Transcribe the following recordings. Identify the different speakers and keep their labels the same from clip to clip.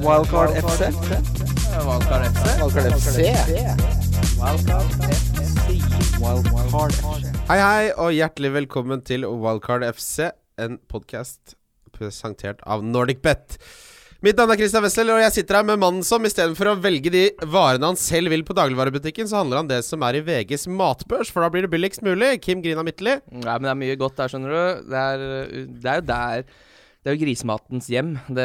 Speaker 1: Wildcard FC.
Speaker 2: Valkar FC.
Speaker 1: Wildcard FC. Wildcard FC.
Speaker 3: Hei, hei, og hjertelig velkommen til Wildcard FC, en podkast presentert av NordicBet. Mitt navn er Christian Wessel, og jeg sitter her med mannen som istedenfor å velge de varene han selv vil på dagligvarebutikken, så handler han det som er i VGs matbørs, for da blir det billigst mulig. Kim Grina Midtli.
Speaker 2: Nei, men det er mye godt der, skjønner du. Det er, uh, det er jo der Det er jo grisematens hjem, det,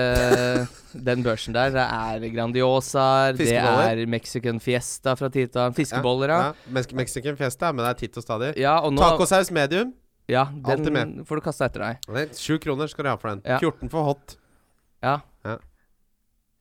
Speaker 2: den børsen der. Det er Grandiosaer, det
Speaker 3: Fiskeboller.
Speaker 2: er Mexican Fiesta fra tid til annen. Fiskeboller, ja.
Speaker 3: Mex- Mexican Fiesta er med deg titt og stadig.
Speaker 2: Ja, og nå
Speaker 3: Tacosaus medium.
Speaker 2: ja,
Speaker 3: alltid
Speaker 2: den
Speaker 3: med.
Speaker 2: får du kasta etter deg.
Speaker 3: Det er Sju kroner skal du ha for den.
Speaker 2: Ja.
Speaker 3: 14 for hot.
Speaker 2: Ja.
Speaker 3: Ja.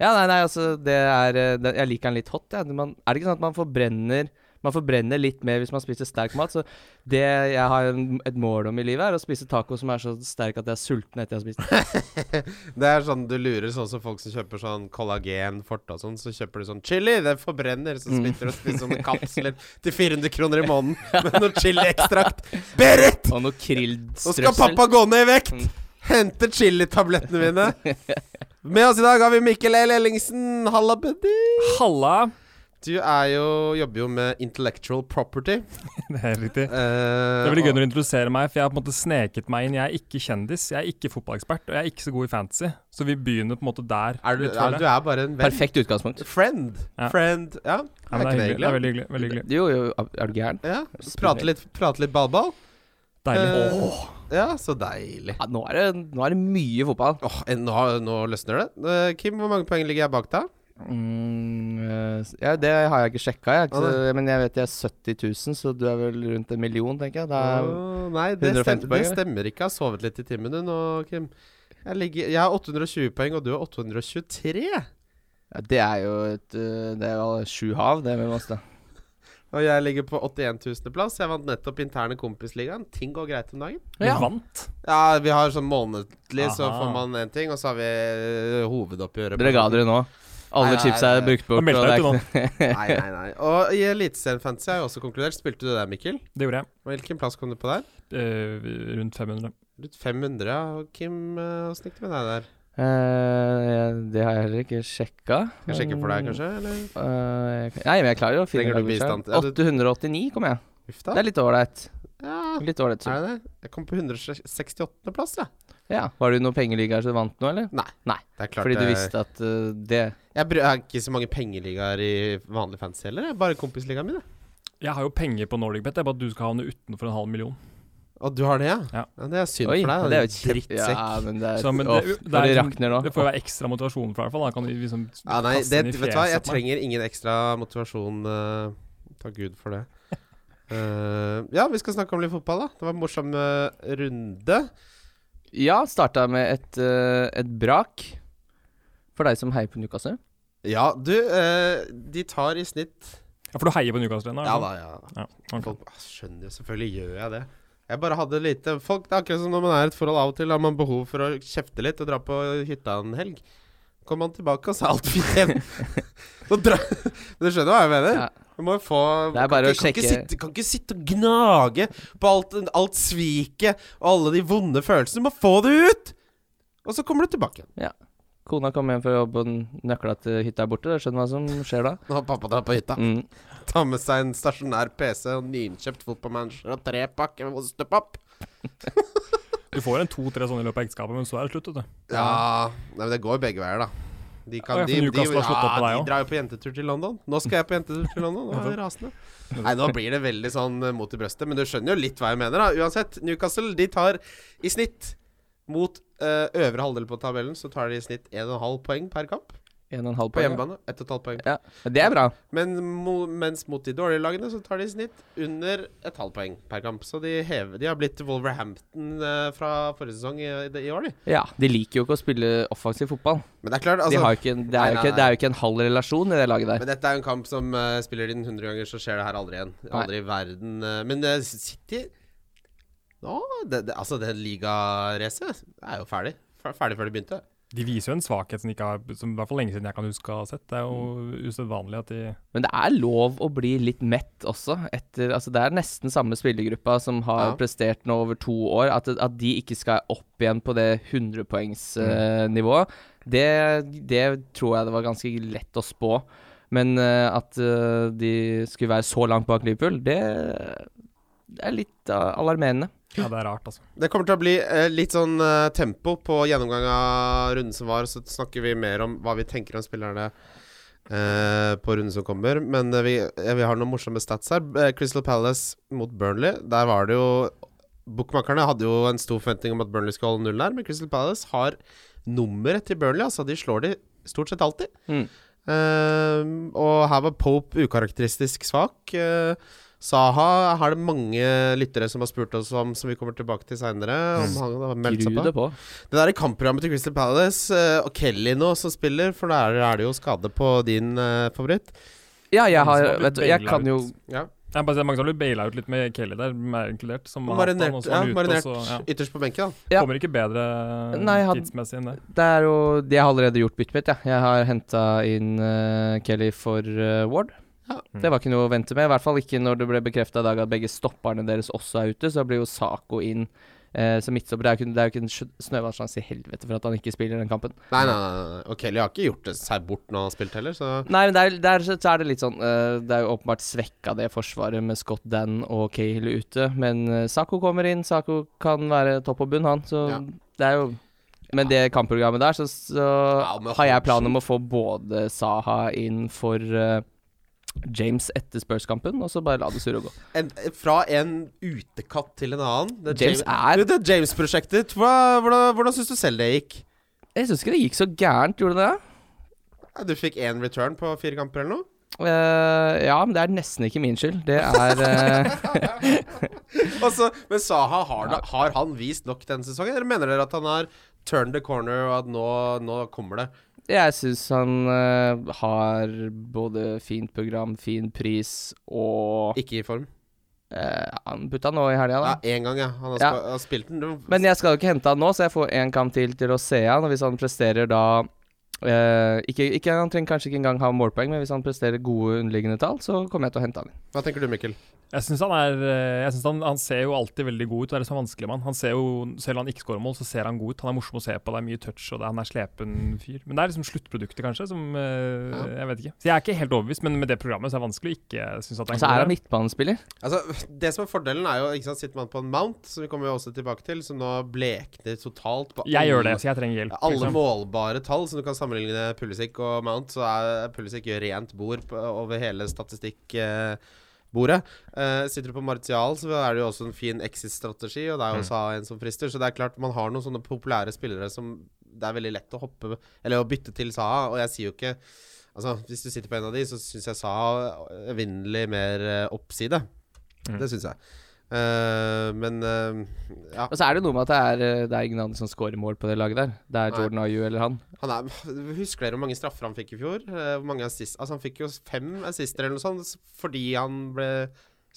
Speaker 2: Ja, nei, nei, altså, det er eh, det, Jeg liker den litt hot, jeg. Man, er det ikke sånn at man forbrenner Man forbrenner litt mer hvis man spiser sterk mat? Så det jeg har en, et mål om i livet, er å spise taco som er så sterk at jeg er sulten etter jeg har spist den.
Speaker 3: Det er sånn du lurer sånn som folk som kjøper sånn kollagenfort og sånn. Så kjøper du sånn chili, det forbrenner, så slutter du å spise sånne kapsler til 400 kroner i måneden med noe chiliekstrakt. Berit!
Speaker 2: Og noe
Speaker 3: Nå skal
Speaker 2: krillstrøssel.
Speaker 3: pappa gå ned i vekt! Hente chilitablettene mine. Med oss i dag har vi Mikkel L. Ellingsen. Halla, buddy.
Speaker 4: Halla!
Speaker 3: Du er jo, jobber jo med intellectual property.
Speaker 4: Det er helt riktig. Det
Speaker 3: Eh,
Speaker 4: er veldig gøy når du introduserer meg, for jeg har på en måte sneket meg inn. Jeg er ikke kjendis, jeg er ikke fotballekspert, og jeg er ikke så god i fantasy. Så vi begynner på en måte der.
Speaker 3: er du,
Speaker 4: litt før
Speaker 3: er, du
Speaker 4: det.
Speaker 3: er bare en venn.
Speaker 2: Perfekt utgangspunkt.
Speaker 3: Friend.
Speaker 4: Ja.
Speaker 3: Friend. Ja,
Speaker 4: Ja, men det, er
Speaker 3: ikke
Speaker 4: hyggelig. det er veldig hyggelig. Veldig hyggelig.
Speaker 2: Jo, jo, er du gæren?
Speaker 3: Ja,
Speaker 2: Spiller.
Speaker 3: Prate litt, prate litt ballball.
Speaker 4: Deilig.
Speaker 3: Eh, Ja, så deilig.
Speaker 2: Ja, nå, er det, nå er det mye fotball.
Speaker 3: Åh, en- nå, nå løsner det. Eh, Kim, hvor mange poeng ligger jeg bak deg?
Speaker 2: Mm, eh, s- ja, det har jeg ikke sjekka, jeg. Ikke,
Speaker 3: Ah,
Speaker 2: men jeg vet jeg er 70 000, så du er vel rundt en million, tenker jeg. Da er,
Speaker 3: Åh, nei, det,
Speaker 2: Eh, 150
Speaker 3: stem,
Speaker 2: poeng,
Speaker 3: det
Speaker 2: eller?
Speaker 3: stemmer ikke. Jeg har sovet litt i timen du nå, Kim. Jeg, ligger, jeg har 820 poeng, og du har 823.
Speaker 2: ja, det er jo et eh, Det er jo sju hav, det altså. mellom oss, da.
Speaker 3: Og jeg ligger på 81 000.-plass. Jeg vant nettopp interne kompisligaen. Ting går greit om dagen.
Speaker 4: Vi vant.
Speaker 3: Ja, vi har sånn månedlig, så
Speaker 4: Aha.
Speaker 3: får man én ting, og så har vi eh, hovedoppgjøret.
Speaker 2: Dere ga dere nå.
Speaker 3: Nei,
Speaker 2: Alle
Speaker 3: nei,
Speaker 2: chips er
Speaker 3: nei.
Speaker 2: brukt bort.
Speaker 4: Og meldt
Speaker 2: og det
Speaker 4: deg
Speaker 2: er
Speaker 4: ut, du
Speaker 2: ikke-
Speaker 3: Nei, nei, nei. Og i Eliteserien Fantasy har jeg også konkludert. Spilte du det der, Mikkel?
Speaker 4: Det gjorde jeg.
Speaker 3: Hvilken plass kom du på der?
Speaker 4: Eh, rundt 500.
Speaker 3: Rundt 500, ja. Og Kim, eh, åssen gikk det med deg der?
Speaker 2: Eh, det har jeg heller ikke sjekka.
Speaker 3: Skal jeg sjekke for deg, kanskje? Eller?
Speaker 2: Eh, jeg kan- nei, men jeg klarer jo å finne
Speaker 3: Trenger du
Speaker 2: det ut
Speaker 3: bistand?
Speaker 2: selv.
Speaker 3: Ja, du-
Speaker 2: 889 kom jeg.
Speaker 3: Uff
Speaker 2: Det er
Speaker 3: da.
Speaker 2: litt ålreit.
Speaker 3: Ja,
Speaker 2: Litt ålreit. så-
Speaker 3: er det det? Jeg kom på 168. plass, jeg.
Speaker 2: Ja. Var det noen pengeligaer som vant noe, eller?
Speaker 3: Det er klart
Speaker 2: Fordi du
Speaker 3: jeg-
Speaker 2: visste at eh, det
Speaker 3: Jeg br- jeg har ikke så mange pengeligaer i vanlig fantasy heller. Jeg er bare kompisligaen min. jeg.
Speaker 4: Jeg har jo penger på NordicBet, det er bare at du skal havne utenfor en halv million.
Speaker 3: Og du har det, ja?
Speaker 4: Ja.
Speaker 3: Det er synd
Speaker 2: Oi,
Speaker 3: for deg. da,
Speaker 2: det er jo
Speaker 3: din
Speaker 2: et kjempe-
Speaker 3: drittsekk.
Speaker 2: Ja, men det er,
Speaker 4: Så, men
Speaker 2: Åh,
Speaker 4: det- det
Speaker 2: når det
Speaker 4: er liksom-
Speaker 2: rakner nå.
Speaker 4: Det får jo være ekstra motivasjon for deg, i hvert fall. Da kan vi liksom
Speaker 3: Ja, nei,
Speaker 4: kaste den
Speaker 3: det,
Speaker 4: i
Speaker 3: vet du hva? Jeg
Speaker 4: fjeset på meg.
Speaker 3: trenger ingen ekstra motivasjon. eh, takk Gud for det. Eh, ja, vi skal snakke om litt fotball, da. Det var en morsom eh, runde.
Speaker 2: Ja, starta med et, eh, et brak. For deg som heier på Newcastle.
Speaker 3: Ja, du eh, De tar i snitt
Speaker 4: Ja, for du heier på Newcastle ennå?
Speaker 3: Ja da,
Speaker 2: sånn.
Speaker 3: ja.
Speaker 4: Ja, ok.
Speaker 3: Folk ah, skjønner jo, selvfølgelig gjør jeg det. Jeg bare hadde lite Folk, Det er akkurat som når man er i et forhold av og til, har man behov for å kjefte litt og dra på hytta en helg. Kommer man tilbake, og så er alt fint igjen. Nå dra- Men du skjønner hva jeg mener?
Speaker 2: Ja.
Speaker 3: Du må jo få
Speaker 2: Det er bare å
Speaker 3: kan, ikke- kan, ikke
Speaker 2: sjekke-
Speaker 3: sitte, kan ikke sitte og gnage på alt, alt sviket og alle de vonde følelsene. Du må få det ut! Og så kommer du tilbake igjen.
Speaker 2: Kona kom hjem fra jobb, og den nøkla til hytta er borte. Du skjønner hva som skjer da.
Speaker 3: Nå har pappa dratt på hytta.
Speaker 2: Mm.
Speaker 3: Ta med seg en stasjonær PC og nyinnkjøpt fotballmanager og tre pakker med ostepop.
Speaker 4: Du får en to-tre sånne i løpet av ekteskapet, men så er det slutt, vet du.
Speaker 3: Ja Nei, men det går begge veier, da. De,
Speaker 4: Å, ja, for Newcastle har slått opp på deg
Speaker 3: de
Speaker 4: også.
Speaker 3: drar jo på jentetur til London. Nå skal jeg på jentetur til London. Nå er jeg rasende. Nei, nå blir det veldig sånn eh, mot i brøstet, men du skjønner jo litt hva jeg mener, da. Uansett, Newcastle de tar i snitt mot eh, øvre halvdel på tabellen, så tar de i snitt 1,5 poeng per kamp.
Speaker 2: En og en halv
Speaker 3: På
Speaker 2: poeng.
Speaker 3: hjemmebane 1,5 poeng.
Speaker 2: Ja. Ja, Det er bra.
Speaker 3: Men, mo, mens mot de dårlige lagene så tar de i snitt under et halvt poeng per kamp. Så de, hever, de har blitt Wolverhampton eh, fra forrige sesong i, i, i år, de.
Speaker 2: Ja, De liker jo ikke å spille offensiv fotball.
Speaker 3: Men det er klart,
Speaker 2: De
Speaker 3: altså
Speaker 2: har jo ikke, en- det, er
Speaker 3: Nei,
Speaker 2: jo
Speaker 3: nei,
Speaker 2: ikke, det er jo ikke en halv relasjon i det laget der.
Speaker 3: Men dette er jo en kamp som eh, spiller de den 100 ganger, så skjer det her aldri igjen. Aldri i verden. eh, men eh, City Nå, det, det, Altså, det ligaracet er jo ferdig. Fer- Ferdig før det begynte.
Speaker 4: De viser jo en svakhet som, ikke har, som i hvert fall lenge siden jeg kan huske å ha sett. Det er jo usedvanlig at de
Speaker 2: Men det er lov å bli litt mett også. Etter, altså det er nesten samme spillergruppa som har
Speaker 3: Ja.
Speaker 2: prestert nå over to år. At, at de ikke skal opp igjen på det 100-poengsnivået, det, det tror jeg det var ganske lett å spå. Men eh, at eh, de skulle være så langt bak Liverpool, det er litt eh, alarmerende.
Speaker 4: Ja, det er rart, altså.
Speaker 3: Det kommer til å bli eh, litt sånn eh, tempo på gjennomgang av runden som var, og så snakker vi mer om hva vi tenker om spillerne eh, på runden som kommer. Men eh, vi, eh, vi har noen morsomme stats her. Eh, Crystal Palace mot Burnley. Der var det jo Bookmakerne hadde jo en stor forventning om at Burnley skulle holde nullen her, men Crystal Palace har nummeret til Burnley. Altså, de slår de stort sett alltid.
Speaker 2: Mm.
Speaker 3: Ehm, og her var Pope ukarakteristisk svak. Eh, Saha har det mange lyttere som har spurt oss om, som vi kommer tilbake til seinere. Om han har meldt seg
Speaker 2: Gru
Speaker 3: på.
Speaker 2: det på.
Speaker 3: Det der kampprogrammet til Crystal Palace eh, og Kelly nå som spiller, for der er det jo skade på din eh, favoritt.
Speaker 2: Ja, jeg har
Speaker 4: Som har blitt
Speaker 2: vet du, Jeg
Speaker 4: baila
Speaker 2: kan jo
Speaker 4: ut.
Speaker 3: Ja.
Speaker 4: Jeg bare ser Mange som har blitt baila ut litt med Kelly der, meg inkludert. Som har hatt han,
Speaker 3: Marinert,
Speaker 4: og så var
Speaker 3: ja,
Speaker 4: han ute, og
Speaker 3: marinert
Speaker 4: så- ja.
Speaker 3: ytterst på benken, da.
Speaker 2: Ja.
Speaker 4: Kommer ikke bedre eh,
Speaker 2: Nei, han-
Speaker 4: tidsmessig enn det.
Speaker 2: Det er jo Jeg har allerede gjort byttet mitt, jeg. Jeg har henta inn eh, Kelly for eh, Ward.
Speaker 3: Ja.
Speaker 2: Det var ikke noe å vente med. I hvert fall ikke når det ble bekrefta i dag at begge stopperne deres også er ute. Så da blir jo Saco inn eh, som midtstopper. Det er jo ikke, det er jo ikke en sj- snøvannssjanse i helvete for at han ikke spiller den kampen.
Speaker 3: Nei, nei, nei, nei. Og Kelly har ikke gjort det seg bort når han har spilt heller, så
Speaker 2: Nei, men der, der så så er det litt sånn eh, Det er jo åpenbart svekka det forsvaret med Scott Dan og Cahill ute. Men eh, Sako kommer inn. Sako kan være topp og bunn, han. Så
Speaker 3: Ja.
Speaker 2: det er jo Men det kampprogrammet der, så, så
Speaker 3: men
Speaker 2: har jeg planen om å få både Saha inn for eh, James etter Spurs-kampen, og så bare la det surre og gå.
Speaker 3: en, Fra en utekatt til en annen. Det
Speaker 2: James
Speaker 3: Du,
Speaker 2: er
Speaker 3: det James-prosjektet, hva- hvordan, hvordan syns du selv det gikk?
Speaker 2: Jeg syns ikke det gikk så gærent, gjorde det det?
Speaker 3: Ja, Du fikk én return på fire kamper eller noe?
Speaker 2: Eh, ja, men det er nesten ikke min skyld. Det er eh,
Speaker 3: Og så- men Saha, har, da, har han vist nok denne sesongen? Eller mener dere at han har turned the corner, og at nå, nå kommer det?
Speaker 2: Jeg syns han eh, har både fint program, fin pris og
Speaker 3: Ikke i form?
Speaker 2: eh, Han putta nå i helga, da.
Speaker 3: Ja, én gang, ja. Han har,
Speaker 2: Ja.
Speaker 3: spa- har spilt den. Du-
Speaker 2: Men jeg skal jo ikke hente han nå, så jeg får én kamp til til å se han. Og hvis han presterer da eh, ikke, ikke, Han trenger kanskje ikke engang ha målpoeng, men hvis han presterer gode underliggende tall, så kommer jeg til å hente han inn.
Speaker 3: Hva tenker du, Mikkel?
Speaker 4: Jeg syns han er eh, Jeg synes han, han ser jo alltid veldig god ut. Det er det som er vanskelig med han. Han ser jo, Selv om han ikke skårer mål, så ser han god ut. Han er morsom å se på, det er mye touch, og det, han er slepen fyr. Men det er liksom sluttproduktet, kanskje, som eh,
Speaker 3: Ja.
Speaker 4: Jeg vet ikke. Så jeg er ikke helt overbevist, men med det programmet så er det vanskelig å ikke synes at
Speaker 2: Og
Speaker 4: han
Speaker 2: så Altså, er han midtbanespiller.
Speaker 3: Altså, det som er Fordelen er jo ikke sant, sitter man på en mount, som vi kommer jo også tilbake til, som nå blekner totalt på
Speaker 4: Jeg gjør det,
Speaker 3: alle-
Speaker 4: så jeg trenger hjelp.
Speaker 3: Alle
Speaker 4: liksom.
Speaker 3: målbare tall som du kan sammenligne Pulisic og Mount, så er Pulisic gjør rent bord på, over hele statistikkbordet. bordet Eh, sitter du på Martial, så er det jo også en fin exit-strategi, og det er jo
Speaker 4: Mm.
Speaker 3: også en som frister. Så det er klart man har noen sånne populære spillere som det er veldig lett å hoppe Eller å bytte til Saha, og jeg sier jo ikke Altså, hvis du sitter på en av de, så syns jeg Saha har evinnelig mer eh, oppside.
Speaker 4: Mm.
Speaker 3: Det syns jeg. Eh, men eh, ja.
Speaker 2: Og så er det jo noe med at det er, eh, det er ingen andre som scorer mål på det laget der. Det er
Speaker 3: Nei.
Speaker 2: Jordan Ayew eller han.
Speaker 3: Han er, husker dere hvor mange straffer han fikk i fjor? Eh, Hvor mange assist, altså Han fikk jo fem assister eller noe sånt s- fordi han ble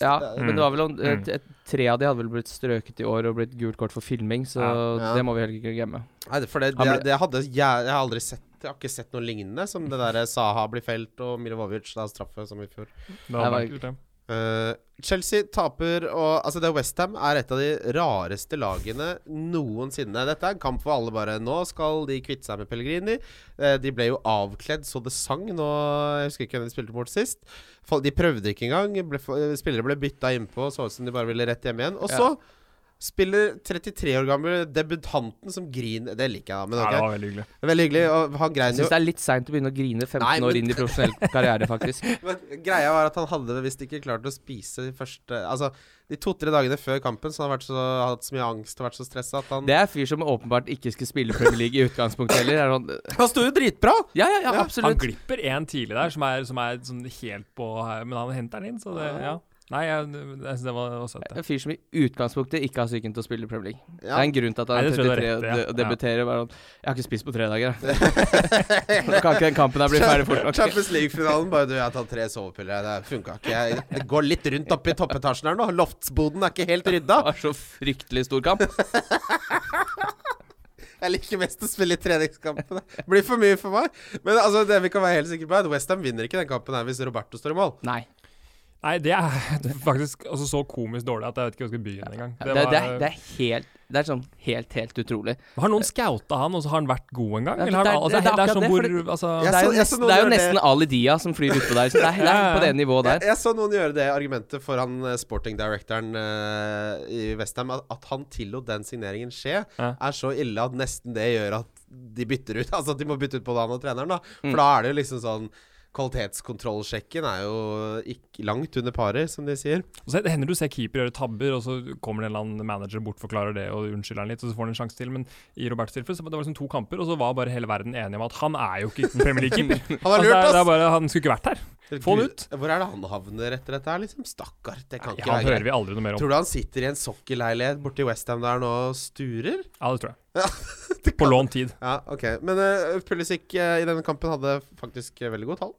Speaker 2: Ja,
Speaker 3: Det-
Speaker 2: men det var vel om, eh,
Speaker 4: Mm.
Speaker 2: t- tre av de hadde vel blitt strøket i år og blitt gult kort for filming, så
Speaker 4: Ja.
Speaker 3: Ja.
Speaker 2: det må vi heller ikke glemme.
Speaker 3: Nei, det- for det,
Speaker 2: Han
Speaker 3: det,
Speaker 2: ble-
Speaker 3: det hadde jeg, jeg har aldri sett Jeg har ikke sett noe lignende som det derre Saha blir felt og Milovovic da straffe som i fjor.
Speaker 4: Det hadde
Speaker 2: var-
Speaker 4: vært kult, det.
Speaker 3: Eh, Chelsea taper og Altså, det Westham er et av de rareste lagene noensinne. Dette er en kamp for alle, bare. Nå skal de kvitte seg med Pellegrini. Eh, de ble jo avkledd så det sang nå Jeg husker ikke hvem de spilte mot sist. Fol- De prøvde ikke engang. Ble, fo- spillere ble bytta innpå, så ut som de bare ville rett hjem igjen. Og så spiller 33 år gamle debutanten som griner Det liker jeg, da, men
Speaker 4: Ja, det
Speaker 3: ok.
Speaker 4: var veldig hyggelig.
Speaker 3: Veldig hyggelig. Og han
Speaker 2: Jeg
Speaker 3: grein jo
Speaker 2: syns det er litt seint å begynne å grine 15
Speaker 3: Nei, men-
Speaker 2: år inn i profesjonell karriere, faktisk.
Speaker 3: Men greia var at han hadde visst ikke klart å spise de første Altså, de to-tre dagene før kampen så hadde han vært så, hatt så mye angst og vært så stressa at han
Speaker 2: Det er en fyr som åpenbart ikke skulle spille Premier League i utgangspunktet heller. Er sånn,
Speaker 3: Han sto jo dritbra!
Speaker 2: ja, ja, ja,
Speaker 4: Han
Speaker 2: absolutt.
Speaker 4: glipper en tidlig der, som er, som er sånn helt på her, men han henter den inn, så det Ja. Nei, jeg, jeg syns det var, var søtt, det.
Speaker 2: En fyr som i utgangspunktet ikke har psyken til å spille Premier League. Det
Speaker 3: Ja.
Speaker 2: er en grunn til at han er
Speaker 4: Nei, det tror jeg du
Speaker 2: 33
Speaker 4: har
Speaker 2: og
Speaker 4: rett i, ja.
Speaker 2: de- og debuterer. Bare, sånn, jeg har ikke spist på tre dager, jeg. Nå kan ikke den kampen her bli ferdig fort nok.
Speaker 3: Champions League-finalen. Bare du, jeg har tatt tre sovepiller. Det funka ikke. Jeg, det går litt rundt oppe i toppetasjen her nå. Loftsboden er ikke helt
Speaker 2: Det
Speaker 3: rydda.
Speaker 2: var så fryktelig stor kamp.
Speaker 3: Jeg liker best å spille i treningskampene. Det blir for mye for meg. Men altså, det vi kan være helt sikre på, er at Westham vinner ikke den kampen her hvis Roberto står i mål.
Speaker 2: Nei.
Speaker 4: Nei, det er det er faktisk altså, så komisk dårlig at jeg vet ikke hva jeg skal begynne engang.
Speaker 2: Det, det, er- det er helt Det er sånn helt, helt utrolig.
Speaker 4: Har noen skauta han, og så har han vært god en gang?
Speaker 2: Ja,
Speaker 4: Eller har,
Speaker 2: det er-
Speaker 4: han-
Speaker 2: det
Speaker 4: altså,
Speaker 2: er
Speaker 4: det, er
Speaker 2: akkurat
Speaker 4: sånn
Speaker 2: det,
Speaker 4: hvor
Speaker 2: fordi-
Speaker 4: altså,
Speaker 2: det
Speaker 3: Jeg
Speaker 2: er
Speaker 3: så-
Speaker 2: jo,
Speaker 3: jeg så
Speaker 2: nesten-
Speaker 3: noen
Speaker 2: det er jo
Speaker 3: gjøre det.
Speaker 2: nesten Ali Dia som flyr utpå der. Så det er, det er på det nivået der.
Speaker 3: Jeg, jeg så noen gjøre det argumentet foran eh, sporting directoren eh, i Westham. At, at han tillot den signeringen skje,
Speaker 4: Ja.
Speaker 3: er så ille at nesten det gjør at de bytter ut. Altså at de må bytte ut både han og treneren, da.
Speaker 4: Mm.
Speaker 3: For da er det jo liksom sånn Kvalitetskontrollsjekken er jo ikke langt under paret, som de sier.
Speaker 4: Og så hender altså, det du ser keeper gjøre tabber, og så kommer det en eller annen manager bortforklarer det og unnskylder han litt, og så får han en sjanse til. Men i Roberts tilfelle så var det var liksom to kamper, og så var bare hele verden enige om at han er jo ikke Premier League-keeper.
Speaker 3: Han har
Speaker 4: Altså, det er-
Speaker 3: lurt
Speaker 4: det er
Speaker 3: oss!
Speaker 4: bare- han skulle ikke vært her. Få han ut.
Speaker 3: Hvor er det han havner etter dette her, liksom? Stakkar. Det kan ikke
Speaker 4: Ja, han
Speaker 3: være
Speaker 4: hører
Speaker 3: greit.
Speaker 4: vi aldri noe mer om.
Speaker 3: Tror du han sitter i en sokkelleilighet borti Westham der nå og sturer?
Speaker 4: Ja, det tror
Speaker 3: Ja,
Speaker 4: jeg. På lånt tid.
Speaker 3: Ja, ok. Men uh, Pulisic eh, i denne kampen hadde faktisk eh, veldig gode tall.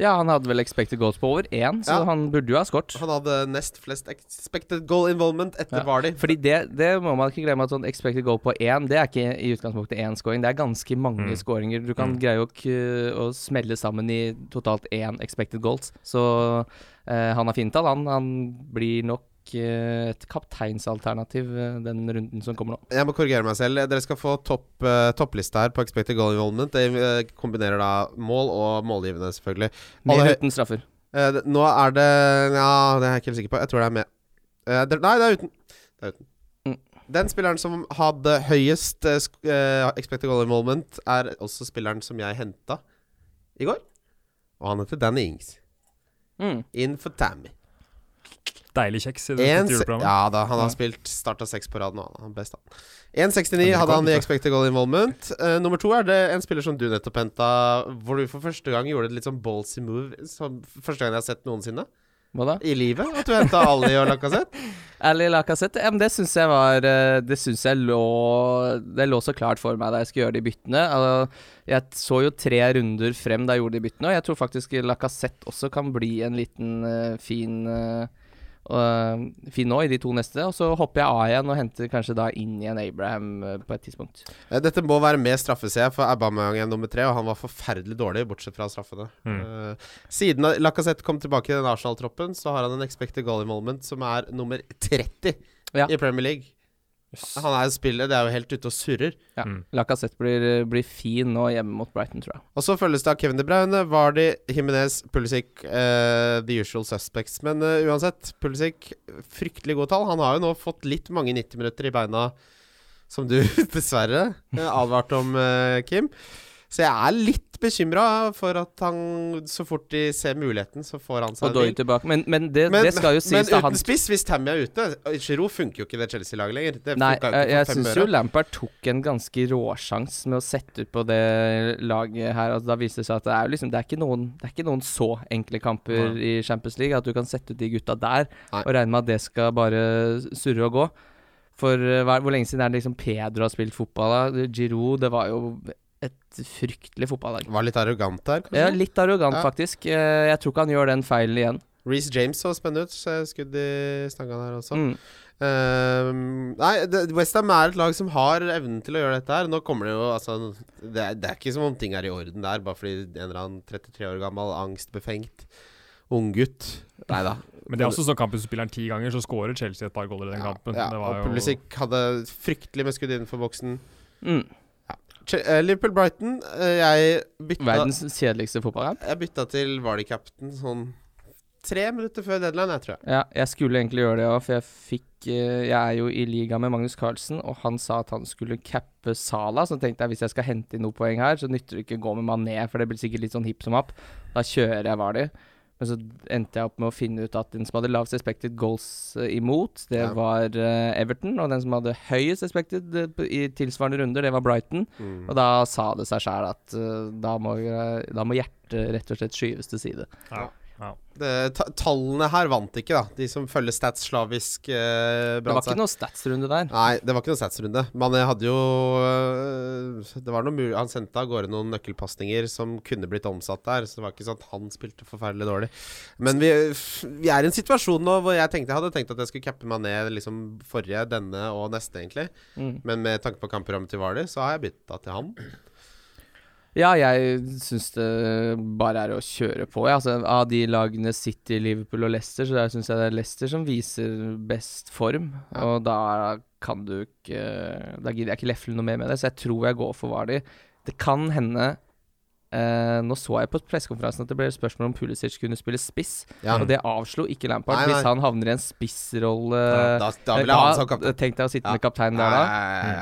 Speaker 2: Ja, han hadde vel expected goals på over én, så
Speaker 3: Ja.
Speaker 2: han burde jo ha skåret.
Speaker 3: Han hadde nest flest expected goal involvement etter
Speaker 2: Ja.
Speaker 3: Vardy.
Speaker 2: Fordi det, det må man ikke glemme at sånn expected goal på én, det er ikke i utgangspunktet én scoring. Det er ganske mange
Speaker 4: Mm.
Speaker 2: scoringer. Du kan
Speaker 4: Mm.
Speaker 2: greie å, k- å smelle sammen i totalt én expected goals. Så eh, han har fine tall, han. Han blir nok eh, et kapteinsalternativ eh, den runden som kommer nå.
Speaker 3: Jeg må korrigere meg selv. Dere skal få topp, eh, toppliste her på expected goal involvement. Det eh, kombinerer da mål og målgivende, selvfølgelig. Alle,
Speaker 2: Mer
Speaker 3: høy-
Speaker 2: uten straffer.
Speaker 3: eh, det- nå er det Ja, det er jeg ikke helt sikker på. Jeg tror det er med. Eh, det, nei, det er uten. Det er uten.
Speaker 2: Mm.
Speaker 3: Den spilleren som hadde høyest eh, sk- eh, expected goal involvement, er også spilleren som jeg henta i går. Og han heter Danny Ings.
Speaker 2: Mm.
Speaker 3: In for Tammy.
Speaker 4: Deilig kjeks i det
Speaker 3: En,
Speaker 4: dette
Speaker 3: se-
Speaker 4: juleprogrammet.
Speaker 3: ja da, han har
Speaker 4: Ja.
Speaker 3: spilt starta seks på rad nå. Han er best, han. 1,69
Speaker 4: Ja, det
Speaker 3: hadde
Speaker 4: kan
Speaker 3: han i
Speaker 4: du.
Speaker 3: expected goal involvement. Eh, nummer to er det en spiller som du nettopp henta, hvor du for første gang gjorde et litt sånn ballsy move. Som første gang jeg har sett noensinne
Speaker 2: Hva da?
Speaker 3: i livet. At du henta Ali og Lacassette.
Speaker 2: Ærlig Lacassette, ja, men det syns jeg var eh, Det syns jeg lå Det lå så klart for meg da jeg skulle gjøre de byttene. Altså, Jeg så jo tre runder frem da jeg gjorde de byttene, og jeg tror faktisk Lacassette også kan bli en liten eh, fin eh, eh, fin nå i de to neste, og så hopper jeg av igjen og henter kanskje da inn igjen Abraham eh, på et tidspunkt.
Speaker 3: Eh, Dette må være med straffe, ser jeg, for Aubameyang er nummer tre, og han var forferdelig dårlig, bortsett fra straffene.
Speaker 4: Mm.
Speaker 3: Eh, siden Lacassette kom tilbake i den Arsenal-troppen, så har han en expected goal involvement som er nummer 30
Speaker 2: Ja.
Speaker 3: i Premier League.
Speaker 4: Jøss.
Speaker 3: Han er jo spiller, det er jo helt ute og surrer.
Speaker 2: Ja.
Speaker 4: Mm.
Speaker 2: Lacassette blir, eh, blir fin nå hjemme mot Brighton, tror jeg.
Speaker 3: Og så følges det av Kevin De Bruyne, Vardy, Jimenez, Pulisic, eh, the usual suspects. Men eh, uansett, Pulisic, fryktelig gode tall. Han har jo nå fått litt mange 90 minutter i beina, som du dessverre eh, advarte om, eh, Kim. Så jeg er litt bekymra for at han, så fort de ser muligheten, så får han seg
Speaker 2: Og Doy
Speaker 3: en deal.
Speaker 2: tilbake, men, men, det,
Speaker 3: Men,
Speaker 2: det skal jo
Speaker 3: men
Speaker 2: sies da
Speaker 3: uten
Speaker 2: han
Speaker 3: spiss, hvis Tammy er ute Giroud funker jo ikke i det Chelsea-laget lenger. Det
Speaker 2: Nei,
Speaker 3: funka jo
Speaker 2: jeg,
Speaker 3: ikke
Speaker 2: jeg
Speaker 3: for fem
Speaker 2: syns jo
Speaker 3: øre.
Speaker 2: Lampard tok en ganske råsjans med å sette ut på det laget her. Altså, da viser det seg at det er jo liksom Det er ikke noen, det er ikke noen så enkle kamper i Champions League at du kan sette ut de gutta der
Speaker 3: Nei.
Speaker 2: og regne med at det skal bare surre og gå. For eh, hva, hvor lenge siden er det liksom Pedro har spilt fotball? da? Giroud, det var jo et fryktelig fotballag.
Speaker 3: Var litt arrogant der, kanskje.
Speaker 2: Ja, litt arrogant,
Speaker 3: Ja.
Speaker 2: faktisk. Eh, Jeg tror ikke han gjør den feilen igjen.
Speaker 3: Reece James så spennende ut. så Skudd i stanga der også.
Speaker 2: Mm.
Speaker 3: Ehm, nei, det- West Ham er et lag som har evnen til å gjøre dette her. Nå kommer det jo altså det er, det er ikke som om ting er i orden der, bare fordi en eller annen 33 år gammel angstbefengt unggutt Nei da.
Speaker 4: Men det er også sånn kamp hvis du spiller den ti ganger, så scorer Chelsea et par goller i den kampen.
Speaker 3: Ja,
Speaker 4: det
Speaker 3: ja,
Speaker 4: var
Speaker 3: og
Speaker 4: jo-
Speaker 3: Pulisic hadde fryktelig med skudd innenfor boksen.
Speaker 2: Mm.
Speaker 3: Ch- eh, Liverpool-Brighton eh, Jeg bytta
Speaker 2: Verdens kjedeligste fotballkamp.
Speaker 3: Jeg bytta til Vardy-captain sånn tre minutter før deadline, jeg tror jeg.
Speaker 2: Ja, jeg skulle egentlig gjøre det òg, for jeg fikk eh, Jeg er jo i liga med Magnus Carlsen, og han sa at han skulle cappe Sala. Så tenkte jeg hvis jeg skal hente inn noen poeng her, så nytter det ikke å gå med Mané, for det blir sikkert litt sånn hipp som happ. Da kjører jeg Vardy. Men så endte jeg opp med å finne ut at den som hadde lavest expected goals eh, imot, det
Speaker 3: Ja.
Speaker 2: var eh, Everton. Og den som hadde høyest expected eh, på- i tilsvarende runder, det var Brighton. Og da sa det seg sjæl at eh, da, må, jeg- da må hjertet rett og slett skyves til side.
Speaker 4: Ja.
Speaker 3: Det, ta, tallene her vant ikke, da. De som følger stats slavisk. eh,
Speaker 2: Det
Speaker 3: brant
Speaker 2: var
Speaker 3: seg.
Speaker 2: ikke noe statsrunde der.
Speaker 3: Nei, det var ikke noen statsrunde. Men jeg hadde jo øh, Det var noe mulig Han sendte av gårde noen nøkkelpasninger som kunne blitt omsatt der, så det var ikke sånn at han spilte forferdelig dårlig. Men vi, vi er i en situasjon nå hvor jeg tenkte jeg hadde tenkt at jeg skulle cappe meg ned liksom forrige, denne og neste, egentlig.
Speaker 2: Mm.
Speaker 3: Men med tanke på kampprogrammet til Vardy, så har jeg bytta til han.
Speaker 2: Ja, jeg syns det bare er å kjøre på. Ja. Altså, av de lagene City, Liverpool og Leicester, så syns jeg det er Leicester som viser best form. Og da kan du ikke Da gidder jeg ikke lefle noe mer med det, så jeg tror jeg går for Vardy. Det kan hende eh, Nå så jeg på pressekonferansen at det ble spørsmål om Pulisic kunne spille spiss,
Speaker 3: Ja.
Speaker 2: og det avslo ikke Lampard.
Speaker 3: Nei, nei.
Speaker 2: Hvis han havner i en spissrolle
Speaker 3: Da,
Speaker 2: Eh,
Speaker 3: da vil jeg ha han som kaptein.
Speaker 2: Tenk deg å sitte
Speaker 3: Ja.
Speaker 2: med kapteinen der, da.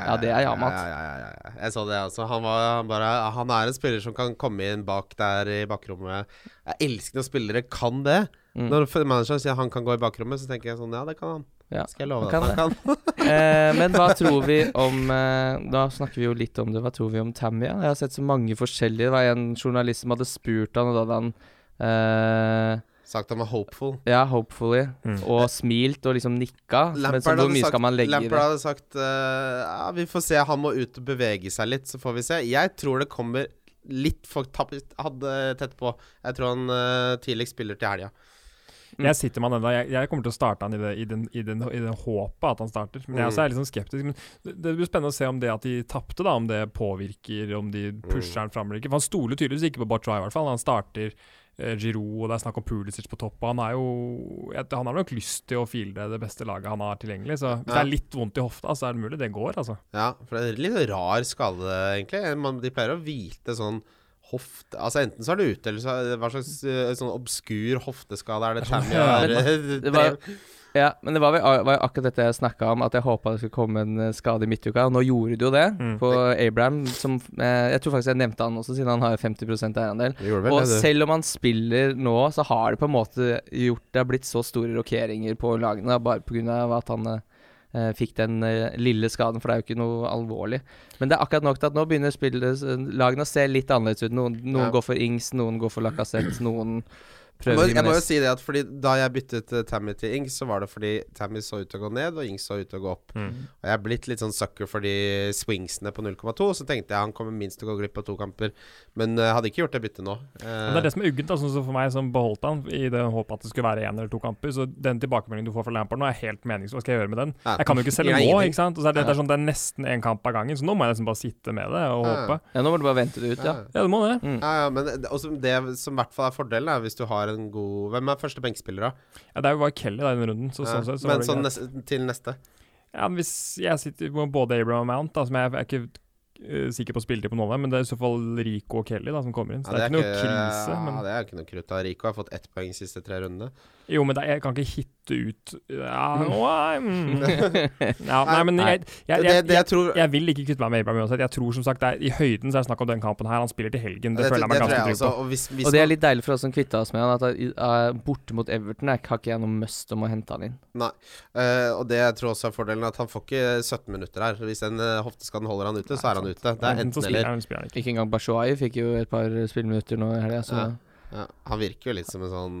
Speaker 2: Ja, det er Yamat.
Speaker 3: Ja, ja, ja, ja. Jeg så det også. Han, var, han, bare, han er en spiller som kan komme inn bak der i bakrommet. Jeg elsker når spillere kan det.
Speaker 2: Mm.
Speaker 3: Når manageren sier han kan gå i bakrommet, så tenker jeg sånn Ja, det kan han.
Speaker 2: Ja.
Speaker 3: Skal jeg love
Speaker 2: Han
Speaker 3: deg at han kan.
Speaker 2: Eh, men hva tror vi om eh, Da snakker vi jo litt om det. Hva tror vi om Tammy? ja? Jeg har sett så mange forskjellige. Det var en journalist som hadde spurt han, og da hadde han eh,
Speaker 3: Sagt han var hopeful.
Speaker 2: Ja, hopefully.
Speaker 4: Mm.
Speaker 2: Og smilt og liksom nikka. men så hvor mye skal man legge
Speaker 3: Lampard hadde sagt eh, ja, Vi får se, han må ut og bevege seg litt, så får vi se. Jeg tror det kommer litt for tapp, hadde tett på. Jeg tror han uh, tidligst spiller til helga.
Speaker 2: Mm.
Speaker 4: Jeg sitter med han ennå. Jeg, jeg kommer til å starte han i det, i den, i den, i den håpet at han starter. Men jeg også er litt sånn skeptisk. Men det, det blir spennende å se om det at de tapte, da, om det påvirker, om de pusher han fram eller ikke. For han stoler tydeligvis ikke på Bachoi, i hvert fall. Han starter eh, Giroud, og det er snakk om Pulisic på topp. Og han er jo jeg- Han har nok lyst til å fielde det beste laget han har tilgjengelig. Så hvis det
Speaker 3: Ja.
Speaker 4: er litt vondt i hofta, så er det mulig. Det går, altså.
Speaker 3: Ja, for det er litt rar skade, egentlig. Man, de pleier å hvite sånn hofte Altså enten så er det ute, eller så er det, hva slags eh, sånn obskur hofteskade er det Tammy har
Speaker 2: Ja,
Speaker 3: eh,
Speaker 2: det var-
Speaker 3: drev-
Speaker 2: Ja, men det var, vel, var jo akkurat dette jeg snakka om, at jeg håpa det skulle komme en eh, skade i midtuka. Og nå gjorde det jo det,
Speaker 4: Mm.
Speaker 2: på Abraham, som eh, Jeg tror faktisk jeg nevnte han også, siden han har jo 50 eierandel.
Speaker 3: Det gjorde vel
Speaker 2: Og
Speaker 3: det, du.
Speaker 2: selv om han spiller nå, så har det på en måte gjort Det har blitt så store rokeringer på lagene, da, bare pga. at han eh, fikk den eh, lille skaden, for det er jo ikke noe alvorlig. Men det er akkurat nok til at nå begynner spillet, lagene å se litt annerledes ut. Noen, noen
Speaker 3: Ja.
Speaker 2: går for Ings, noen går for Lacassette, noen
Speaker 3: Jeg må,
Speaker 2: prøver
Speaker 3: jeg må jo
Speaker 2: Jimenez.
Speaker 3: si det at fordi Da jeg byttet eh, Tammy til Ings, så var det fordi Tammy så ut til å gå ned, og Ings så ut til å gå opp. Og jeg er blitt litt sånn sucker for de swingsene på 0,2, så tenkte jeg han kommer minst til å gå glipp av to kamper. Men eh, hadde ikke gjort det byttet nå.
Speaker 4: Men det er det som er uggent, da, sånn som for meg som beholdt han i det håpet at det skulle være én eller to kamper. Så den tilbakemeldingen du får fra Lampard nå, er helt meningsløs. Hva skal jeg gjøre med den?
Speaker 3: Ja.
Speaker 4: Jeg kan jo ikke selge
Speaker 3: Jeg er
Speaker 4: nå,
Speaker 3: enig.
Speaker 4: ikke sant? Og så er det,
Speaker 3: Ja.
Speaker 4: det, er sånn, det er nesten én kamp av gangen, så nå må jeg nesten bare sitte med det og
Speaker 3: Ja.
Speaker 4: håpe.
Speaker 2: Ja, nå må du bare vente det ut, ja.
Speaker 3: Eh, ja.
Speaker 4: Ja, du må det.
Speaker 2: Mm.
Speaker 3: Ja, ja, men det, også det som i hvert fall er fordelen, er hvis du har en god Hvem er første benkspiller, da?
Speaker 4: Ja, det er jo bare Kelly da, i den runden. Så,
Speaker 3: Ja,
Speaker 4: sånn sett, så var
Speaker 3: men
Speaker 4: det
Speaker 3: sånn
Speaker 4: greit.
Speaker 3: nes- til neste.
Speaker 4: ja, men Hvis jeg sitter med både Abraham og Mount, da, som jeg, jeg er ikke eh, sikker på spilletid på noen av dem, men det er i så fall Rico og Kelly da, som kommer inn. Så det er ikke noe krise.
Speaker 3: ja,
Speaker 4: Men,
Speaker 3: det er ikke noe krutt. da. Rico har fått ett poeng de siste tre rundene.
Speaker 4: Jo, men det, jeg kan ikke hitte ut Ja, nei, mm. ja Nei, men jeg, jeg,
Speaker 3: det,
Speaker 4: jeg,
Speaker 3: det jeg tror
Speaker 4: Jeg vil ikke kvitte meg med Abraham uansett. Jeg tror som sagt det er, I høyden så er det snakk om den kampen her. Han spiller til helgen. Det,
Speaker 3: det-
Speaker 4: føler
Speaker 3: det
Speaker 4: jeg meg
Speaker 3: tror jeg
Speaker 4: ganske trygg
Speaker 3: også,
Speaker 4: på.
Speaker 3: og hvis, hvis
Speaker 2: Og det er
Speaker 3: man-
Speaker 2: litt deilig for oss som kvitta oss med han, at eh, borte mot Everton er- har ikke jeg noe must om å hente han inn.
Speaker 3: eh, og det jeg tror også er fordelen, at han får ikke 17 minutter her. Hvis den eh, hofteskaden holder han ute, så er han ute. Det er
Speaker 4: så
Speaker 3: enten
Speaker 4: spiller
Speaker 3: eller.
Speaker 4: han, eller spiller han ikke.
Speaker 2: Ikke engang Bashuayi fikk jo et par spillminutter nå i helga, så
Speaker 3: Ja. Ja, han virker jo litt som en sånn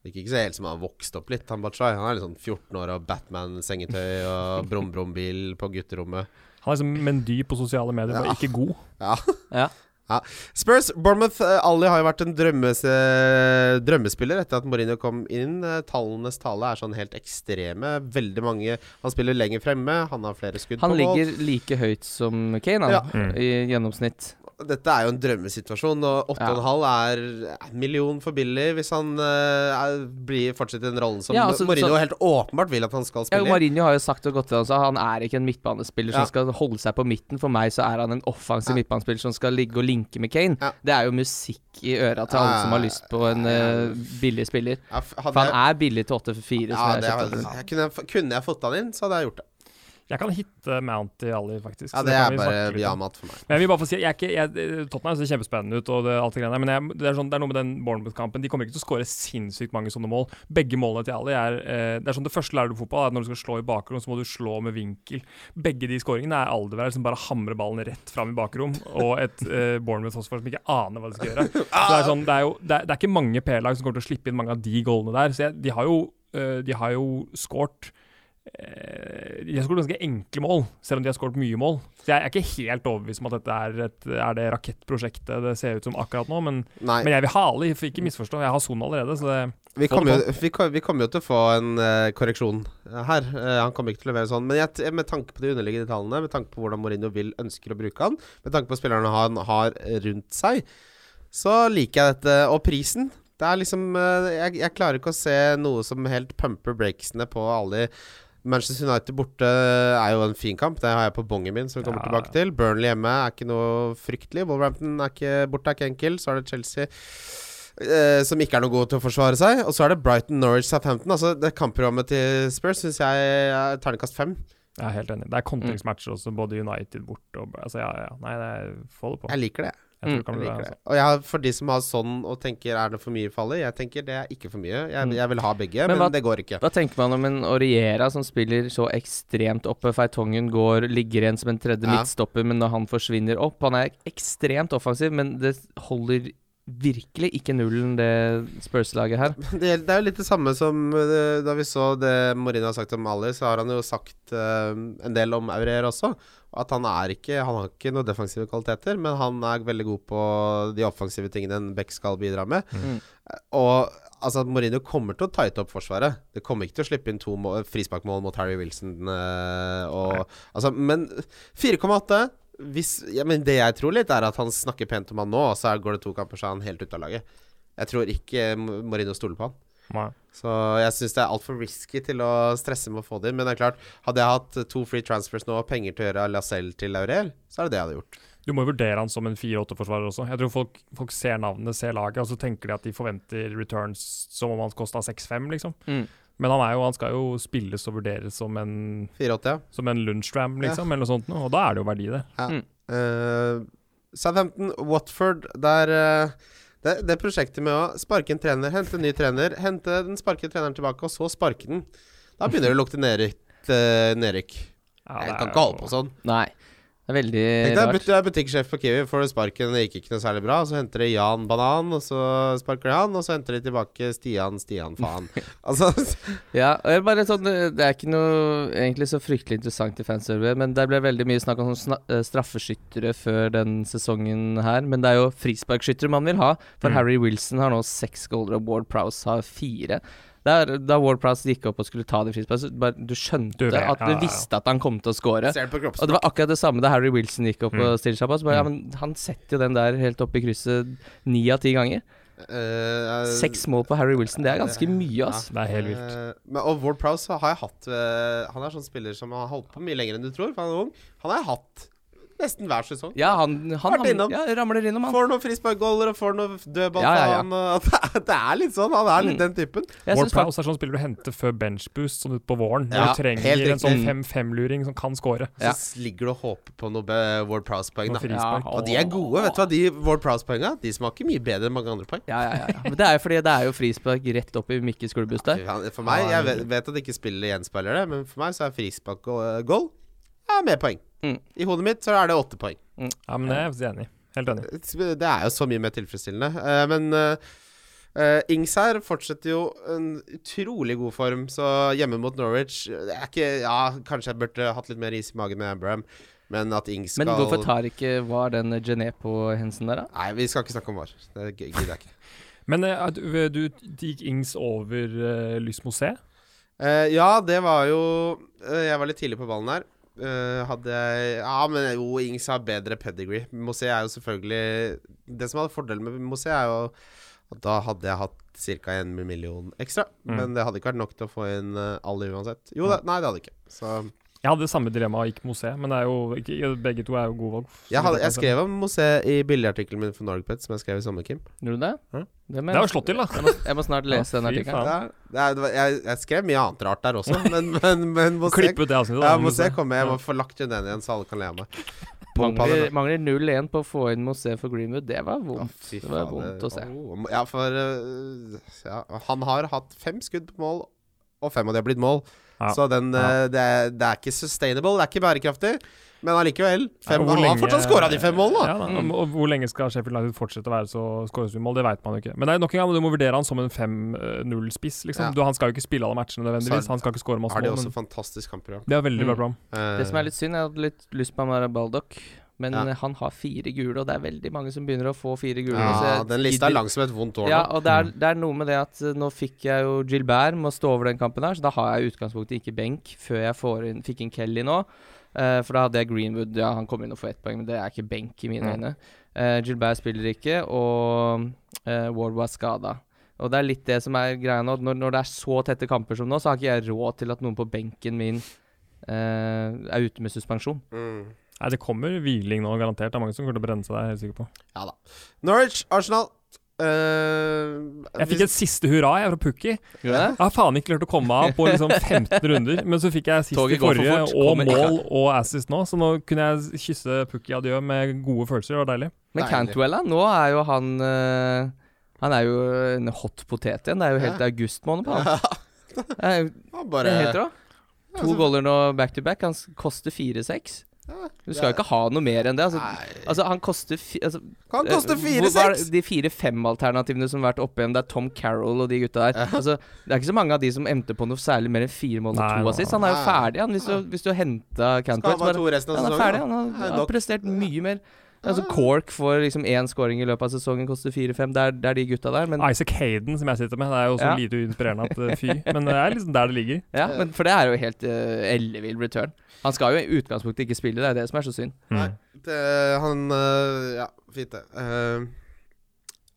Speaker 3: det virker ikke så helt som han har vokst opp litt, han Bachai. Han er litt sånn 14 år og Batman-sengetøy og brum-brum-bil på gutterommet.
Speaker 4: Han er liksom Mendy på sosiale medier,
Speaker 3: Ja.
Speaker 4: bare ikke god.
Speaker 3: Ja.
Speaker 2: Ja.
Speaker 3: Ja. Spurs, Bournemouth, eh, Ali har jo vært en drømmes, eh, drømmespiller etter at Mourinho kom inn. Eh, Tallenes tale er sånn helt ekstreme. Veldig mange Han spiller lenger fremme, han har flere skudd
Speaker 2: Han
Speaker 3: på mål.
Speaker 2: ligger like høyt som Kane, han,
Speaker 3: Ja.
Speaker 4: Mm.
Speaker 2: i gjennomsnitt.
Speaker 3: Dette er jo en drømmesituasjon, og 8,5 er en million for billig hvis han eh, er, blir, fortsetter den rollen som
Speaker 2: Ja, altså,
Speaker 3: Mourinho
Speaker 2: så-
Speaker 3: helt åpenbart vil at han skal
Speaker 2: Ja,
Speaker 3: spille. i.
Speaker 2: Marinho har jo sagt og gått til altså, han er ikke en midtbanespiller
Speaker 3: Ja.
Speaker 2: som skal holde seg på midten. For meg så er han en offensiv
Speaker 3: Ja.
Speaker 2: midtbanespiller som skal ligge og linke med Kane.
Speaker 3: Ja.
Speaker 2: Det er jo musikk i øra til alle
Speaker 3: Ja,
Speaker 2: som har lyst på en
Speaker 3: ja, ja.
Speaker 2: eh, billig spiller.
Speaker 3: Ja, f- hadde
Speaker 2: For han
Speaker 3: jeg-
Speaker 2: er billig til 8-4.
Speaker 3: ja, det er,
Speaker 2: Ja,
Speaker 3: jeg kunne, jeg f- kunne jeg fått han inn, så hadde jeg gjort det.
Speaker 4: Jeg kan hitte Mount i Ali, faktisk.
Speaker 3: Ja,
Speaker 4: så
Speaker 3: Det
Speaker 4: kan
Speaker 3: er
Speaker 4: vi
Speaker 3: bare
Speaker 4: snakke litt om.
Speaker 3: Biamat for meg.
Speaker 4: Men jeg vil bare få si, jeg er ikke, jeg, Tottenham ser kjempespennende ut, og det, alt det greiene der, men jeg, det, er sånn, det er noe med den Bournemouth-kampen. De kommer ikke til å skåre sinnssykt mange sånne mål. Begge målene til Ali er eh, Det er sånn det første lærer du i fotball, er at når du skal slå i bakrom, så må du slå med vinkel. Begge de skåringene er Aldeveir som bare hamrer ballen rett fram i bakrom, og et eh, Bournemouth-forsvar som ikke aner hva de skal gjøre. Så Det er, sånn, det er jo det er, det er ikke mange P-lag som kommer til å slippe inn mange av de goalene der, så jeg, de har jo, eh, de har jo skåret eh, De har skåret ganske enkle mål, selv om de har skåret mye mål. Så jeg er ikke helt overbevist om at dette er, et, er det rakettprosjektet det ser ut som akkurat nå. Men,
Speaker 3: Nei.
Speaker 4: men jeg vil ha Ali, for ikke misforstå. Jeg har Son allerede, så det
Speaker 3: Vi
Speaker 4: Få
Speaker 3: kommer
Speaker 4: det
Speaker 3: jo, vi kom- vi kommer jo til å få en eh, korreksjon eh, her. Eh, han kommer ikke til å levere sånn. Men jeg, t- med tanke på de underliggende tallene, med tanke på hvordan Mourinho vil ønsker å bruke han, med tanke på spillerne han har rundt seg, så liker jeg dette. Og prisen Det er liksom eh, jeg, jeg klarer ikke å se noe som helt pumper breaksene på alle Manchester United borte eh, er jo en fin kamp. Det har jeg på bongen min, som vi kommer
Speaker 4: Ja.
Speaker 3: tilbake til. Burnley hjemme er ikke noe fryktelig. Wolverhampton er ikke borte, er ikke enkel. Så er det Chelsea, eh, som ikke er noe god til å forsvare seg. Og så er det Brighton, Norwich, Southampton. Altså, det kampprogrammet til Spurs syns jeg er terningkast fem.
Speaker 4: jeg er helt enig. Det er
Speaker 3: Mm.
Speaker 4: kontringsmatcher også, både United borte og Altså, ja, ja. Nei, det er, få det på.
Speaker 3: Jeg liker det.
Speaker 4: Jeg tror det kan
Speaker 3: Jeg
Speaker 4: bli
Speaker 3: liker
Speaker 2: altså.
Speaker 4: det.
Speaker 3: det. Og jeg har, for de som har sånn og tenker er det for mye faller, jeg tenker det er ikke for mye. Jeg,
Speaker 2: Mm.
Speaker 3: jeg vil ha begge,
Speaker 2: Men
Speaker 3: men,
Speaker 2: hva-
Speaker 3: det går ikke.
Speaker 2: Hva tenker man om en Oriera som spiller så ekstremt oppe? Feitongen går, ligger igjen som en tredje
Speaker 3: Ja.
Speaker 2: midtstopper, men når han forsvinner opp Han er ekstremt offensiv, men det holder virkelig ikke nullen, det Spurs-laget her.
Speaker 3: Det, det er jo litt det samme som eh, da vi så det Mourinho har sagt om Ali, så har han jo sagt eh, en del om Aurier også. At han er ikke Han har ikke noen defensive kvaliteter, men han er veldig god på de offensive tingene en back skal bidra med.
Speaker 2: Mm.
Speaker 3: Eh, Og altså at Mourinho kommer til å tighte opp forsvaret. Det kommer ikke til å slippe inn to må- frisparkmål mot Harry Wilson eh, og Altså, men 4,8 hvis, ja, men Det jeg tror litt, er at han snakker pent om han nå, og så er- går det to kamper, så er han helt ute av laget. Jeg tror ikke M- Mourinho stoler på han.
Speaker 4: Nei.
Speaker 3: Så jeg syns det er altfor risky til å stresse med å få det inn. Men det er klart, hadde jeg hatt to free transfers nå og penger til å gjøre Lacelle til Laurel, så er det det jeg hadde gjort.
Speaker 4: Du må jo vurdere han som en 4-8-forsvarer også. Jeg tror folk, folk ser navnet, ser laget, og så tenker de at de forventer returns som om han kosta 6-5, liksom.
Speaker 2: Mm.
Speaker 4: Men han, er jo, han skal jo spilles og vurderes som en,
Speaker 3: 4,80, ja.
Speaker 4: som en lunsjram, liksom, eller noe sånt noe. Og da er det jo verdi, det.
Speaker 3: Eh, Southampton, Watford, der eh, det, det prosjektet med å sparke en trener, hente en ny trener, hente den sparkede treneren tilbake, og så sparke den. Da begynner det å lukte nedrykk. eh, nedrykk.
Speaker 4: Ja, det
Speaker 3: jeg
Speaker 4: er
Speaker 3: kan
Speaker 4: jo-
Speaker 3: ikke holde på sånn.
Speaker 2: Nei. Det er veldig
Speaker 3: Tenk deg,
Speaker 2: rart.
Speaker 3: but- du er butikksjef på Kiwi, får du sparken, det gikk ikke noe særlig bra. Så henter de Jan Banan, og så sparker de han, og så henter de tilbake Stian Stian Faen. altså,
Speaker 2: Ja, og jeg bare sånn, eh, Det er ikke noe egentlig så fryktelig interessant i fanserver, men det ble veldig mye snakk om sånn sna- eh, straffeskyttere før den sesongen her. Men det er jo frisparkskyttere man vil ha, for
Speaker 4: Mm.
Speaker 2: Harry Wilson har nå seks goaler, og Ward Prowse har fire. Der, da Ward Prowse gikk opp og skulle ta det frisparket, så bare- du skjønte
Speaker 4: Du vet,
Speaker 2: at
Speaker 4: ja,
Speaker 2: du
Speaker 4: ja, ja.
Speaker 2: visste at han kom til å score.
Speaker 3: ser det på
Speaker 2: Og det
Speaker 3: kroppsspråk.
Speaker 2: var akkurat det samme da Harry Wilson gikk opp
Speaker 4: Mm.
Speaker 2: og stilte seg på. Så bare, ja, men han setter jo den der helt opp i krysset ni av ti ganger.
Speaker 3: Eh, eh,
Speaker 2: Seks mål på Harry Wilson, det er ganske
Speaker 4: eh,
Speaker 2: mye, ass.
Speaker 4: Det er helt vilt.
Speaker 3: Eh, men, og Ward Prowse har jeg hatt eh, Han er sånn spiller som har holdt på mye lenger enn du tror, for han er ung. Han har jeg hatt nesten hver sesong.
Speaker 2: Ja, han, han,
Speaker 3: Vært innom.
Speaker 2: ja, ramler innom, han.
Speaker 3: Får noen frisparkgoller og får noen dødball
Speaker 2: Ja, ja, Mm. ja.
Speaker 3: faen, og det, er- det er litt sånn. Han er litt den typen.
Speaker 2: Jeg
Speaker 4: Ward
Speaker 2: synes fakt-
Speaker 4: Prowse er sånn spiller du henter før benchboost, sånn ut på våren. Når
Speaker 3: Ja,
Speaker 4: du trenger
Speaker 3: helt
Speaker 4: en sånn
Speaker 2: riktig.
Speaker 4: 5-5-luring som kan score.
Speaker 2: Ja.
Speaker 3: Så ligger du og håper på noe eh, Ward Prowse-poeng,
Speaker 4: Noe
Speaker 3: da.
Speaker 4: frispark.
Speaker 3: Og de er gode, vet du hva. De Ward Prowse-poenga De smaker mye bedre enn mange andre poeng.
Speaker 2: Ja, ja, ja, ja. Men det er jo fordi det er jo frispark rett opp i Mikkes klubbhus der.
Speaker 3: Han- For meg, Jeg vet, vet at ikke spillet gjenspeiler det, men for meg så er frispark og eh, goal ja, mer poeng.
Speaker 2: Mm.
Speaker 3: I hodet mitt så er det åtte poeng.
Speaker 4: Ja, men det er jeg faktisk enig i. Helt enig.
Speaker 3: Det er jo så mye mer tilfredsstillende. Eh, men eh, eh, Ings her fortsetter jo en utrolig god form, så hjemme mot Norwich det er ikke, Ja, kanskje jeg burde hatt litt mer is i magen med Abraham, men at Ings skal
Speaker 2: Men hvorfor tar ikke var den Genepo-hendelsen der, da?
Speaker 3: Nei, vi skal ikke snakke om VAR. Det g- gidder jeg ikke.
Speaker 4: Men eh, at du, du gikk Ings over uh, Lys Mosé?
Speaker 3: Eh, ja, det var jo eh, Jeg var litt tidlig på ballen her. Eh, hadde jeg Ja, men jo, Ings har bedre pedigree. Mosé er jo selvfølgelig Det som hadde fordelen med Mosé, er jo at da hadde jeg hatt ca. en million ekstra.
Speaker 4: Mm.
Speaker 3: Men det hadde ikke vært nok til å få inn eh, alle uansett. Jo da, nei, det hadde ikke. Så
Speaker 4: Jeg hadde samme dilemma og gikk Mosé, men det er jo ikke, begge to er jo gode valg.
Speaker 3: jeg, hadde, jeg skrev om Mosé i billigartikkelen min for Norgpet, som jeg skrev i sommer, Kim.
Speaker 2: Gjorde du det?
Speaker 3: Hæ?
Speaker 2: Det
Speaker 4: Det
Speaker 2: må
Speaker 4: er jo
Speaker 2: jeg,
Speaker 4: slått til, da.
Speaker 2: jeg, må, jeg må snart lese
Speaker 4: Ja,
Speaker 2: den
Speaker 4: fy
Speaker 2: artikkelen.
Speaker 4: faen.
Speaker 3: Ja, det er, det var- jeg, jeg skrev mye annet rart der også, men, men, men Mosé
Speaker 4: Klipp ut det avsnittet.
Speaker 3: ja,
Speaker 4: da,
Speaker 3: Mosé
Speaker 4: Mosé.
Speaker 3: kommer. Jeg må få lagt den igjen, så alle kan le av meg. Pumpa den, da.
Speaker 2: Mangler, mangler 0-1 på å få inn Mosé for Greenwood. Det var vondt.
Speaker 3: Fy
Speaker 2: Det var
Speaker 3: faen,
Speaker 2: vondt å se.
Speaker 3: Åh, ja, eh, for øh, ja, han har hatt fem skudd på mål, og fem av de har blitt mål.
Speaker 4: Ja.
Speaker 3: Så den,
Speaker 4: Ja.
Speaker 3: eh, det, er, det er ikke sustainable, det er ikke bærekraftig. Men allikevel. Fem,
Speaker 4: Ja, hvor
Speaker 3: han har
Speaker 4: lenge-
Speaker 3: fortsatt scora de fem målene! da. Mm.
Speaker 4: Ja, da. Og- Og hvor lenge skal Sheffield United fortsette å være så skåringsmål? Det vet man jo ikke. Men det er nok en gang, du må vurdere han som en 5-0-spiss.
Speaker 3: Ja.
Speaker 4: Liksom. Du, han skal jo ikke spille alle matchene nødvendigvis.
Speaker 3: Så er-
Speaker 4: Han skal ikke skåre masse
Speaker 3: Har de
Speaker 4: mål.
Speaker 3: også
Speaker 4: Men
Speaker 3: fantastisk kampprogram.
Speaker 4: det er veldig bra
Speaker 2: Mm.
Speaker 4: program.
Speaker 3: Eh,
Speaker 2: Det som er litt synd, jeg hadde litt lyst på Amara Baldock. Men
Speaker 3: Ja.
Speaker 2: eh, han har fire gule, og det er veldig mange som begynner å få fire gule. så
Speaker 3: Eh, ja,
Speaker 2: jeg
Speaker 3: Den lista
Speaker 2: gidder-
Speaker 3: er lang som et vondt
Speaker 2: altså,
Speaker 3: år nå.
Speaker 2: Ja, og det er, det er noe med det at eh, nå fikk jeg jo Gilbert med å stå over den kampen her, så da har jeg i utgangspunktet ikke benk før jeg får inn, fikk inn Kelly nå. Eh, for da hadde jeg Greenwood, ja han kom inn og får ett poeng, men det er ikke benk i mine
Speaker 4: Mm.
Speaker 2: øyne. Eh, Gilbert spiller ikke, og uh, Ward var skada. Og det er litt det som er greia nå. Når, når det er så tette kamper som nå, så har ikke jeg råd til at noen på benken min eh, er ute med suspensjon.
Speaker 3: Mm.
Speaker 4: Nei, det kommer hviling nå, garantert. Det er mange som kommer til å brenne seg der, jeg er helt sikker på.
Speaker 3: Ja da. Norwich, Arsenal eh,
Speaker 4: Jeg fikk
Speaker 3: hvis-
Speaker 4: et siste hurra jeg, fra Pukki.
Speaker 2: Ja.
Speaker 4: Jeg har faen ikke klart å komme av på liksom 15 runder, men så fikk jeg sist i
Speaker 2: Toget går for
Speaker 4: forrige,
Speaker 2: fort,
Speaker 4: og
Speaker 2: kommer ikke.
Speaker 4: mål og assist nå, så nå kunne jeg kysse Pukki adjø med gode følelser. Det var deilig.
Speaker 2: Men
Speaker 3: Deilig.
Speaker 2: Cantwell, da, nå er jo han eh, Han er jo en hot potet igjen. Det er jo helt
Speaker 3: Ja. altså-
Speaker 2: august måned på han. Det er jo-
Speaker 3: Ja,
Speaker 2: det
Speaker 3: bare
Speaker 2: er helt rå. To goller nå back to back. Han s- koster 4-6. Du skal jo ikke ha noe mer enn det. Altså,
Speaker 3: Nei.
Speaker 2: altså han koster fi, altså,
Speaker 3: Kan koste
Speaker 2: eh, hvor var
Speaker 3: 4-6!
Speaker 2: det- De fire-fem-alternativene som har vært oppe igjen, det er Tom Carroll og de gutta der. Altså, det er ikke så mange av de som endte på noe særlig mer enn fire mål
Speaker 4: Nei,
Speaker 2: og to
Speaker 4: nei,
Speaker 2: assist. Han er jo
Speaker 3: nei.
Speaker 2: ferdig, han, hvis du, hvis du henta
Speaker 3: Skal
Speaker 2: Cantwell. så
Speaker 3: han ha
Speaker 2: bare-
Speaker 3: to resten av
Speaker 2: han er
Speaker 3: sesongen?
Speaker 2: ferdig.
Speaker 3: da?
Speaker 2: Han har,
Speaker 3: Ja,
Speaker 2: han
Speaker 3: nok.
Speaker 2: har prestert mye mer. Altså
Speaker 3: Ja.
Speaker 2: Cork får liksom én scoring i løpet av sesongen, koster 4-5. Det, er- det er de gutta der. Men,
Speaker 4: Isaac Hayden, som jeg sitter med, det er jo så
Speaker 2: Ja.
Speaker 4: lite inspirerende at eh, fy. Men det er liksom der det ligger.
Speaker 2: ja, men for det er jo helt uh, ellevill return. Han skal jo i utgangspunktet ikke spille, det er det som er så synd.
Speaker 4: Mm.
Speaker 3: Nei, det, han eh, Ja, fint, det. Eh,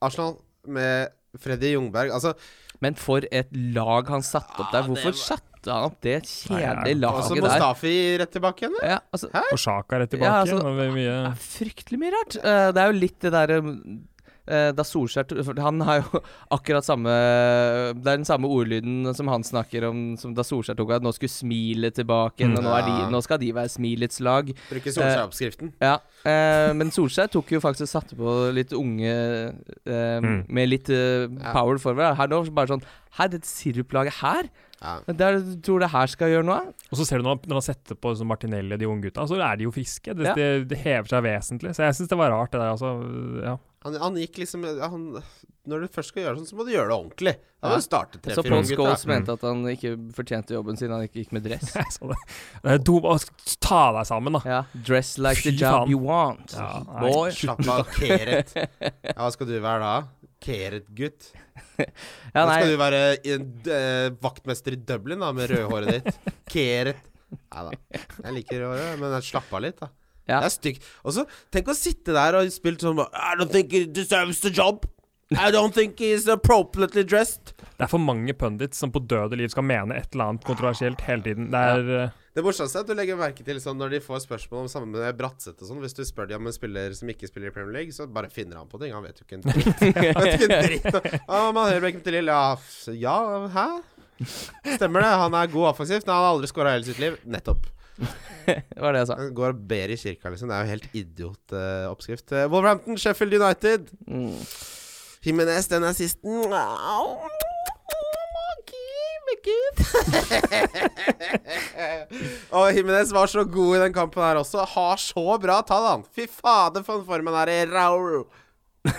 Speaker 3: Arsenal med Freddy Jungberg Altså,
Speaker 2: Men for et lag han satte opp der.
Speaker 3: Ja, det
Speaker 2: Hvorfor
Speaker 3: var- Altså,
Speaker 2: satte han opp det kjedelige
Speaker 4: Nei,
Speaker 3: også
Speaker 2: laget der?
Speaker 3: Mustafi rett tilbake igjen. eller?
Speaker 2: Ja, altså, det
Speaker 4: Og Sjaka rett tilbake.
Speaker 2: Ja, altså-
Speaker 4: det var
Speaker 2: er
Speaker 4: mye...
Speaker 2: fryktelig mye rart. Eh, det er jo litt det derre eh, da Solskjær for Han har jo akkurat samme Det er den samme ordlyden som han snakker om som da Solskjær tok at nå skulle smilet tilbake,
Speaker 4: Mm.
Speaker 2: og nå, er de,
Speaker 3: Ja.
Speaker 2: nå skal de være smilets lag.
Speaker 3: Bruker Solskjær-oppskriften.
Speaker 2: Ja, eh, men Solskjær tok jo faktisk og satte på litt unge eh,
Speaker 4: Mm.
Speaker 2: med litt eh, power forward. Her nå bare sånn Hei, dette siruplaget her?
Speaker 3: Eh, Ja.
Speaker 2: Det er det du tror det her skal gjøre noe?
Speaker 4: Og så ser du når han, når han setter på sånn Martinelli og de unge gutta, så er de jo friske. Det,
Speaker 2: Ja.
Speaker 4: det, det hever seg vesentlig. Så jeg syns det var rart, det der, altså. Ja.
Speaker 3: Han, han gikk liksom han, Når du først skal gjøre sånn, så må du gjøre det ordentlig. Da
Speaker 2: Ja.
Speaker 3: må du starte
Speaker 2: Så
Speaker 3: tre-fire
Speaker 2: Paul
Speaker 3: unge gutter.
Speaker 2: Scholes mente at han ikke fortjente jobben sin, han ikke gikk med dress.
Speaker 4: Jeg så det. det er dum, å, ta deg sammen, da.
Speaker 2: Ja, Dress like the
Speaker 4: Fy
Speaker 2: job
Speaker 4: faen.
Speaker 2: you want.
Speaker 4: Ja, nei,
Speaker 2: boy.
Speaker 4: slutt.
Speaker 3: Slapp av, Keret. Ja, hva skal du være da? Keret-gutt?
Speaker 2: Ja,
Speaker 3: Nå
Speaker 2: nei,
Speaker 3: skal du være i en, eh, vaktmester i Dublin da, med rødhåret ditt. Keret. Nei da. Jeg liker rødhåret, men jeg slapp av litt, da.
Speaker 2: Ja.
Speaker 3: Det er stygt. Og så, tenk å sitte der og spille sånn I don't think he deserves the job. I don't think he's appropriately dressed.
Speaker 4: Det er for mange pundits som på døde liv skal mene et eller annet kontroversielt hele tiden. Det er eh,
Speaker 3: Det morsomste er at du legger merke til sånn når de får spørsmål om sammen med Bratseth og sånn, hvis du spør de om en spiller som ikke spiller i Premier League, så bare finner han på ting. Han vet jo ikke en dritt. Han vet ikke en dritt. Ah, man hører Beckham til Lill. Ja, f- ja, hæ? Stemmer det. Han er god offensivt, men han har aldri skåra hele sitt liv. Nettopp.
Speaker 2: det var det jeg sa.
Speaker 3: Han går og ber i kirka, liksom. Det er jo helt idiot eh, oppskrift. Eh, Wolverhampton, Sheffield United.
Speaker 2: Mm.
Speaker 3: Jimenez, den assisten. Au. Gud, Gud. og Jimenez var så god i den kampen her også. Har så bra tall, han. Fy fader, for en form han er i. Rau.
Speaker 2: Ja,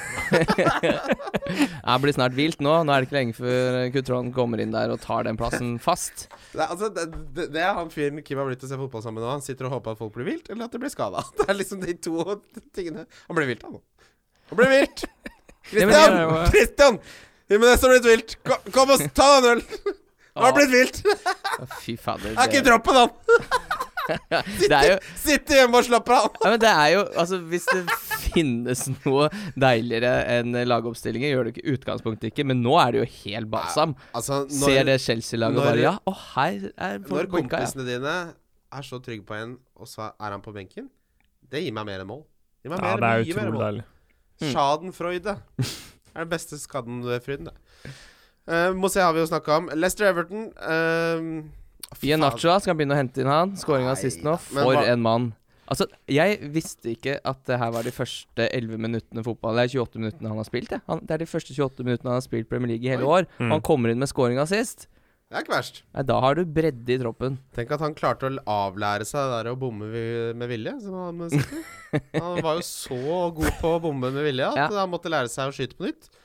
Speaker 2: Det blir snart vilt nå. Nå er det ikke lenge før Kutron kommer inn der og tar den plassen fast.
Speaker 3: Det, er- altså, det, det, det er han fyren Kim har blitt til å se fotball sammen med nå. Han sitter og håper at folk blir vilt, eller at de blir skada. Det er liksom de to tingene. Han ble vilt, han nå. Han ble vilt!
Speaker 2: men
Speaker 4: det
Speaker 3: Christian!
Speaker 4: er jo-
Speaker 3: Christian! Jimenez har blitt vilt. Kom, kom og s- ta deg en øl! Han har blitt vilt!
Speaker 2: Å, Fy fader.
Speaker 3: Det er
Speaker 2: det-
Speaker 3: ikke troppen, han!
Speaker 2: Det er jo
Speaker 3: Sitter hjemme og slapper av.
Speaker 2: Ja, men det er jo Altså, hvis det finnes noe deiligere enn lagoppstillinger, gjør det ikke utgangspunktet ikke, men nå er det jo helt balsam.
Speaker 3: Altså,
Speaker 2: Ser
Speaker 3: når,
Speaker 2: det Chelsea-laget og
Speaker 3: når-
Speaker 2: bare Ja, å her er
Speaker 3: når
Speaker 2: folk benka, ja.
Speaker 3: kompisene dine er så trygge på en, og så er han på benken, det gir meg mer enn mål. Det gir meg
Speaker 4: ja,
Speaker 3: mer,
Speaker 4: det er
Speaker 3: mye mer
Speaker 4: utrolig
Speaker 3: mål.
Speaker 4: deilig.
Speaker 2: Mm.
Speaker 3: Schadenfreude er den beste skadenfryden, det. Uh, Mosé har vi jo snakka om. Lester Everton ehm, fy
Speaker 2: Ian
Speaker 3: faen.
Speaker 2: Nachoa skal begynne å hente inn han. Skåringa sist nå.
Speaker 3: Nei, men
Speaker 2: For
Speaker 3: hva-
Speaker 2: en mann. Altså, jeg visste ikke at det her var de første 11 minuttene fotball Det er 28 minuttene han har spilt, det. Han, det er de første 28 minuttene han har spilt Premier League i hele år. Og han kommer inn med skåringa sist.
Speaker 3: Det er ikke verst.
Speaker 2: Nei, da har du bredde i troppen.
Speaker 3: Tenk at han klarte å avlære seg det der å bomme vi- med vilje. Som han, med sikkert. han var jo så god på å bombe med vilje at han måtte lære seg å skyte på nytt.
Speaker 4: Det er en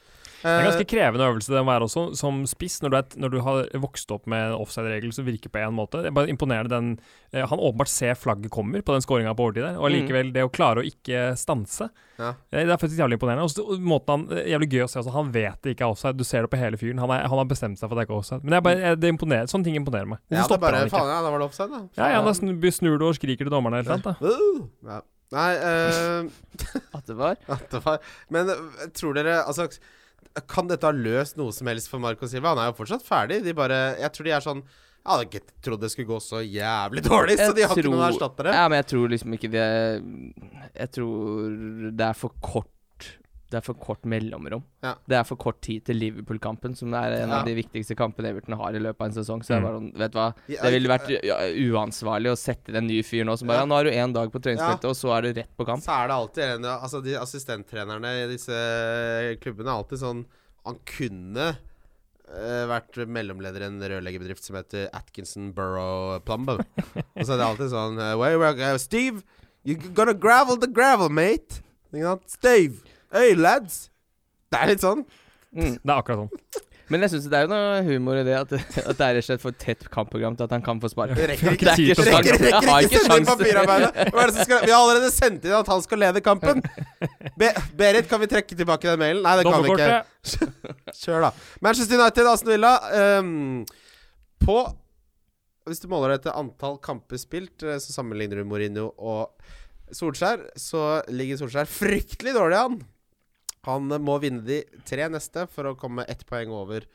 Speaker 3: Eh,
Speaker 4: ganske krevende øvelse det må være også, som spiss, når du, er, et- når du har vokst opp med en offside-regel som virker på én måte. Det er bare imponerende den eh, Han åpenbart ser flagget kommer på den skåringa på overtid der,
Speaker 3: Mm.
Speaker 4: og allikevel det å klare å ikke stanse.
Speaker 3: Ja.
Speaker 4: Eh, Det er faktisk jævlig imponerende. Og så og måten han, eh, jævlig gøy å se også, han vet det ikke er offside, du ser det på hele fyren. Han, er, han har bestemt seg for at det ikke er offside. Men det er bare, eh, det imponerer, sånne ting imponerer meg. Hvorfor
Speaker 3: ja, det er
Speaker 4: stopper
Speaker 3: bare
Speaker 4: han ikke?
Speaker 3: Faen, ja, da var det offside, da.
Speaker 4: Ja, ja, da snu- snur du og skriker til dommerne eller noe.
Speaker 3: Ja. Nei, eh,
Speaker 2: At det var.
Speaker 3: At det var Men øh, tror dere Altså, kan dette ha løst noe som helst for Marco Silva? Han er jo fortsatt ferdig. De bare Jeg tror de er sånn Jeg hadde ikke trodd det skulle gå så jævlig dårlig, så
Speaker 2: Jeg
Speaker 3: de har ikke noen
Speaker 2: tror-
Speaker 3: erstattere.
Speaker 2: Ja, men jeg tror liksom ikke det Jeg tror det er for kort Det er for kort mellomrom.
Speaker 3: Ja.
Speaker 2: Det er for kort tid til Liverpool-kampen, som er en
Speaker 3: Ja.
Speaker 2: av de viktigste kampene Everton har i løpet av en sesong. Så jeg
Speaker 4: Mm.
Speaker 2: bare sånn, vet du hva
Speaker 3: Ja,
Speaker 2: Det ville vært ja, uansvarlig å sette inn en ny fyr nå som bare
Speaker 3: Ja.
Speaker 2: Ja, nå har du én dag på treningsfeltet, og så er du rett på kamp.
Speaker 3: Så er det alltid en Altså, de assistenttrenerne i disse klubbene er alltid sånn Han kunne øh, vært mellomleder i en rørleggerbedrift som heter Atkinson Burrow Plumbo. Og så er det alltid sånn uh, wait, wait, uh, Steve, you're gonna gravel the gravel, mate. Ikke sant? Steve, hey lads. Det er litt sånn.
Speaker 4: Det er akkurat sånn.
Speaker 2: Mm. Men jeg syns det er jo noe humor i det, at, at det er rett og slett for tett kampprogram til at han kan få spark.
Speaker 3: Rekker
Speaker 2: ikke tid til å snakke om
Speaker 3: rekker,
Speaker 2: det.
Speaker 3: rekker
Speaker 2: Har
Speaker 3: ikke
Speaker 2: ikke
Speaker 3: sende inn
Speaker 2: sjans.
Speaker 3: papirarbeidet. Hva er det som skal Vi har allerede sendt inn at han skal lede kampen. Be Berit, kan vi trekke tilbake den mailen? Nei, det kan vi ikke.
Speaker 4: Dommerkortet.
Speaker 3: Kjør, da. Manchester United, Aston Villa. ehm, på Hvis du måler det etter antall kamper spilt, eh, så sammenligner du Mourinho og Solskjær, så ligger Solskjær fryktelig dårlig an. Han eh, må vinne de tre neste for å komme ett poeng over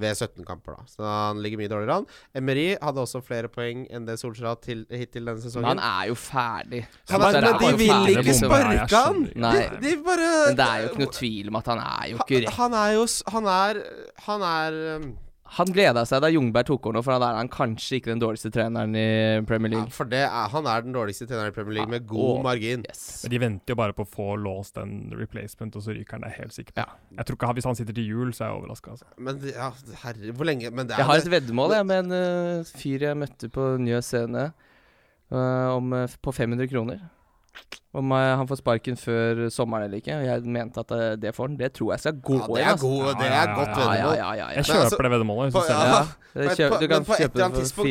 Speaker 3: ved 17 kamper, da. Så han ligger mye dårligere an. Emery hadde også flere poeng enn det Solskjær har hatt til, hittil denne
Speaker 2: Men
Speaker 3: sesongen.
Speaker 2: han er jo ferdig.
Speaker 3: Han
Speaker 2: Så
Speaker 3: er,
Speaker 2: det
Speaker 3: men de
Speaker 2: jo
Speaker 3: vil
Speaker 2: ferdig,
Speaker 3: ikke
Speaker 2: liksom.
Speaker 3: sparke han! De,
Speaker 2: Nei.
Speaker 3: de bare
Speaker 2: Men det er jo ikke noe tvil om at han er jo ikke
Speaker 3: Han-
Speaker 2: rett.
Speaker 3: Han er jo s- Han er Han er um,
Speaker 2: Han gleda seg da Jungberg tok over nå, for da er han kanskje ikke den dårligste treneren i Premier
Speaker 3: ja,
Speaker 2: League.
Speaker 3: For det er, han er den dårligste treneren i Premier League, med god
Speaker 2: og-
Speaker 3: margin.
Speaker 2: Yes.
Speaker 4: Men de venter jo bare på å få låst en replacement, og så ryker han. Det er jeg helt sikker på.
Speaker 2: Ja.
Speaker 4: Jeg tror ikke, han- Hvis han sitter til jul, så er jeg overraska. Altså.
Speaker 3: Men det- ja, herre Hvor lenge Men det er
Speaker 2: Jeg har et veddemål jeg, med en eh, fyr jeg møtte på Njø scene eh, om, eh, på 500 kroner. Om eh, han får sparken før sommeren eller ikke. Og jeg mente at eh, det får han. Det tror jeg skal gå
Speaker 3: ja, det er,
Speaker 2: altså.
Speaker 3: god,
Speaker 4: Ja,
Speaker 3: det er
Speaker 4: ja, ja,
Speaker 3: godt
Speaker 2: Ja, ja,
Speaker 3: veddemål.
Speaker 2: ja, ja, ja.
Speaker 4: Jeg
Speaker 3: Men
Speaker 4: kjøper
Speaker 3: altså-
Speaker 4: det veddemålet.
Speaker 3: På,
Speaker 4: hvis du
Speaker 3: ja,
Speaker 4: selger det.
Speaker 2: Det
Speaker 3: men
Speaker 2: kjø-
Speaker 3: på-
Speaker 2: du
Speaker 3: men
Speaker 2: kan
Speaker 3: på et
Speaker 2: kjøpe
Speaker 3: eller
Speaker 2: den
Speaker 3: annet
Speaker 2: for
Speaker 3: tidspunkt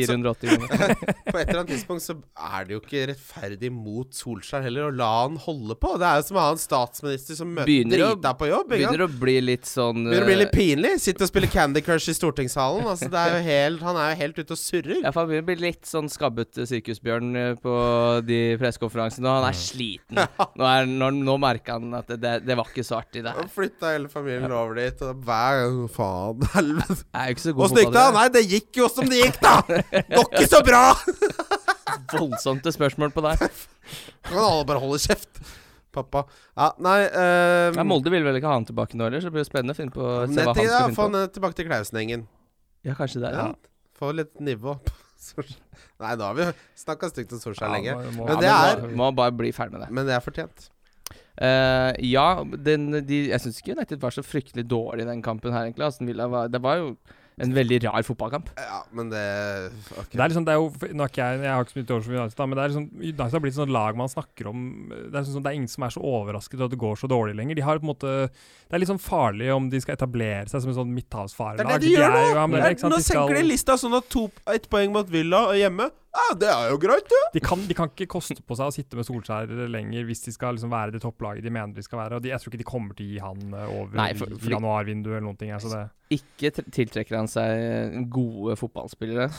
Speaker 2: 480
Speaker 3: så-
Speaker 2: kroner.
Speaker 3: på et eller annet tidspunkt så er det jo ikke rettferdig mot Solskjær heller å la han holde på. Det er jo som å ha en statsminister som møter
Speaker 2: Begynner å-
Speaker 3: drita på jobb. ikke sant?
Speaker 2: Begynner å bli litt sånn
Speaker 3: Begynner å bli litt
Speaker 2: eh,
Speaker 3: pinlig. Sitter og spiller Candy Crush i stortingssalen. Altså, det er jo helt, han er jo helt ute og surrer.
Speaker 2: ja, for Han begynner å bli litt sånn skabbet eh, sirkusbjørn eh, på de pressekonferansene. Og han
Speaker 4: Mm.
Speaker 2: er sliten. Nå, er, nå, nå merker han at det, det, det var ikke så artig, det
Speaker 3: Og
Speaker 2: her.
Speaker 3: Flytta hele familien over dit. Og hver gang Faen, helvete.
Speaker 2: Jeg er jo ikke så god
Speaker 3: Åssen gikk det?
Speaker 2: fotballtrener.
Speaker 3: Nei, det gikk jo som det gikk, da! Det var ikke så bra!
Speaker 2: Voldsomt spørsmål på deg.
Speaker 3: Kan alle bare holde kjeft? Pappa. Ja, nei eh,
Speaker 2: Ja, Molde vil vel ikke ha han tilbake nå heller, så det blir jo spennende å finne på se hva
Speaker 3: Nett i
Speaker 2: han
Speaker 3: ja,
Speaker 2: skal
Speaker 3: Få
Speaker 2: finne på.
Speaker 3: han eh, tilbake til Klausenengen.
Speaker 2: Ja, kanskje det.
Speaker 3: Ja.
Speaker 2: Ja.
Speaker 3: Få litt nivå på Solskjær. Nei, da har vi snakka stygt om Solskjær
Speaker 4: Ja,
Speaker 3: lenge.
Speaker 4: må- må-
Speaker 3: Men det
Speaker 2: Ja,
Speaker 3: er
Speaker 2: må, må bare bli ferdig med det.
Speaker 3: Men det er fortjent.
Speaker 2: Eh, ja, den, de, jeg syns ikke United var så fryktelig dårlig i den kampen her, egentlig. Aston Villa var, det var jo en veldig rar fotballkamp.
Speaker 3: Ja, men det ok.
Speaker 4: Det er liksom, det er jo, nå er ikke jeg, jeg har ikke så mye til overs for United, da, men det er liksom, United har blitt sånn lag man snakker om Det er, liksom, sånn- det er ingen som er så overrasket over at det går så dårlig lenger. De har på en måte, Det er litt sånn farlig om de skal etablere seg som en sånn
Speaker 3: Det
Speaker 4: midthavsfarelag.
Speaker 3: er det de gjør nå!
Speaker 4: er jo- ja, men det er det, ikke sant?
Speaker 3: nå
Speaker 4: De
Speaker 3: senker de
Speaker 4: skal-
Speaker 3: lista sånn at to, ett poeng mot Villa og hjemme Ja, det er jo greit, det!
Speaker 4: De kan, de kan ikke koste på seg å sitte med Solskjær lenger hvis de skal liksom være det topplaget de mener de skal være. og de, Jeg tror ikke de kommer til å gi han eh, over
Speaker 2: Nei, for- fordi-
Speaker 4: januarvinduet eller noen ting. Altså det.
Speaker 2: Ikke tr- tiltrekker han seg eh, gode fotballspillere.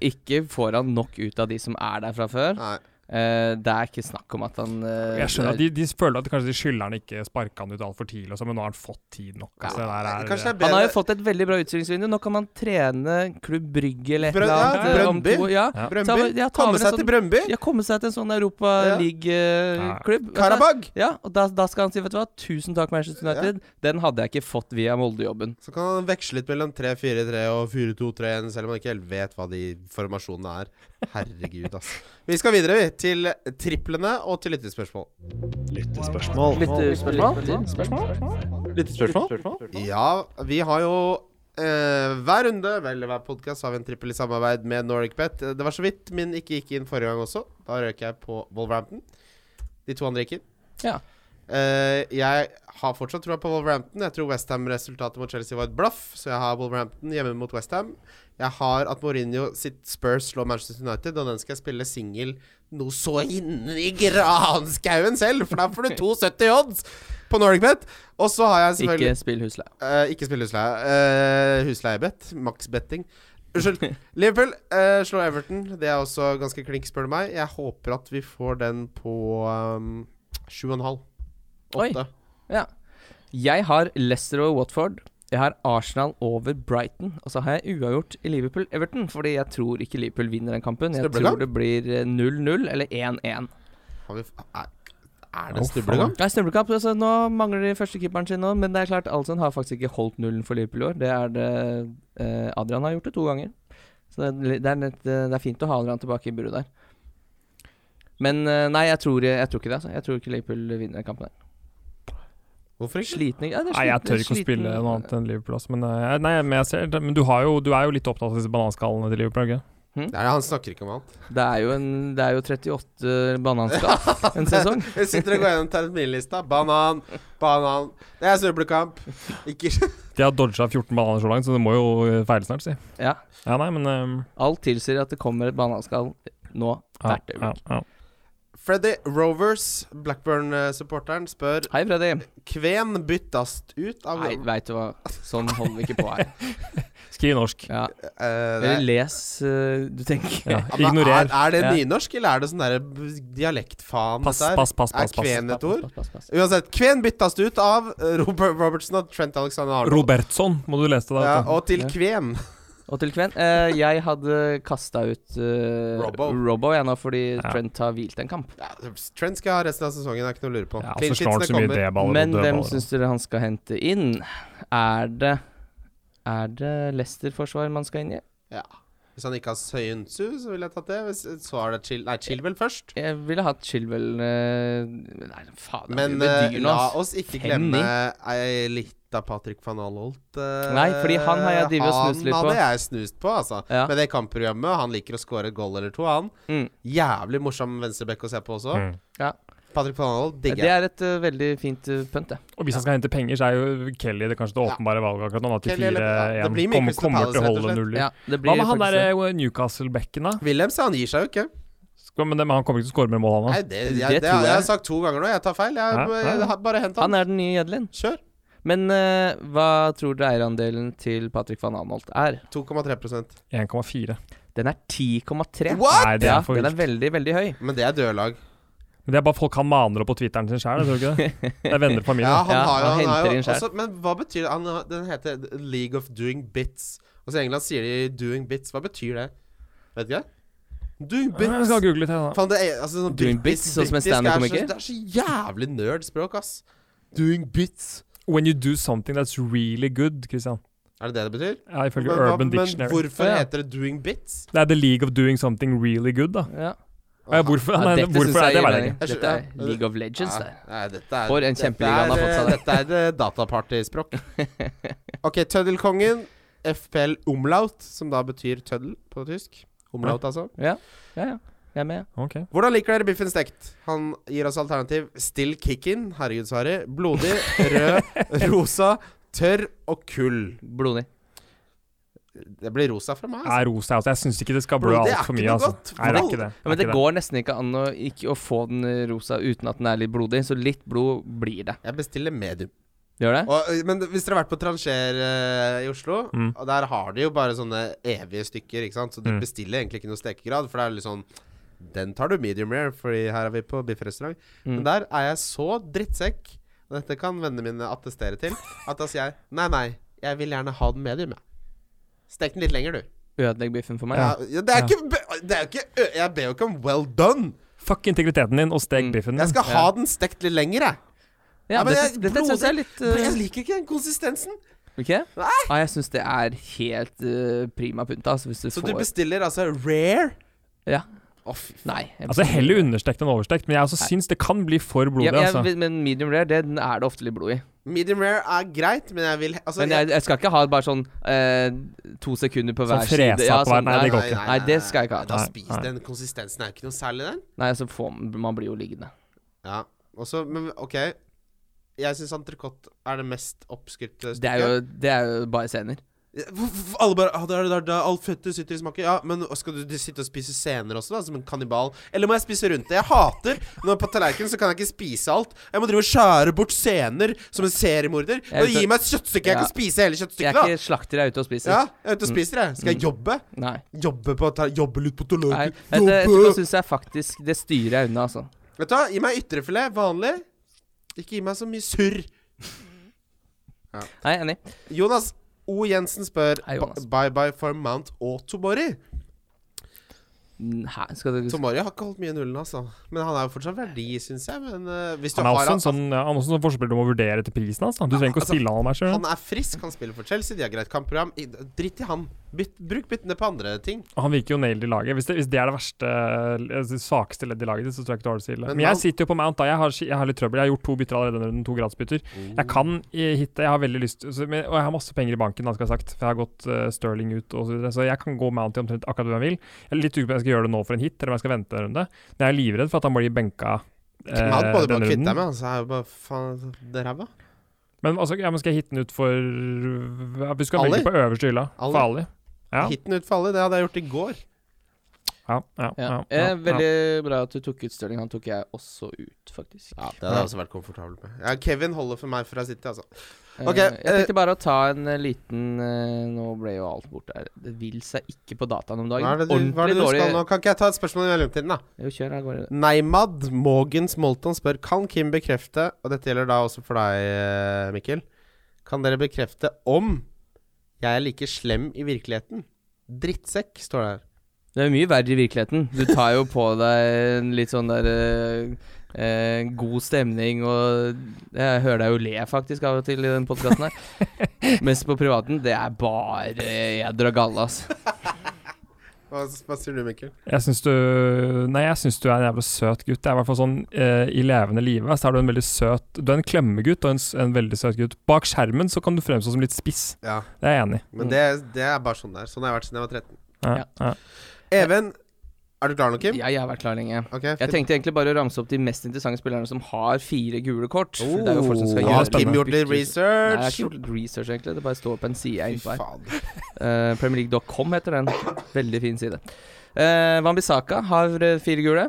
Speaker 2: Ikke får han nok ut av de som er der fra før.
Speaker 3: Nei.
Speaker 2: Eh, det er ikke snakk om at han eh,
Speaker 4: Jeg skjønner at de, de føler at kanskje de skylder han ikke sparka han ut altfor tidlig, og så, men nå har han fått tid nok. Altså, det der er,
Speaker 3: Kanskje det er
Speaker 2: Han
Speaker 3: bedre
Speaker 2: har jo fått et veldig bra utstillingsvindu. Nå kan man trene Klubb Brygge eller et
Speaker 3: Brøn-
Speaker 2: eller
Speaker 3: ja,
Speaker 2: annet. eh, om
Speaker 3: Brøndby.
Speaker 2: to- Ja.
Speaker 4: Ja.
Speaker 3: Brøndby?
Speaker 2: Ta- ja, ta
Speaker 3: Komme
Speaker 2: over en
Speaker 3: seg til
Speaker 2: sånn-
Speaker 3: Brøndby?
Speaker 2: ja, komme seg til en sånn
Speaker 3: Ja.
Speaker 4: Ja.
Speaker 2: Europaliga-klubb.
Speaker 3: Karabag!
Speaker 2: Ja, og da, da skal han si, vet du hva, tusen takk Manchester United. Den hadde jeg ikke fått via Molde-jobben.
Speaker 3: Så kan han veksle litt mellom 3-4-3 og 4-2-3-1, selv om han ikke helt vet hva de formasjonene er. Herregud, ass. Vi skal videre, vi, til triplene og til lyttespørsmål.
Speaker 2: eh,
Speaker 1: Lyttespørsmål?
Speaker 2: Lyttespørsmål?
Speaker 3: Ja, vi har jo Eh, hver runde, vel hver podkast, har vi en trippel i samarbeid med NordicBet. Eh, Det var så vidt min ikke gikk inn forrige gang også. Da røk jeg på Wolverhampton. De to andre gikk inn.
Speaker 2: Ja.
Speaker 3: Eh, jeg har fortsatt troa på Wolverhampton. Jeg tror Westham-resultatet mot Chelsea var et blaff, så jeg har Wolverhampton hjemme mot Westham. Jeg har at Mourinho sitt Spurs slår Manchester United, og den skal jeg spille singel noe så inni granskauen selv, for da får du 2,70 odds på NordicBet. Og så har jeg selvfølgelig
Speaker 2: Ikke spill husleie.
Speaker 3: Eh, ikke spille husleie. Eh, husleiebett. Maksbetting. Unnskyld. Liverpool eh, slår Everton. Det er også ganske klink, spør du meg. Jeg håper at vi får den på um, 7,5.
Speaker 2: Oi.
Speaker 3: 8.
Speaker 2: Ja. Jeg har Leicester og Watford. Jeg har Arsenal over Brighton. Og så har jeg uavgjort i Liverpool-Everton, fordi jeg tror ikke Liverpool vinner den kampen. Jeg
Speaker 3: Snublekamp?
Speaker 2: tror det blir eh, 0-0 eller 1-1.
Speaker 3: Har vi f- Er, er det
Speaker 4: Å,
Speaker 3: snublegang?
Speaker 2: Det er snublekamp. Altså, nå mangler de førstekeeperen sin nå, men det er klart, Alson har faktisk ikke holdt nullen for Liverpool i år. Det er det eh, Adrian har gjort det to ganger. Så det, er- det, er, nett, eh, det er fint å ha Adrian tilbake i buret der. Men eh, nei, jeg tror, jeg tror ikke det. Altså. Jeg tror ikke Liverpool vinner den kampen. der.
Speaker 3: Hvorfor ikke?
Speaker 2: Slitning ja, det er
Speaker 4: Nei, jeg
Speaker 2: sliten-
Speaker 4: tør ikke å
Speaker 2: sliten-
Speaker 4: spille noe annet enn Liverpool. Altså, men eh, nei, men, jeg ser, det, men du, har jo, du er jo litt opptatt av disse bananskallene til Liverpool? Ikke?
Speaker 3: Nei, han snakker ikke om annet.
Speaker 2: Det er jo, en, det er jo 38 bananskap en sesong.
Speaker 3: Jeg sitter og går gjennom terminlista. Banan, banan Det er snublekamp. Ikke
Speaker 4: De har dodga 14 bananer så langt, så det må jo eh, feile snart, si.
Speaker 2: Ja.
Speaker 4: Ja, nei, men eh,
Speaker 2: Alt tilsier at det kommer et bananskall nå
Speaker 4: ja,
Speaker 2: hvert
Speaker 4: ja,
Speaker 2: øyeblikk.
Speaker 4: ja.
Speaker 3: Freddy Rovers, Blackburn-supporteren, spør
Speaker 2: Hei, Freddy.
Speaker 3: Kven byttast ut av
Speaker 2: Nei, veit du hva. Sånn holder vi ikke på her.
Speaker 4: Skriv norsk.
Speaker 2: Ja.
Speaker 3: Eh, det-
Speaker 2: Eller les eh, du tenker.
Speaker 4: Ja.
Speaker 3: Ja, men
Speaker 4: Ignorer.
Speaker 3: Er, er det
Speaker 2: Ja.
Speaker 3: nynorsk, eller er det sånn derre b- dialektfaen?
Speaker 4: Pass,
Speaker 3: dette her?
Speaker 4: pass, pass.
Speaker 3: Er
Speaker 4: pass, pass.
Speaker 3: kven et ord?
Speaker 2: Pass, pass, pass.
Speaker 3: Uansett, kven byttes ut av eh, Robert Robertson og Trent Alexander Arnold.
Speaker 4: Robertson, må du lese det.
Speaker 3: Ja,
Speaker 4: da, vet du.
Speaker 3: og til
Speaker 2: Ja.
Speaker 3: kven.
Speaker 2: Og til Kven. eh, jeg hadde kasta ut eh,
Speaker 3: Robbo.
Speaker 2: Robbo jeg nå fordi
Speaker 4: Ja.
Speaker 2: Trent har hvilt en kamp.
Speaker 3: Ja, Trent skal ha resten av sesongen, det er ikke noe å lure på.
Speaker 4: Ja,
Speaker 3: Clean
Speaker 4: så slår han
Speaker 3: sheetsene
Speaker 4: så mye
Speaker 3: kommer.
Speaker 4: D-baller
Speaker 2: Men
Speaker 4: og
Speaker 2: hvem
Speaker 4: dødballer.
Speaker 2: syns dere han skal hente inn? Er det Er det Leicester-forsvar man skal inn i?
Speaker 3: Ja. Hvis han ikke har Søyensu, så ville jeg tatt det. Hvis, så er det Chil Nei, Chilwell først.
Speaker 2: Jeg ville hatt Chilwell eh, Nei, faen, det er
Speaker 3: Men
Speaker 2: mye
Speaker 3: eh,
Speaker 2: dyr nå,
Speaker 3: la
Speaker 2: ass.
Speaker 3: oss ikke
Speaker 2: Fem
Speaker 3: glemme ei lita Patrick van Alholt. eh,
Speaker 2: Nei, fordi han har jeg drevet og
Speaker 3: han
Speaker 2: snust litt på.
Speaker 3: hadde jeg snust på, altså.
Speaker 2: Ja.
Speaker 3: Med det kampprogrammet. Han liker å score et goal eller to, han.
Speaker 2: Mm.
Speaker 3: Jævlig morsom venstreback å se på også.
Speaker 4: Mm.
Speaker 3: Patrick van Alholt digger
Speaker 2: Det
Speaker 3: jeg.
Speaker 2: er et eh, veldig fint uh, pønt, det.
Speaker 4: Og hvis han skal hente penger, så er jo Kelly det kanskje det
Speaker 3: Ja.
Speaker 4: åpenbare valget akkurat nå. da, Til
Speaker 3: Kelly eller- ja, det
Speaker 4: 4-1
Speaker 3: blir mye
Speaker 4: kommer,
Speaker 3: Crystal
Speaker 4: kommer til å
Speaker 3: Palace, rett og
Speaker 4: holde
Speaker 3: slett.
Speaker 4: nuller.
Speaker 2: Ja, det blir
Speaker 4: Hva med han eh,
Speaker 2: faktisk det.
Speaker 4: derre Newcastle-bekken, da?
Speaker 3: Williams, ja, han gir seg jo ikke.
Speaker 4: Skal- Men dem- han kommer ikke til å skåre mer mål, han
Speaker 3: Nei,
Speaker 4: nå.
Speaker 3: det, jeg,
Speaker 2: Det
Speaker 3: det,
Speaker 2: tror
Speaker 3: har jeg
Speaker 2: jeg.
Speaker 3: sagt to ganger nå. Jeg tar feil. Jeg,
Speaker 4: Ja, ja, ja.
Speaker 3: jeg har Bare hent han.
Speaker 2: Han er den nye Gjedlin.
Speaker 3: Kjør.
Speaker 2: Men eh, hva tror dere eierandelen til Patrick van Anholt er?
Speaker 3: 2,3
Speaker 4: 1,4.
Speaker 2: Den er 10,3.
Speaker 3: What?!
Speaker 4: Nei, det
Speaker 2: Ja,
Speaker 4: er for
Speaker 2: den
Speaker 4: vilt.
Speaker 2: er veldig, veldig høy.
Speaker 3: Men det er dødlag.
Speaker 4: Men det er bare folk han maner opp på Twitteren sin sjæl, tror du ikke det? Det er venner og familie.
Speaker 3: Ja, han
Speaker 2: Ja,
Speaker 3: har jo,
Speaker 2: han
Speaker 3: han har
Speaker 2: henter
Speaker 3: jo
Speaker 2: inn skjær.
Speaker 3: også, Men hva betyr det? Han, har- den heter The League of Doing Bits. Og så i England sier de 'doing bits'. Hva betyr det? Vet ikke jeg. Doing
Speaker 4: Ja, Jeg
Speaker 3: bits.
Speaker 4: skal google litt, jeg, da.
Speaker 3: Faen, det er, altså, sånn
Speaker 2: Doing bits, sånn som en
Speaker 3: britisk er så-
Speaker 2: standup-komiker?
Speaker 3: Det er så jævlig nerdspråk, ass. Doing bits.
Speaker 4: When you do something that's really good, Christian.
Speaker 3: Er det det det betyr?
Speaker 4: Ja, ifølge
Speaker 3: Men, hva- men
Speaker 4: Urban Dictionary.
Speaker 2: Å,
Speaker 3: hvorfor
Speaker 2: ja.
Speaker 3: heter det 'doing bits'?
Speaker 4: Det er the league of doing something really good, da.
Speaker 2: Ja.
Speaker 3: Ah,
Speaker 4: Ja, hvorfor?
Speaker 2: Ja,
Speaker 4: Nei,
Speaker 2: dette
Speaker 4: hvorfor
Speaker 2: synes
Speaker 4: er
Speaker 2: jeg
Speaker 4: det? Det
Speaker 2: gir
Speaker 4: vet jeg
Speaker 2: mening.
Speaker 4: ikke.
Speaker 3: Jeg skjø-
Speaker 2: Dette er
Speaker 3: ja.
Speaker 2: League of Legends,
Speaker 3: Nei,
Speaker 2: det.
Speaker 3: Nei, dette er,
Speaker 2: For en kjempeliga han har fått seg der.
Speaker 3: Dette er eh, datapartyspråk. ok, Tøddelkongen, FPL Umlaut, som da betyr tøddel på tysk. Umlaut, altså.
Speaker 2: Ja, ja, ja. Jeg er med.
Speaker 4: Ok.
Speaker 3: Hvordan liker dere biffen stekt? Han gir oss alternativ still kick-in, herregud, Sari. Blodig, rød, rosa, tørr og kull.
Speaker 2: Blodig.
Speaker 3: Det blir rosa fra meg.
Speaker 4: Er rosa, altså. Jeg syns ikke det skal blø
Speaker 3: Bro, det er
Speaker 4: altfor
Speaker 3: ikke
Speaker 4: mye,
Speaker 3: noe
Speaker 4: altså.
Speaker 3: godt.
Speaker 4: Nei, det er ikke det.
Speaker 2: Ja, men
Speaker 4: Det er
Speaker 2: det
Speaker 4: ikke
Speaker 2: går
Speaker 4: det.
Speaker 2: nesten ikke an å, ikke, å få den eh, rosa uten at den er litt blodig, så litt blod blir det.
Speaker 3: Altså. Jeg bestiller medium.
Speaker 2: Gjør det?
Speaker 3: Og, men hvis dere har vært på Trancher eh, i Oslo,
Speaker 4: Mm.
Speaker 3: og der har de jo bare sånne evige stykker, ikke sant? så du
Speaker 4: Mm.
Speaker 3: bestiller egentlig ikke noe stekegrad, for det er litt sånn Den tar du medium rare, fordi her er vi på biffrestaurant. Men
Speaker 2: Mm.
Speaker 3: der er jeg så drittsekk, og dette kan vennene mine attestere til, at da sier jeg nei, nei, jeg vil gjerne ha den medium, jeg. Stek den litt lenger, du.
Speaker 2: Ødelegg biffen for meg.
Speaker 3: Ja. Ja, det er
Speaker 4: Ja.
Speaker 3: ikke, be- det er jo ikke ø- Jeg ber jo ikke om well done.
Speaker 4: Fuck integriteten din, og stek
Speaker 2: Mm.
Speaker 4: biffen
Speaker 3: Jeg
Speaker 4: din.
Speaker 3: skal ha den stekt litt lenger, jeg.
Speaker 2: Ja,
Speaker 3: Ja, men
Speaker 2: dette,
Speaker 3: jeg-
Speaker 2: dette syns jeg er litt
Speaker 3: Jeg
Speaker 2: eh,
Speaker 3: liker ikke den konsistensen.
Speaker 2: Ikke? Nei, jeg syns det er helt eh, prima punta. Altså, hvis du
Speaker 3: Så
Speaker 2: får
Speaker 3: du bestiller altså rare?
Speaker 2: Ja.
Speaker 3: Å, fy
Speaker 2: Nei. jeg
Speaker 4: Altså,
Speaker 2: bestiller-
Speaker 4: heller understekt enn overstekt, men jeg også
Speaker 2: Nei.
Speaker 4: syns det kan bli for
Speaker 2: Ja,
Speaker 4: blodig,
Speaker 2: men jeg-
Speaker 4: altså.
Speaker 2: Men medium rare, det den er det ofte litt blod i.
Speaker 3: Medium rare er greit, men jeg vil altså,
Speaker 2: Men jeg, jeg skal ikke ha bare sånn eh, to sekunder på
Speaker 4: Sånn
Speaker 2: hver side.
Speaker 4: fresa på hver- nei, det går ikke.
Speaker 2: Nei, det skal jeg ikke ha.
Speaker 3: Da
Speaker 4: Nei,
Speaker 3: spiser
Speaker 4: nei.
Speaker 3: den konsistensen er jo ikke noe særlig, den.
Speaker 2: Nei, så får man, man blir jo liggende.
Speaker 3: Ja, også, men ok Jeg synes entrecôte er det mest oppskrytte
Speaker 2: Det er jo, det er jo bare scener.
Speaker 3: Hvorfor- Alle bare ah, der, der, der, Alt fettet sitter i smaken Ja, men skal du, du sitte og spise senere også da Som en kannibal Eller må jeg spise rundt det Jeg hater Når på tallerkenen så kan jeg ikke spise alt Jeg må drive og skjære bort sener Som en seriemorder
Speaker 2: Jeg er
Speaker 3: Og
Speaker 2: ute-
Speaker 3: gi meg et kjøttstykke Jeg
Speaker 2: Ja.
Speaker 3: kan spise hele
Speaker 2: Jeg
Speaker 3: kjøttstykket
Speaker 2: er
Speaker 3: da
Speaker 2: ikke Mm. slakter, jeg er ute og spiser.
Speaker 3: Ja, jeg er ute og spiser jeg Skal jeg jobbe?
Speaker 2: Nei.
Speaker 3: Jobbe, på, ta- jobbe litt på
Speaker 2: Nei.
Speaker 3: tallerkenen
Speaker 2: Vet du, etterpå syns jeg faktisk Det styrer jeg unna, altså.
Speaker 3: Vet du hva, gi meg ytrefilet Vanlig Ikke gi meg så mye surr
Speaker 2: Nei, enig.
Speaker 3: Jonas O. Jensen spør
Speaker 2: Hei, Jonas.
Speaker 3: ba- Bye bye for Mount og Tomori.
Speaker 2: Mm, Hæ, skal du
Speaker 3: Tomori har ikke holdt mye nullen, altså. Men han er jo fortsatt verdi, syns jeg. Men øh, hvis du
Speaker 4: Han er
Speaker 3: har
Speaker 4: også en sånn, ja, han er også en sånn forspiller du må vurdere etter prisen hans. da. Du trenger ikke å
Speaker 3: altså,
Speaker 4: spille han om her sjøl.
Speaker 3: han er frisk, han spiller for Chelsea, de har greit kampprogram. I- Dritt i han. Bytt, bruk byttene på andre ting.
Speaker 4: Han virker jo nailed i laget. Hvis det, hvis det er det verste, eh, det svakeste leddet i laget ditt, så tror jeg ikke du har det så ille.
Speaker 3: Men
Speaker 4: Men,
Speaker 3: han-
Speaker 4: jeg sitter jo på Mount, da. Jeg har, jeg har litt trøbbel. Jeg har gjort to bytter allerede denne runden, to gradsbytter. Jeg kan i- hitte, jeg har veldig lyst så, men, Og jeg har masse penger i banken, da, skal jeg ha sagt, for jeg har gått eh, Sterling ut og så videre. Så jeg kan gå Mount i omtrent akkurat hvem jeg vil. Jeg er litt usikker på om jeg skal gjøre det nå for en hit, eller om jeg skal vente en runde. Men jeg er livredd for at han blir benka eh,
Speaker 3: Mount både må
Speaker 4: denne
Speaker 3: kvitte deg
Speaker 4: runden.
Speaker 3: med, han så er jo bare faen det er ræva.
Speaker 4: Men altså, ja, men skal jeg hitte den ut for ja, Vi skal
Speaker 3: Ali?
Speaker 4: velge på øverste hylla.
Speaker 3: Ali?
Speaker 4: For Ali. Ja.
Speaker 3: Hit den ut for alle, det hadde jeg gjort i går.
Speaker 4: Ja, ja, ja,
Speaker 2: Ja.
Speaker 4: ja, ja.
Speaker 2: Eh, veldig bra at du tok ut Stirling. Han tok jeg også ut, faktisk.
Speaker 3: Ja, Det hadde jeg også vært komfortabel med. Ja, Kevin holder for meg fra City, altså.
Speaker 2: Eh,
Speaker 3: Ok,
Speaker 2: jeg
Speaker 3: eh,
Speaker 2: tenkte bare å ta en eh, liten eh, Nå ble jo alt borte her. Det vil seg ikke på dataen om dagen.
Speaker 3: Hva er det du, hva er det du skal nå? Kan ikke jeg ta et spørsmål i mellomtiden, da?
Speaker 2: Jo, kjør av gårde.
Speaker 3: Neymad Mogens Molton spør Kan Kim bekrefte, og dette gjelder da også for deg, eh, Mikkel Kan dere bekrefte om jeg er like slem i virkeligheten? Drittsekk, står det her.
Speaker 2: Det er jo mye verre i virkeligheten. Du tar jo på deg en litt sånn der eh, eh, god stemning og Jeg hører deg jo le faktisk av og til i den podkasten her. Mens på privaten, det er bare eder og galle, ass.
Speaker 3: Hva, hva sier du, Mikkel?
Speaker 4: Jeg syns du Nei, jeg syns du er en jævla søt gutt. Det er i hvert fall sånn eh, i levende live så er du en veldig søt Du er en klemmegutt og en, s- en veldig søt gutt. Bak skjermen så kan du fremstå som litt spiss.
Speaker 3: Ja,
Speaker 4: Det er jeg enig i.
Speaker 2: Mm.
Speaker 3: men det, det er bare sånn det er. Sånn har jeg vært siden jeg var 13.
Speaker 4: Ja,
Speaker 2: Ja.
Speaker 4: ja.
Speaker 3: Even, er du klar nå, Kim?
Speaker 2: Ja, jeg har vært klar lenge.
Speaker 3: Ok,
Speaker 2: Jeg
Speaker 3: fint.
Speaker 2: tenkte egentlig bare å ramse opp de mest interessante spillerne som har fire gule kort. for det er jo folk som skal
Speaker 3: Oh,
Speaker 2: gjøre
Speaker 3: har
Speaker 2: det.
Speaker 3: Kim gjort litt
Speaker 2: Nei, jeg har
Speaker 3: research?
Speaker 2: ikke gjort research, egentlig. Det bare står på en side jeg
Speaker 3: Fy
Speaker 2: er inne på her.
Speaker 3: faen.
Speaker 2: Eh, PremierLeague.com heter den. Veldig fin side. Uh, Wambisaka har eh, fire gule.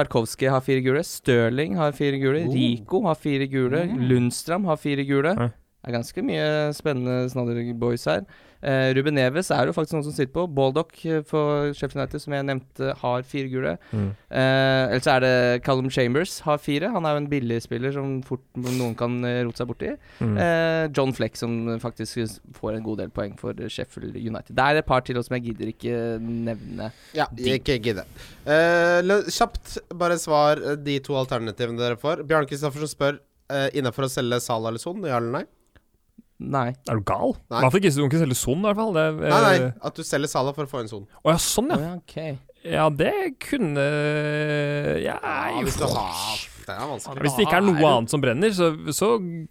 Speaker 2: Tarkovskij har fire gule. Stirling har fire gule.
Speaker 3: Oh.
Speaker 2: Rico har fire gule. Lundstram har fire gule.
Speaker 4: Ja.
Speaker 2: Det er ganske mye spennende snadder boys her. Eh, Ruben Neves er det jo faktisk noen som sitter på. Baldock eh, for Sheffield United, som jeg nevnte, har fire gule.
Speaker 4: Mm.
Speaker 2: Eh, Ellers er det Callum Chambers har fire. Han er jo en billig spiller som fort noen kan eh, rote seg borti.
Speaker 4: Mm.
Speaker 2: Eh, John Fleck som faktisk s- får en god del poeng for Sheffield United. Det er et par til også som jeg gidder ikke eh, nevne.
Speaker 3: Ja,
Speaker 2: De-
Speaker 3: ikke gidde. Eh, lø- kjapt, bare svar eh, de to alternativene dere får. Bjarne Kristoffersen spør uh, innafor å selge Salah eller Son, ja eller nei?
Speaker 2: Nei.
Speaker 4: Er du gal?
Speaker 3: Nei.
Speaker 4: I hvert fall ikke du kan ikke selge Son, i hvert fall. Det, eh,
Speaker 3: Nei, nei, at du selger Salah for å få en Son.
Speaker 4: Å ja, sånn,
Speaker 2: Å
Speaker 4: ja.
Speaker 2: ja, ok.
Speaker 4: Ja, det kunne eh, Ja,
Speaker 3: Ja, Ah, hvis du har Det er vanskelig.
Speaker 4: Hvis det ikke er noe annet som brenner, så, så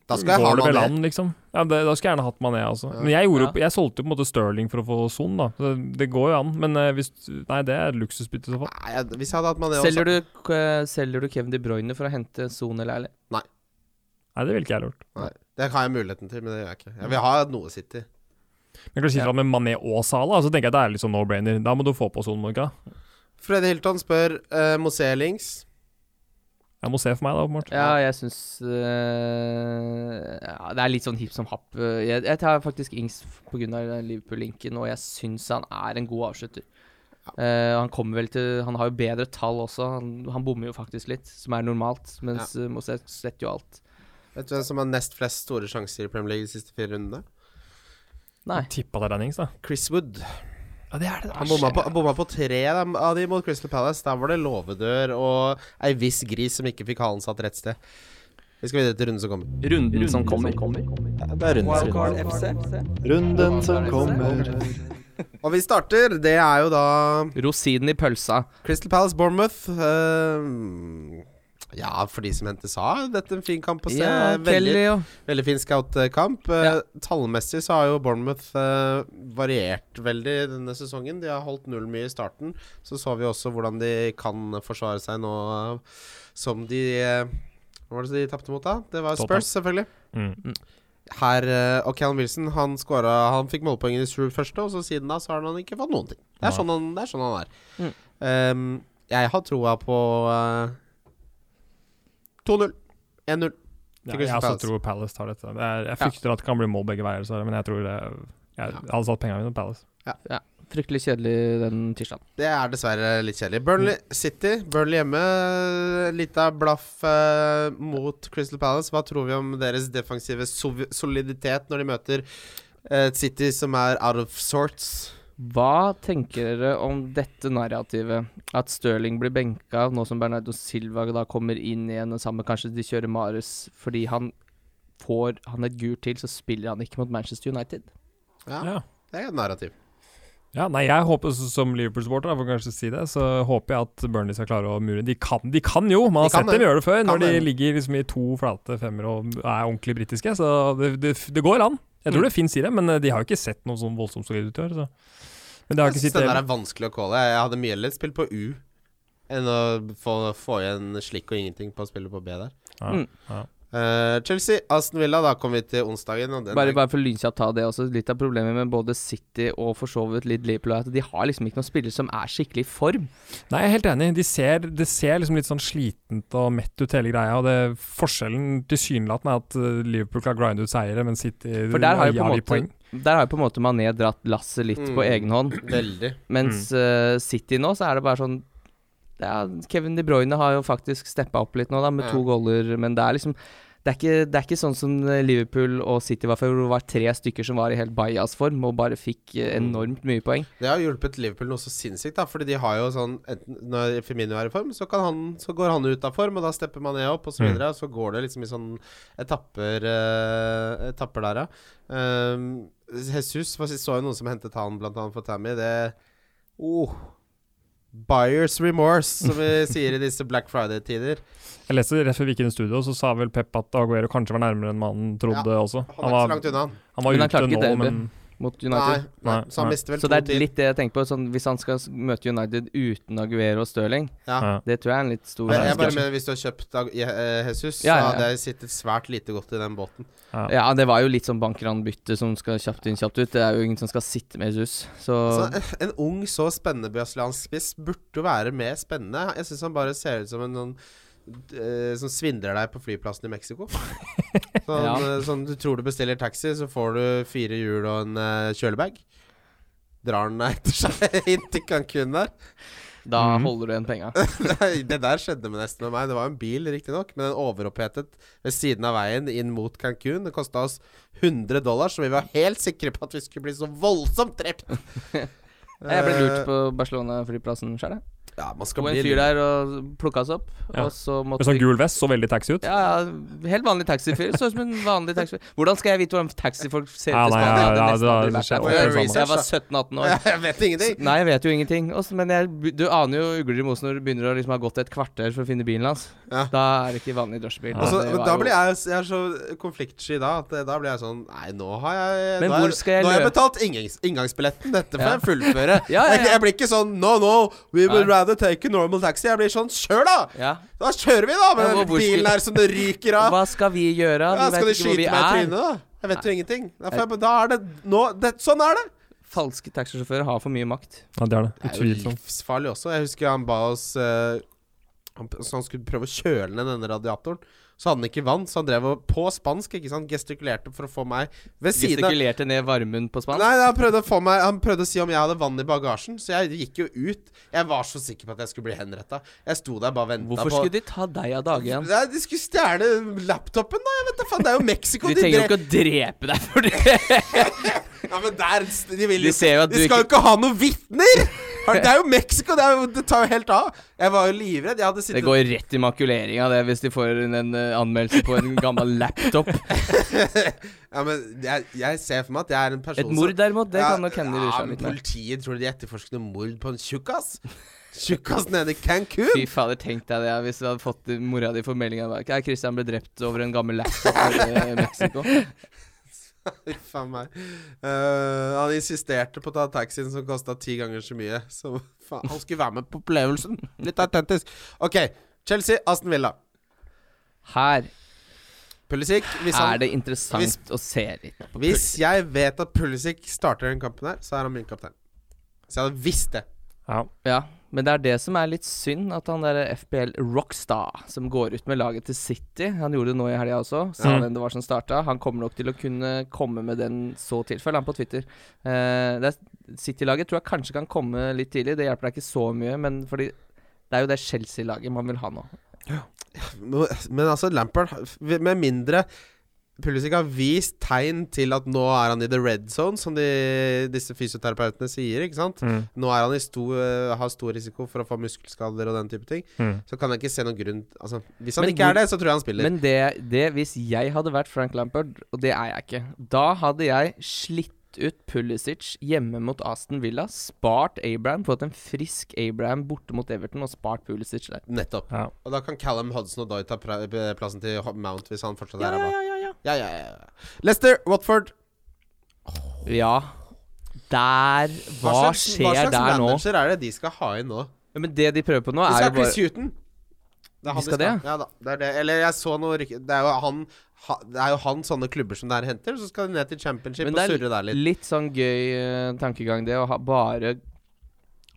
Speaker 3: Da skal jeg ha
Speaker 4: går det vel
Speaker 3: Mané.
Speaker 4: an, liksom. Ja, det, da skulle jeg gjerne hatt Mané, altså. Men jeg, gjorde, jo- jeg solgte jo på en måte Sterling for å få Son, da. Så det går jo an. Men eh, hvis Nei, det er et luksusbytte i så fall.
Speaker 3: Nei, jeg- hvis jeg hadde hatt Mané
Speaker 2: Selger
Speaker 3: også
Speaker 2: du, eh, selger du Kevin De Bruyne for å hente Son eller Erle?
Speaker 4: Nei, det ville ikke jeg gjort.
Speaker 3: Nei, Det har jeg muligheten til, men det gjør jeg ikke. Jeg vil ha noe City.
Speaker 4: Men kanskje ja. med Mané og Salah, så tenker jeg det er litt sånn no-brainer. Da må du få på Son, Morga.
Speaker 3: Freddy Hilton spør uh, Mosé Links.
Speaker 4: Jeg må se for meg, da, åpenbart.
Speaker 2: Ja, jeg syns eh, ja, Det er litt sånn hipp som happ. Jeg, jeg tar faktisk Ings pga. Liverpool-linken, og jeg syns han er en god avslutter. Eh, han kommer vel til Han har jo bedre tall også. Han, han bommer jo faktisk litt, som er normalt, mens ja. Moses setter jo alt.
Speaker 3: Vet du hvem som har nest flest store sjanser i Premier League de siste fire rundene?
Speaker 2: Nei.
Speaker 4: Tippa det er Dennings, da.
Speaker 3: Chris Wood.
Speaker 4: Ja, det er det.
Speaker 3: Han bomma på, han bomma på tre da, av de mot Crystal Palace. Der var det låvedør og ei viss gris som ikke fikk halen satt rett sted. Vi skal videre til runden som kommer.
Speaker 2: Runden, som kommer.
Speaker 5: Det er rundens runde.
Speaker 1: Wildcard FC.
Speaker 5: Runden som kommer.
Speaker 3: Og vi starter. Det er jo da
Speaker 2: Rosinen i pølsa.
Speaker 3: Crystal Palace Bournemouth. Eh, Ja, for de som henter SA, dette er en fin kamp å se.
Speaker 2: Ja,
Speaker 3: veldig,
Speaker 2: Kelly og
Speaker 3: veldig fin scout-kamp. Eh,
Speaker 2: Ja.
Speaker 3: Tallmessig så har jo Bournemouth eh, variert veldig denne sesongen. De har holdt null mye i starten. Så så vi også hvordan de kan forsvare seg nå eh, som de eh, Hva var det de tapte mot, da? Det var
Speaker 4: Tottenham.
Speaker 3: Spurs, selvfølgelig.
Speaker 4: Mm.
Speaker 3: Her, eh, og Callum Wilson han, skåra, han fikk målpoeng i Shrewd første, og så siden da så har han ikke fått noen ting. Det
Speaker 4: Nei.
Speaker 3: er, sånn han, det er sånn han er. Ehm, jeg har troa på eh, 2-0. 1-0. Til
Speaker 4: Ja, jeg
Speaker 3: Crystal
Speaker 4: også
Speaker 3: Palace.
Speaker 4: tror Palace tar dette. Det er, jeg frykter at det kan bli mål begge veier, dessverre, men jeg tror det Jeg hadde satt pengene mine på Palace.
Speaker 2: Fryktelig kjedelig den tirsdagen.
Speaker 3: Det er dessverre litt kjedelig. Burnley City, Burnley hjemme. Lita blaff eh, mot Crystal Palace. Hva tror vi om deres defensive sov- soliditet når de møter eh, et City som er out of sorts?
Speaker 2: Hva tenker dere om dette narrativet? At Stirling blir benka nå som Bernardo Silva da kommer inn igjen, og sammen kanskje de kjører Marius fordi han får han et gult til, så spiller han ikke mot Manchester United.
Speaker 3: Ja,
Speaker 4: Ja.
Speaker 3: det er et narrativ.
Speaker 4: Ja, nei, jeg håper så- som Liverpool-supporter, da, får jeg kanskje si det, så håper jeg at Burnley skal klare å mure. De kan, de kan jo! Man har
Speaker 3: De kan
Speaker 4: sett dem
Speaker 3: det.
Speaker 4: gjøre det før,
Speaker 3: Kan
Speaker 4: når de
Speaker 3: det.
Speaker 4: ligger liksom i to flate femmere og er ordentlig britiske. Så det, det, det går an. Jeg
Speaker 3: Mm.
Speaker 4: tror det fins i det, men eh, de har jo ikke sett noe sånn voldsomt solid ut i år. Så. Men det har
Speaker 3: Jeg
Speaker 4: ikke
Speaker 3: synes
Speaker 4: sitt
Speaker 3: den der er vanskelig å calle. Jeg hadde mye heller spilt på U enn å få, få igjen slikk og ingenting på å spille på B der.
Speaker 4: Ja,
Speaker 2: Mm.
Speaker 4: ja.
Speaker 3: Eh, Chelsea, Aston Villa, da kom vi til onsdagen. Og den
Speaker 2: Bare,
Speaker 3: er-
Speaker 2: bare for lynkjapt ta det også. Litt av problemet med både City og for så vidt litt Liverpool er at de har liksom ikke noen spillere som er skikkelig i form.
Speaker 4: Nei, jeg er helt enig. De ser, det ser liksom litt sånn slitent og mett ut hele greia. og det, Forskjellen tilsynelatende er at eh, Liverpool klarer å grinde ut seiere, men City
Speaker 2: For der har jo
Speaker 4: gir
Speaker 2: på en
Speaker 4: de
Speaker 2: måte
Speaker 4: poeng.
Speaker 2: Der har jo på en måte Mané dratt lasset litt på
Speaker 3: Mm.
Speaker 2: egen hånd.
Speaker 3: Veldig.
Speaker 2: Mens
Speaker 3: Mm.
Speaker 2: eh, City nå, så er det bare sånn ja, Kevin De Bruyne har jo faktisk steppa opp litt nå, da, med
Speaker 3: Ja.
Speaker 2: to goller, men det er liksom det er, ikke, det er ikke sånn som eh, Liverpool og City var før, hvor det var tre stykker som var i helt bajas-form og bare fikk eh,
Speaker 3: Mm.
Speaker 2: enormt mye poeng.
Speaker 3: Det har hjulpet Liverpool noe så sinnssykt, da. Fordi de har jo sånn enten Når Firmino er i form, så, kan han, så går han ut av form, og da stepper man ned opp, og så
Speaker 4: Mm.
Speaker 3: videre. Og så går det liksom i sånn etapper, eh, etapper der, ja. Ehm, Jesus hva sist- så jo noen som hentet han, blant annet for Tammy. Det oh, Buyers remorse, som vi sier i disse Black Friday-tider.
Speaker 4: Jeg leste rett før vi gikk inn i studio, så sa vel Pep at Aguero kanskje var nærmere enn mannen trodde også.
Speaker 3: Han er ikke så langt unna.
Speaker 4: han var
Speaker 2: Men han
Speaker 4: ute
Speaker 2: klarte ikke
Speaker 4: nå,
Speaker 2: derby.
Speaker 4: men
Speaker 2: Mot
Speaker 3: Nei,
Speaker 2: United.
Speaker 3: nei,
Speaker 4: Nei,
Speaker 3: så han
Speaker 4: nei.
Speaker 3: mister vel
Speaker 2: så det
Speaker 3: to
Speaker 2: er litt det jeg tenker på. Sånn, hvis han skal s- møte United uten Aguero og Stirling,
Speaker 3: Ja.
Speaker 4: ja.
Speaker 2: det tror jeg er en litt stor
Speaker 3: Men jeg bare
Speaker 2: risiko.
Speaker 3: mener, hvis du har kjøpt Ag- Je- eh, Jesus,
Speaker 2: Ja, ja, ja.
Speaker 3: så hadde jeg sittet svært lite godt i den båten.
Speaker 2: Ja, det var jo litt sånn bankranbytte som skal kjapt inn, kjapt ut. Det er jo ingen som skal sitte med Jesus, så
Speaker 3: Altså, en- en ung, så spennende brasiliansk spiss burde jo være mer spennende. Jeg syns han bare ser ut som en sånn eh, som svindler deg på flyplassen i Mexico. Sånn,
Speaker 2: Ja.
Speaker 3: eh, sånn Du tror du bestiller taxi, så får du fire hjul og en eh, kjølebag. Drar den etter seg inn til Cancún der.
Speaker 2: da
Speaker 3: mm.
Speaker 4: Mhm.
Speaker 2: holder du igjen penga.
Speaker 3: Nei, Det der skjedde med nesten med meg. Det var en bil, riktignok, men den overopphetet ved siden av veien inn mot Cancún. Det kosta oss 100 dollar, så vi var helt sikre på at vi skulle bli så voldsomt drept.
Speaker 2: Jeg ble lurt på Barcelona-flyplassen sjøl.
Speaker 3: Ja, man
Speaker 2: Det
Speaker 3: Eh, skal
Speaker 2: var
Speaker 3: bli
Speaker 2: en fyr der og plukka oss opp,
Speaker 4: Ja.
Speaker 2: og så måtte
Speaker 4: Med sånn
Speaker 2: vi-
Speaker 4: gul vest, så veldig taxi ut.
Speaker 2: ja, ja, helt vanlig taxifyr. Så ut som en vanlig taxifyr. Hvordan skal jeg vite hvordan taxifolk ser ut
Speaker 4: Ja,
Speaker 2: i
Speaker 4: nei,
Speaker 2: Spania?
Speaker 4: ja,
Speaker 2: Jeg hadde
Speaker 4: ja,
Speaker 2: nesten
Speaker 4: det var-
Speaker 2: aldri vært
Speaker 4: det
Speaker 2: der.
Speaker 4: skjer-
Speaker 2: Og jeg-
Speaker 3: det skjer-
Speaker 2: Jeg var 17-18 år.
Speaker 3: Jeg vet ingenting.
Speaker 2: Nei, jeg vet jo ingenting. Også, men jeg, du aner jo ugler i mosen når du begynner å liksom ha gått et kvarter for å finne bilen hans.
Speaker 3: Ja.
Speaker 2: Da er det ikke vanlig drosjebil.
Speaker 4: Ja.
Speaker 3: Og så-
Speaker 2: Det
Speaker 3: men
Speaker 2: var jo-
Speaker 3: da blir jeg, jeg er så konfliktsky da at eh, da blir jeg sånn Nei, nå har jeg,
Speaker 2: Men
Speaker 3: nå har
Speaker 2: hvor skal jeg
Speaker 3: nå har jeg
Speaker 2: løpe?
Speaker 3: betalt inngangs, inngangsbilletten. Dette får
Speaker 2: Ja.
Speaker 3: jeg fullføre.
Speaker 2: Ja, ja, ja.
Speaker 3: Jeg, jeg blir ikke sånn No, no, we would
Speaker 2: Nei.
Speaker 3: rather take a normal taxi. Jeg blir sånn Kjør, da!
Speaker 2: ja.
Speaker 3: Da kjører vi, da!
Speaker 2: Ja,
Speaker 3: Med den
Speaker 2: hvor- hvor skal-
Speaker 3: bilen her som det ryker av.
Speaker 2: Hva skal vi gjøre?
Speaker 3: Ja,
Speaker 2: Vi
Speaker 3: skal de
Speaker 2: vet ikke hvor vi
Speaker 3: skyte meg i
Speaker 2: er.
Speaker 3: trynet, da? Jeg vet jo ingenting. Da, får jeg, da er det nå det, Sånn er det!
Speaker 2: Falske taxisjåfører har for mye makt.
Speaker 4: Ja, det er det.
Speaker 3: Det er
Speaker 2: liksom.
Speaker 3: jo
Speaker 4: Utvilsomt.
Speaker 3: livsfarlig også. Jeg husker han ba oss eh, han, Så han skulle prøve å kjøle ned denne radiatoren. Så hadde han ikke vann, så han drev og på spansk ikke sant, gestikulerte for å få meg ved siden av
Speaker 2: Gestikulerte ned varmen på spansk.
Speaker 3: Nei, han prøvde, å få meg, han prøvde å si om jeg hadde vann i bagasjen, så jeg gikk jo ut. Jeg var så sikker på at jeg skulle bli henretta. Jeg sto der bare og venta
Speaker 2: Hvorfor
Speaker 3: på
Speaker 2: skulle de ta deg av dage igjen?
Speaker 3: Nei, De skulle stjele laptopen, da! Jeg vet da faen, det er jo Mexico.
Speaker 2: De trenger jo
Speaker 3: dre-
Speaker 2: ikke å drepe deg for det.
Speaker 3: Ja, men der, de vil
Speaker 2: De
Speaker 3: jo
Speaker 2: ser jo at
Speaker 3: De
Speaker 2: du
Speaker 3: skal jo
Speaker 2: ikke
Speaker 3: ikke ha noen vitner! Har- Det er jo Mexico! Det, er jo, det tar jo helt av. Jeg var jo livredd. Jeg hadde
Speaker 2: Det
Speaker 3: sittet
Speaker 2: går rett i makuleringa, det, hvis de får en, en eh, anmeldelse på en gammel laptop.
Speaker 3: ja, men jeg, jeg ser for meg at jeg er en person
Speaker 2: Et mord, derimot, det
Speaker 3: Ja,
Speaker 2: kan nok hende de
Speaker 3: ja,
Speaker 2: ruer seg
Speaker 3: men
Speaker 2: litt med.
Speaker 3: Politiet tror du de etterforsker noe mord på en tjukkas? Tjukkas nede i Cancún?
Speaker 2: Fy fader, tenk deg det ja, hvis du hadde fått eh, mora di for meldinga. Ja, Christian ble drept over en gammel laptop i eh, Mexico.
Speaker 3: Uff a meg. Eh, han insisterte på å ta taxien som kosta ti ganger så mye. Så faen, han skulle være med på opplevelsen. Litt autentisk. OK. Chelsea, Aston Villa.
Speaker 2: Her
Speaker 3: Pulisic hvis,
Speaker 2: er
Speaker 3: han,
Speaker 2: det interessant å se litt. på
Speaker 3: hvis jeg vet at Pulisic starter den kampen her, så er han min kaptein. Så jeg hadde visst det.
Speaker 4: Ja.
Speaker 2: Ja, men det er det som er litt synd, at han der FBL Rockstar, som går ut med laget til City Han gjorde det nå i helga også, sa
Speaker 4: Mm.
Speaker 2: hvem det var som starta. Han kommer nok til å kunne komme med den så til. Følg han på Twitter. Eh, det er- City-laget tror jeg kanskje kan komme litt tidlig. Det hjelper deg ikke så mye, men fordi det er jo det Chelsea-laget man vil ha nå.
Speaker 3: Men altså, Lampard Med mindre Pulisic har vist tegn til at nå er han i the red zone, som de, disse fysioterapeutene sier, ikke sant?
Speaker 4: Mm.
Speaker 3: Nå er han i stor, har stor risiko for å få muskelskader og den type ting.
Speaker 4: Mm.
Speaker 3: Så kan jeg ikke se noen grunn altså, Hvis han
Speaker 2: Men
Speaker 3: ikke
Speaker 2: hvor-
Speaker 3: er det, så tror jeg han spiller.
Speaker 2: Men det, det hvis jeg hadde vært Frank Lampard, og det er jeg ikke, da hadde jeg slitt ut Pulisic hjemme mot Aston Villa, spart Abraham, fått en frisk Abraham borte mot Everton og spart Pulisic der.
Speaker 3: Nettopp.
Speaker 4: Ja.
Speaker 3: Og da kan Callum Hodgson og Doy ta pra- eh, plassen til Ho- Mount hvis han fortsatt er ræva. Ja, ja, ja, ja. Lester, Watford.
Speaker 2: Ja. Der Hva, skjer
Speaker 3: hva slags
Speaker 2: der nå?
Speaker 3: manager er det de skal ha inn nå?
Speaker 2: Ja, men det de prøver på nå,
Speaker 3: De
Speaker 2: er
Speaker 3: skal
Speaker 2: jo
Speaker 3: ha Chris
Speaker 2: bare
Speaker 3: Hughton. Det er han
Speaker 2: De skal det,
Speaker 3: ha. Ja da. Det er det. Eller jeg så noe rykke Det er jo han ha, Det er jo han sånne klubber som der henter, så skal de ned til championship
Speaker 2: Men
Speaker 3: og
Speaker 2: det er
Speaker 3: surre der litt.
Speaker 2: Litt sånn gøy eh, tankegang, det å ha bare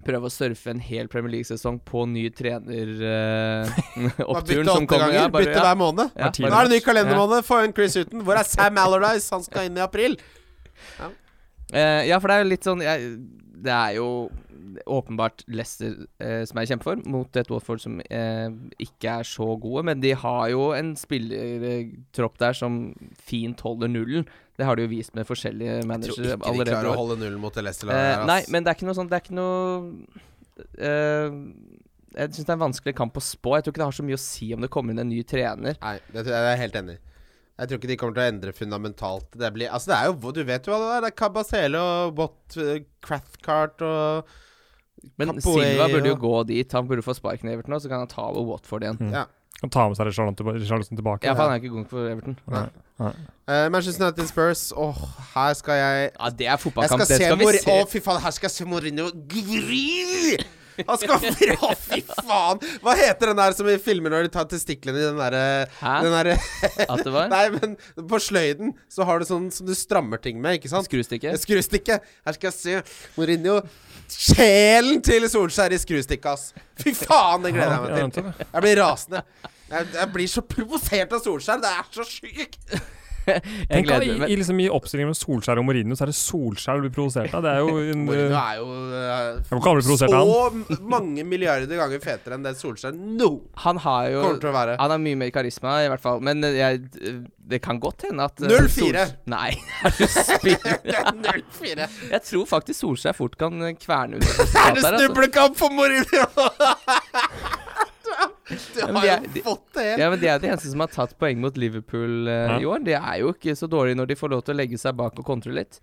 Speaker 2: prøve å surfe en hel Premier League-sesong på ny
Speaker 3: Bare
Speaker 2: trener-oppturen
Speaker 3: Bytte
Speaker 2: som
Speaker 3: åtte
Speaker 2: kommer.
Speaker 3: ganger,
Speaker 2: Ja, bare-
Speaker 3: bytte
Speaker 2: ja.
Speaker 3: hver måned.
Speaker 2: Ja,
Speaker 4: Martinez.
Speaker 3: Nå er det ny kalendermåned, få inn Chris Hughton. Hvor er Sam Allardyce? Han skal inn i april.
Speaker 2: Eh, ja, for det er jo litt sånn jeg, Det er jo åpenbart Leicester eh, som er i kjempeform, mot et Watford som eh, ikke er så gode. Men de har jo en spillertropp der som fint holder nullen. Det har de jo vist med forskjellige
Speaker 3: Jeg
Speaker 2: managere
Speaker 3: tror ikke de
Speaker 2: allerede. i
Speaker 3: klarer
Speaker 2: år.
Speaker 3: å holde nullen mot det Leicester-laget.
Speaker 2: Eh,
Speaker 3: der,
Speaker 2: nei,
Speaker 3: ass.
Speaker 2: men det er ikke noe sånn Det er ikke noe eh, Jeg syns det er en vanskelig kamp å spå. Jeg tror ikke det har så mye å si om det kommer inn en ny trener.
Speaker 3: Nei, det tror jeg jeg er helt enig i. Jeg tror ikke de kommer til å endre fundamentalt. Det blir, altså det er jo, Du vet jo hva det er. Det er Cabasele og Bot, eh, Cathcart og
Speaker 2: Men
Speaker 3: Capoe
Speaker 2: Silva burde jo
Speaker 3: og-
Speaker 2: gå dit. Han burde få sparken i Everton, og så kan han ta over Watford igjen.
Speaker 4: Mm.
Speaker 3: Ja.
Speaker 4: Kan ta med seg Richarlison tilbake.
Speaker 2: Ja, for han er ikke god nok for Everton.
Speaker 3: eh, Manchester United Spurs. Åh, her skal jeg
Speaker 2: Ja, det er
Speaker 3: Jeg
Speaker 2: fotballkamp.
Speaker 3: skal
Speaker 2: Det
Speaker 3: se
Speaker 2: skal vi
Speaker 3: Mor...
Speaker 2: se.
Speaker 3: Å, fy faen, her skal jeg se Mourinho gri! Han skal Å, fy faen! Hva heter den der som i filmer når de tar testiklene i den derre
Speaker 2: Hæ?
Speaker 3: Den derre
Speaker 2: At det var?
Speaker 3: Nei, men på sløyden så har du sånn som du strammer ting med, ikke sant?
Speaker 2: Skrustikke?
Speaker 3: Skrustikke. Her skal jeg se Mourinho. Sjelen til Solskjær i skrustikke, ass. Fy faen, det gleder jeg meg til. Jeg blir rasende. Jeg, jeg blir så provosert av Solskjær. Det er så sykt.
Speaker 2: Jeg
Speaker 4: Tenk da,
Speaker 2: gleder
Speaker 4: i,
Speaker 2: meg.
Speaker 4: i, liksom, I oppstillingen med Solskjær og Mourinho, så er det Solskjær du blir provosert av. Det er jo en,
Speaker 3: Mourinho
Speaker 4: eh,
Speaker 3: er jo
Speaker 4: Jeg må ikke aldri
Speaker 3: eh,
Speaker 4: provosert av
Speaker 3: så m- mange milliarder ganger fetere enn det Solskjær nå
Speaker 2: Han har jo
Speaker 3: kommer til å være.
Speaker 2: Han har mye mer karisma, i hvert fall. Men eh, jeg, det kan godt hende at eh,
Speaker 3: 0-4.
Speaker 2: Sols- Nei, er du spinnende?
Speaker 3: 0-4.
Speaker 2: Jeg tror faktisk Solskjær fort kan eh, kverne ut et
Speaker 3: Er
Speaker 2: resultat
Speaker 3: det
Speaker 2: der. Altså.
Speaker 3: snublekamp for Mourinho? Du
Speaker 2: men
Speaker 3: har
Speaker 2: de er- de-
Speaker 3: jo fått det helt.
Speaker 2: Ja, men De er jo de eneste som har tatt poeng mot Liverpool eh, i
Speaker 4: Ja.
Speaker 2: år. De er jo ikke så dårlige når de får lov til å legge seg bak og kontre litt.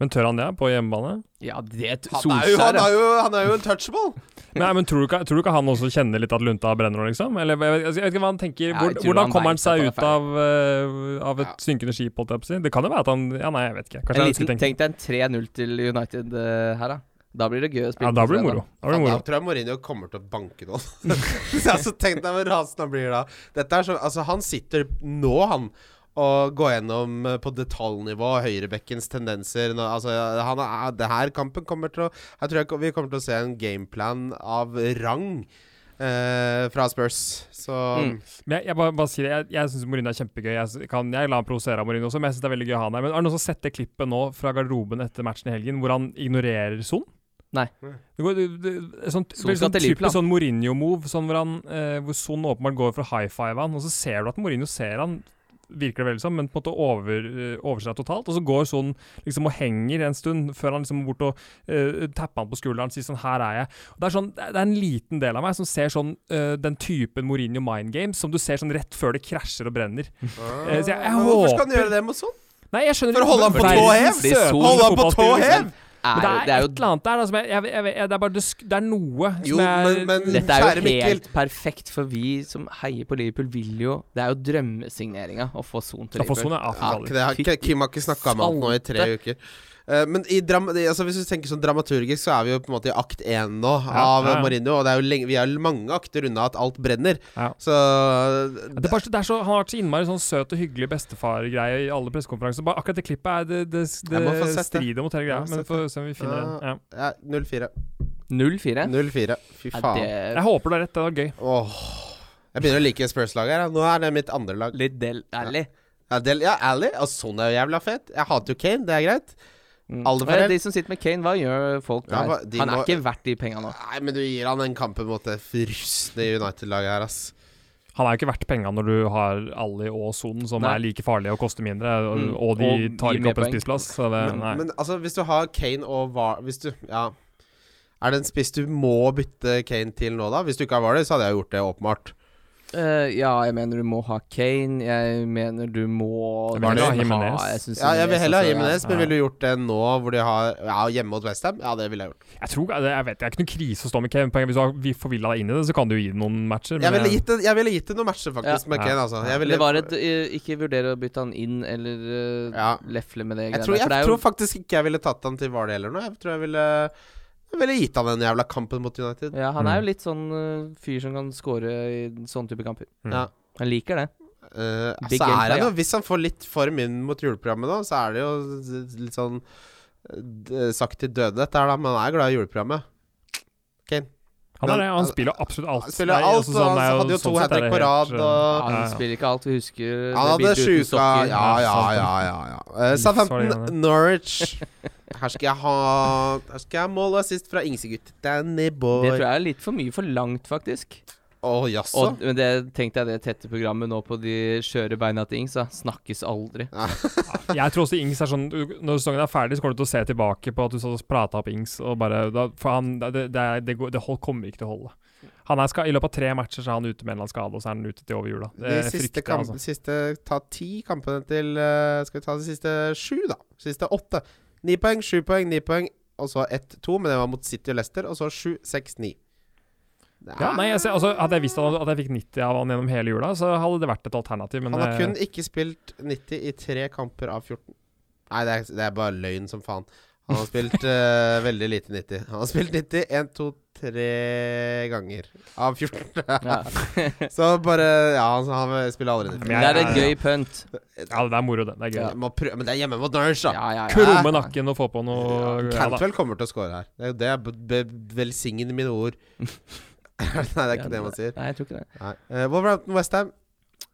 Speaker 4: Men tør han det på hjemmebane?
Speaker 2: Ja, det t-
Speaker 3: Han er jo,
Speaker 2: Solskjær,
Speaker 3: han
Speaker 2: ja.
Speaker 3: er jo, han er jo untouchable.
Speaker 4: Nei, men tror du, ikke, tror du ikke han også kjenner litt at lunta brenner nå, liksom? Eller jeg vet, jeg vet ikke hva han tenker
Speaker 2: Ja,
Speaker 4: hvor,
Speaker 2: jeg tror
Speaker 4: Hvordan
Speaker 2: han
Speaker 4: kommer
Speaker 2: vet at
Speaker 4: han seg
Speaker 2: han er
Speaker 4: ut av, eh, av et synkende skip, holdt jeg på å si? Det kan jo være at han Ja, nei, jeg vet ikke.
Speaker 2: En
Speaker 4: Kanskje han
Speaker 2: liten,
Speaker 4: skulle tenke
Speaker 2: tenk deg en 3-0 til United eh, her, da. Da blir det gøy å spille.
Speaker 4: Ja, da
Speaker 2: på
Speaker 4: blir det
Speaker 2: fredag.
Speaker 4: moro. Da blir
Speaker 3: Faen,
Speaker 4: det
Speaker 3: Da
Speaker 4: moro.
Speaker 3: tror jeg Mourinho kommer til å banke noen. så altså, Tenk deg hvor rasende han blir da. Dette er så, altså, han sitter nå, han, og går gjennom eh, på detaljnivå høyrebekkens tendenser. Nå, altså, han er, det her kampen kommer til å Jeg tror jeg, vi kommer til å se en gameplan av rang eh, fra Spurs. Så
Speaker 2: Mm.
Speaker 4: Men jeg, jeg bare, bare sier det, jeg, jeg syns Mourinho er kjempegøy. Jeg, s- kan, jeg lar han provosere av Mourinho også, men jeg syns det er veldig gøy å ha han her. Men har du noen som har sett det klippet nå fra garderoben etter matchen i helgen, hvor han ignorerer Son?
Speaker 2: Nei.
Speaker 4: Det går, det, det, det, sånn,
Speaker 2: Son skal
Speaker 4: veldig sånn
Speaker 2: til Liverpool,
Speaker 4: typisk sånn Mourinho-move, sånn hvor, han, eh, hvor Son åpenbart går for å high five han, og så ser du at Mourinho ser han virker det veldig som, men på en måte over, eh, overser det totalt. Og så går sånn liksom og henger en stund før han liksom bort og eh, tapper han på skulderen og sier sånn 'her er jeg'. Og det, er sånn, det er en liten del av meg som ser sånn eh, den typen Mourinho mind games som du ser sånn rett før det krasjer og brenner. Eh, så jeg, jeg
Speaker 3: Hvorfor skal han
Speaker 4: håper-
Speaker 3: gjøre det mot sånn?
Speaker 4: Nei, jeg skjønner
Speaker 3: For å holde han på
Speaker 4: Verdens
Speaker 3: tå hev?
Speaker 4: søteste
Speaker 3: Holde han på tå
Speaker 4: fotballspiller,
Speaker 3: hev?
Speaker 4: liksom.
Speaker 2: Er,
Speaker 4: Men det er,
Speaker 2: det er jo
Speaker 4: et eller annet der da, som jeg, jeg, jeg, vet- Det er bare det, sk- det er noe
Speaker 3: Jo,
Speaker 4: som
Speaker 3: men,
Speaker 4: jeg
Speaker 3: men
Speaker 2: Dette er jo
Speaker 3: kjære
Speaker 2: helt
Speaker 3: Mikkel.
Speaker 2: perfekt, for vi som heier på Liverpool, vil jo Det er jo drømmesigneringa å få Son til
Speaker 4: Ja, for
Speaker 2: Liverpool.
Speaker 4: sånn er
Speaker 3: Ja,
Speaker 4: Afrika.
Speaker 3: ikke det, har ikke, Kim har ikke snakka med han nå i tre
Speaker 2: Salte.
Speaker 3: uker. Eh, men i dram det- altså hvis du tenker sånn dramaturgisk, så er vi jo på en måte i akt én nå
Speaker 4: Ja,
Speaker 3: av
Speaker 4: ja, ja.
Speaker 3: Mourinho. Og det er jo lenge, vi er mange akter unna at alt brenner.
Speaker 4: Ja.
Speaker 3: Så
Speaker 4: Ja, Det er bare, så- det er så, han har vært så innmari sånn søt og hyggelig bestefargreie i alle pressekonferanser. Bare Akkurat det klippet er det, det,
Speaker 3: Jeg må få
Speaker 4: det
Speaker 3: sett det.
Speaker 4: strider mot hele
Speaker 3: Jeg må
Speaker 4: greia. Men
Speaker 3: sett
Speaker 4: vi får se om vi finner
Speaker 3: Ja.
Speaker 4: den. Ja.
Speaker 3: ja, 0-4.
Speaker 2: 0-4.
Speaker 3: 0-4. Fy faen.
Speaker 2: Er
Speaker 4: Jeg håper du har rett, det var gøy.
Speaker 3: Åh. Jeg begynner å like Spurs-laget her. ja. Nå er det mitt andre lag.
Speaker 2: det litt del ærlig?
Speaker 3: Ja, Del, ja Ali. Og sånn er jo jævla fett. Jeg hater jo Kane, det er greit.
Speaker 2: Mm.
Speaker 3: Alder for
Speaker 2: Eh,
Speaker 3: del.
Speaker 2: De som sitter med Kane, hva gjør folk
Speaker 3: Ja,
Speaker 2: der?
Speaker 3: hva- de
Speaker 2: Han er
Speaker 3: må-
Speaker 2: ikke verdt de penga nå.
Speaker 3: Nei, men du gir han den kampen mot det rustne United-laget her, ass.
Speaker 4: Han er jo ikke verdt penga når du har Ali og Son, som
Speaker 2: Nei.
Speaker 4: er like farlige og koster mindre, og,
Speaker 2: Mm.
Speaker 4: og de
Speaker 2: Og
Speaker 4: tar
Speaker 2: gir
Speaker 4: ikke
Speaker 2: mer
Speaker 4: opp en
Speaker 2: poeng.
Speaker 4: spissplass. Så det,
Speaker 3: Men,
Speaker 4: nei.
Speaker 3: men altså, hvis du har Kane og VAR Hvis du Ja. Er det en spiss du må bytte Kane til nå, da? Hvis du ikke har VAR, så hadde jeg gjort det, åpenbart.
Speaker 2: Eh, ja, jeg mener du må ha Kane. Jeg mener du må
Speaker 4: Jeg vil heller ha
Speaker 2: nesten
Speaker 4: Jimenez.
Speaker 2: jeg synes
Speaker 3: Ja, jeg vil heller ha
Speaker 2: også, ja.
Speaker 3: Jimenez, men
Speaker 4: Ja.
Speaker 3: ville du gjort det nå hvor de har Ja, hjemme mot Westham? Ja, det ville jeg gjort.
Speaker 4: jeg tror, jeg vet, det er ikke noen krise å stå med Kevin Poeng. Hvis du har vi forvilla deg inn i det, så kan du gi det noen
Speaker 3: Jeg
Speaker 4: matcher. men- eh,
Speaker 3: ville gitt det, jeg ville gitt det noen matcher, faktisk,
Speaker 4: Ja.
Speaker 3: med Kane, altså. Jeg ville,
Speaker 2: Det var et eh, Ikke vurdere å bytte han inn eller eh,
Speaker 3: Ja.
Speaker 2: lefle med det
Speaker 3: Jeg,
Speaker 2: greiene der, for
Speaker 3: tror, jeg
Speaker 2: det er jo-
Speaker 3: tror faktisk ikke jeg ville tatt han til VAR heller nå. Jeg tror jeg ville Jeg ville gitt han den jævla kampen mot United.
Speaker 2: Ja, han
Speaker 4: Mm.
Speaker 2: er jo litt sånn eh, fyr som kan score i sånne type kamper.
Speaker 4: Mm.
Speaker 3: Ja.
Speaker 2: Han liker det.
Speaker 3: Eh,
Speaker 2: Big
Speaker 3: så
Speaker 2: game
Speaker 3: er
Speaker 2: play,
Speaker 3: han jo,
Speaker 2: ja.
Speaker 3: Hvis han får litt form inn mot juleprogrammet nå, så er det jo litt sånn eh, d- sagt til døde, dette her, da. Men han er glad i juleprogrammet.
Speaker 4: Han er det, han
Speaker 3: Men-
Speaker 4: spiller absolutt alt.
Speaker 3: Han spiller
Speaker 4: Nei,
Speaker 3: alt,
Speaker 4: altså,
Speaker 3: og
Speaker 4: sånn er
Speaker 3: han hadde jo
Speaker 4: sånn
Speaker 3: to
Speaker 4: sett
Speaker 3: hat
Speaker 4: er
Speaker 3: trick
Speaker 4: det
Speaker 3: på
Speaker 4: helt,
Speaker 3: rad.
Speaker 4: uh,
Speaker 3: Og
Speaker 2: Han
Speaker 4: ja, ja.
Speaker 2: spiller ikke alt, vi husker det
Speaker 3: han hadde
Speaker 2: biter uten
Speaker 3: sjuka Ja,
Speaker 2: sokker.
Speaker 3: ja,
Speaker 4: Ja,
Speaker 3: ja. ja, ja. Eh,
Speaker 4: Livsfarlig, han er.
Speaker 3: Southampton, Norwich. Her skal jeg ha Her skal jeg ha mål og assist fra Ingsegutt. Danny
Speaker 2: Det
Speaker 3: Boy.
Speaker 2: tror jeg er litt for mye forlangt, faktisk.
Speaker 3: Å, jaså?
Speaker 2: Og men det tenkte jeg det tette programmet nå på de skjøre beina til Ings, da. Snakkes aldri.
Speaker 4: Jeg tror også Ings er sånn du- Når sesongen er ferdig, så kommer du til å se tilbake på at du satt og prata opp Ings. Og bare, da, for han, det, det, er- det, går- det hold, kommer ikke til å holde. Han er ska, I løpet av tre matcher så er han ute med en eller annen skade, og så er han ute til over jula.
Speaker 3: De
Speaker 4: Det
Speaker 3: siste,
Speaker 4: frykter jeg,
Speaker 3: kamp,
Speaker 4: altså.
Speaker 3: siste Ta ti kampene til eh, Skal vi ta de siste sju, da? Siste åtte. Ni poeng, sju poeng, ni poeng, og så ett, to, men det var mot City og Leicester. Og så sju, seks, ni. Det
Speaker 4: Ja,
Speaker 3: er-
Speaker 4: nei, jeg, ser- altså, hadde jeg visst at, at jeg fikk 90 av han gjennom hele jula, så hadde det vært et alternativ. Men
Speaker 3: han har
Speaker 4: eh,
Speaker 3: kun ikke spilt 90 i tre kamper av 14. Nei, det er, det er bare løgn som faen. Han har spilt eh, veldig lite 90. Han har spilt 90 én, to, tre ganger av 14.
Speaker 2: Ja.
Speaker 3: så bare Ja, han, han spiller aldri 90.
Speaker 4: Men
Speaker 2: Det
Speaker 4: jeg-
Speaker 2: er et
Speaker 4: ja,
Speaker 2: gøy pønt.
Speaker 4: Ja, det er moro, det. Det er gøy.
Speaker 3: Jeg Må prøve, men det er hjemme mot Norwich, da.
Speaker 2: Ja, ja, ja.
Speaker 4: Krumme nakken og få på noe
Speaker 3: Ja,
Speaker 4: ja, da.
Speaker 3: Cantwell kommer til å score her. Det er jo det jeg be- be- velsigner mine ord. Nei, det er ikke det man sier.
Speaker 2: Nei, jeg tror ikke det.
Speaker 3: Nei. Eh, Wolverhampton Westham.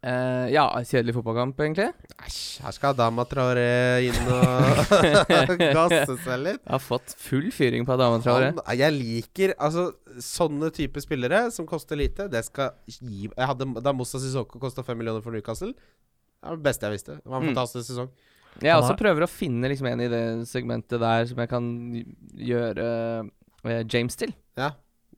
Speaker 2: Eh, ja, kjedelig fotballkamp, egentlig.
Speaker 3: Æsj, her skal Adama Traoré inn og gasse seg litt.
Speaker 2: Jeg har fått full fyring på Adama Traoré.
Speaker 3: Han, jeg liker altså sånne type spillere som koster lite. Det skal gi jeg hadde, Da Moussa Sissoko kosta fem millioner for Newcastle, det var det beste jeg visste. Det var en
Speaker 2: Mm.
Speaker 3: fantastisk sesong.
Speaker 2: Jeg
Speaker 4: Han
Speaker 2: også
Speaker 4: er-
Speaker 2: prøver å finne liksom en i det segmentet der som jeg kan gjøre eh, James til.
Speaker 3: Ja.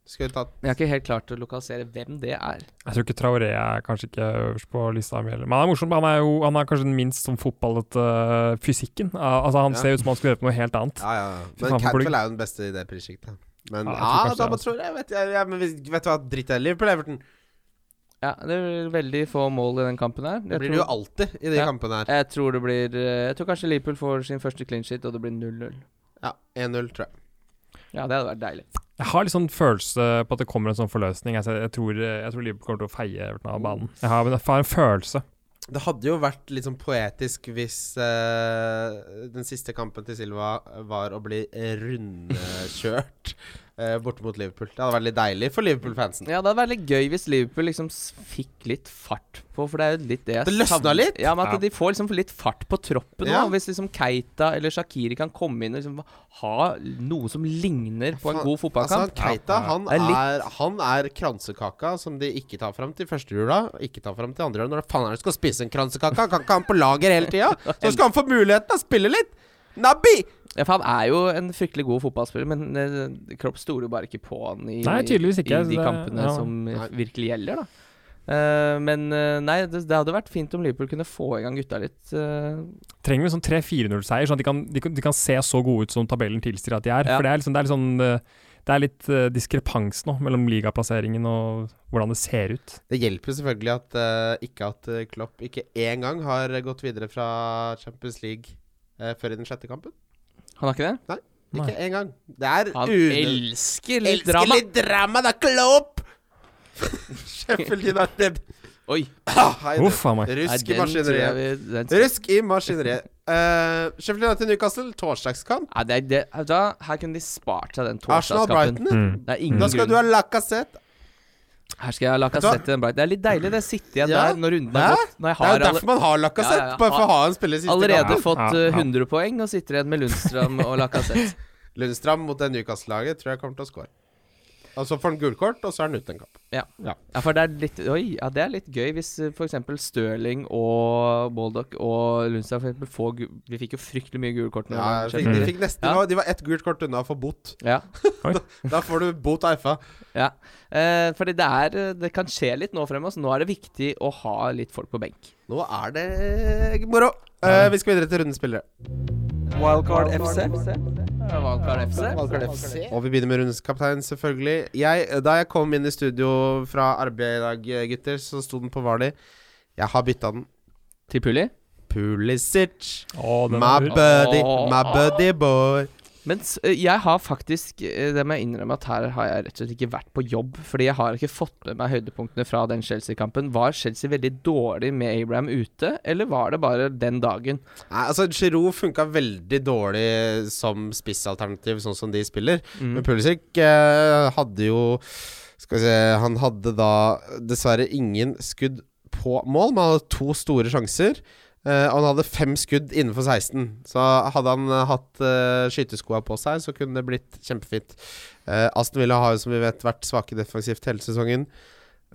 Speaker 3: Skulle tatt
Speaker 2: Men jeg har ikke helt klart å lokalisere hvem det er.
Speaker 4: Jeg tror ikke Traoré er kanskje ikke øverst på lista mi heller. Men han er morsom. Han er jo han er kanskje den minst som fotballet øh, fysikken. Al- altså Han
Speaker 3: Ja.
Speaker 4: ser ut som han skulle gjøre på noe helt annet.
Speaker 3: Ja, ja. ja.
Speaker 4: faen,
Speaker 3: Men
Speaker 4: for
Speaker 3: Cantwell
Speaker 4: plugg.
Speaker 3: er jo den beste i det prissjiktet. Men
Speaker 4: Ja, jeg
Speaker 3: ja,
Speaker 4: tror kanskje
Speaker 3: da
Speaker 4: det
Speaker 3: må tro jeg vet, jeg, jeg, men vet, vet du hva, dritt i det. Liverpool Everton.
Speaker 2: Ja, det er veldig få mål i den kampen her.
Speaker 3: Det
Speaker 2: Jeg
Speaker 3: blir det jo
Speaker 2: tror,
Speaker 3: alltid i de
Speaker 2: Ja.
Speaker 3: kampene her.
Speaker 2: jeg tror det blir eh, Jeg tror kanskje Liverpool får sin første clean sheet, og det blir 0-0.
Speaker 3: Ja, 1-0, tror jeg.
Speaker 2: Ja, det hadde vært deilig.
Speaker 4: Jeg har litt sånn følelse på at det kommer en sånn forløsning. Jeg, ser- jeg, tror, eh, jeg tror Liverpool kommer til å feie Everton av banen. Jeg har, jeg har en følelse.
Speaker 3: Det hadde jo vært litt sånn poetisk hvis eh, den siste kampen til Silva var å bli rundkjørt eh, borte mot Liverpool. Det hadde vært litt deilig for Liverpool-fansen.
Speaker 2: Ja, det hadde vært litt gøy hvis Liverpool liksom s- fikk litt fart på, for det er jo litt det jeg
Speaker 3: Det løsna
Speaker 2: savner.
Speaker 3: litt.
Speaker 2: Ja, men at
Speaker 4: Ja.
Speaker 2: de får liksom litt fart på troppen
Speaker 3: Ja.
Speaker 2: nå. Hvis liksom Keita eller Shakiri kan komme inn og liksom ha noe som ligner på en
Speaker 3: Faen,
Speaker 2: god
Speaker 3: Altså,
Speaker 2: fotballkamp.
Speaker 3: Keita han
Speaker 2: Det er litt-
Speaker 3: er, han er kransekaka som de ikke tar fram til første jula. Ikke tar fram til andre jula. Når faen er det skal spise en kransekake? Han Kan ikke ha han på lager hele tida? Så skal han få muligheten til å spille litt! Nabbi!
Speaker 2: Ja, for han er jo en fryktelig god fotballspiller, men eh, Klopp stoler jo bare ikke på han i,
Speaker 4: Nei, tydeligvis ikke,
Speaker 2: i
Speaker 4: så
Speaker 2: de
Speaker 4: det-
Speaker 2: kampene
Speaker 4: ja.
Speaker 2: som eh,
Speaker 3: Nei.
Speaker 2: virkelig gjelder, da. Eh, men eh, nei, det, det hadde vært fint om Liverpool kunne få i gang gutta litt. eh,
Speaker 4: Trenger vi en sånn 3-4-0-seier, sånn at de kan, de, kan- de kan se så gode ut som tabellen tilsier at de er.
Speaker 2: Ja.
Speaker 4: For det er, liksom, det er litt sånn eh, Det er litt eh, diskrepans nå mellom ligaplasseringen og hvordan det ser ut.
Speaker 3: Det hjelper jo selvfølgelig at eh, ikke at eh, Klopp ikke én gang har gått videre fra Champions League eh, før i den sjette kampen.
Speaker 2: han har ikke det?
Speaker 3: Ikke én gang. Det er
Speaker 2: Han
Speaker 3: unødvendig.
Speaker 2: elsker litt
Speaker 3: Elsker
Speaker 2: drama.
Speaker 3: litt drama, da, Klopp! Sheffield United.
Speaker 2: Oi.
Speaker 3: Ah, hei, det.
Speaker 4: Uff a meg.
Speaker 2: Nei,
Speaker 3: Rusk i
Speaker 2: den tror jeg
Speaker 3: maskineriet.
Speaker 2: vi- den-
Speaker 3: Rusk i maskineriet. Uh, Sheffield United Newcastle, torsdagskamp.
Speaker 2: Nei, det, det, vet du hva? her kunne de spart seg den
Speaker 3: Arsenal
Speaker 2: torsdagskampen.
Speaker 3: Brighton.
Speaker 4: Mm.
Speaker 2: Det er ingen
Speaker 3: Da skal
Speaker 2: grunn.
Speaker 3: du ha Lacassette.
Speaker 2: Her skal jeg la
Speaker 3: du hva?
Speaker 2: kassett til den Brighton. Det er litt deilig det å sitte igjen
Speaker 3: Ja.
Speaker 2: der når runden
Speaker 3: Hæ?
Speaker 2: er gått. Når jeg
Speaker 3: Det er jo
Speaker 2: har alle,
Speaker 3: derfor man har Lacassette.
Speaker 2: Ja, ja, ja.
Speaker 3: Bare for å ha en spiller i siste
Speaker 2: allerede
Speaker 3: kampen.
Speaker 2: fått
Speaker 4: Ja,
Speaker 2: eh,
Speaker 4: ja.
Speaker 2: 100 poeng og sitter igjen med Lundstrøm og la kassett.
Speaker 3: Lundstrand mot det Newcastle-laget tror jeg kommer til å score. Og så får han gult kort, og så er han ute en kamp.
Speaker 2: Ja, for det er litt Oi, ja, det er litt gøy hvis eh, for eksempel Stirling og Baldock og Lundstrøm for eksempel får gu- Vi fikk jo fryktelig mye gule kort. nå,
Speaker 3: Ja, de, fikk,
Speaker 2: skjønner
Speaker 3: de,
Speaker 2: du.
Speaker 3: fikk nesten,
Speaker 2: Ja.
Speaker 3: de var ett gult kort unna å få bot.
Speaker 2: Ja.
Speaker 3: Da får du bot av FA.
Speaker 2: ja. Eh, fordi det er eh, Det kan skje litt nå fremme. Så nå er det viktig å ha litt folk på benk.
Speaker 3: Nå er det moro. Eh, vi skal videre til rundens spillere.
Speaker 1: Wildcard FC.
Speaker 2: Valgkar FC.
Speaker 3: Og vi begynner med rundens kaptein, selvfølgelig. Jeg, da jeg kom inn i studio fra arbeid i dag, eh, gutter, så sto den på Vali. Jeg har bytta den.
Speaker 2: Til Puli.
Speaker 3: Pulisic,
Speaker 4: Å, den
Speaker 3: my
Speaker 4: er-
Speaker 3: buddy, my buddy boy.
Speaker 2: Men s- eh, jeg har faktisk eh, Det må jeg innrømme at her har jeg rett og slett ikke vært på jobb. Fordi jeg har ikke fått med meg høydepunktene fra den Chelsea-kampen. Var Chelsea veldig dårlig med Abraham ute, eller var det bare den dagen?
Speaker 3: Nei, altså, Giroud funka veldig dårlig som spissalternativ, sånn som de spiller.
Speaker 2: Mm.
Speaker 3: Men Pulisic eh, hadde jo Skal vi se Han hadde da dessverre ingen skudd på mål, men han hadde to store sjanser. eh, og han hadde fem skudd innenfor 16. Så hadde han eh, hatt eh, skyteskoa på seg, så kunne det blitt kjempefint. Eh, Aston Villa har jo som vi vet vært svake defensivt hele sesongen.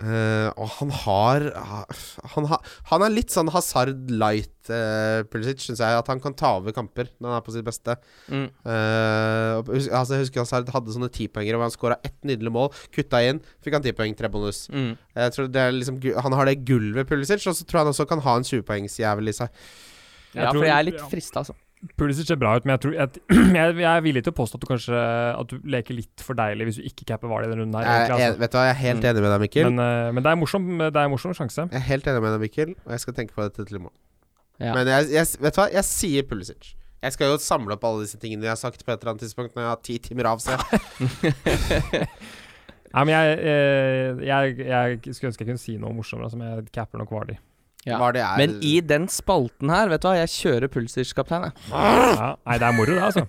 Speaker 3: Eh, og han har ah, han, har- han er litt sånn Hazard light, uh, Pulisic, syns jeg. At han kan ta over kamper når han er på sitt beste.
Speaker 2: Mm.
Speaker 3: Eh, og husk, altså, jeg husker Hazard hadde sånne tipoengere hvor han skåra ett nydelig mål, kutta inn, fikk han ti poeng, tre bonus.
Speaker 2: Mm.
Speaker 3: Jeg tror det er liksom, gu- han har det gulvet, Pulisic, og så tror jeg han også kan ha en 20-poengsjævel i seg.
Speaker 4: Jeg
Speaker 2: Ja,
Speaker 4: tror-
Speaker 2: for jeg er litt
Speaker 4: ja.
Speaker 2: frista, altså.
Speaker 4: Pulisic ser bra ut, men jeg, tror, jeg, jeg, jeg er villig til å påstå at du kanskje At du leker litt for deilig hvis du ikke capper Vali i den runden her.
Speaker 3: Jeg,
Speaker 4: egentlig,
Speaker 3: er- vet du hva, jeg er helt
Speaker 2: Mm.
Speaker 3: enig med deg,
Speaker 4: altså.
Speaker 3: Mikkel.
Speaker 4: men, eh, men det er en morsom, det er en morsom sjanse.
Speaker 3: Jeg er helt enig med deg, Mikkel, og jeg skal tenke på dette til i morgen.
Speaker 2: Ja.
Speaker 3: Men jeg, jeg, vet du hva, jeg sier Pulisic. Jeg skal jo samle opp alle disse tingene jeg har sagt på et eller annet tidspunkt når jeg har ti timer av seg.
Speaker 4: Nei, men jeg, eh, jeg, jeg skulle ønske jeg kunne si noe morsommere, altså, men jeg capper nok Vali.
Speaker 2: Ja.
Speaker 3: Hva det er.
Speaker 2: Men i den spalten her, vet du hva, jeg kjører Pulsic-kaptein, jeg.
Speaker 4: Ja, nei, det er moro, det, altså.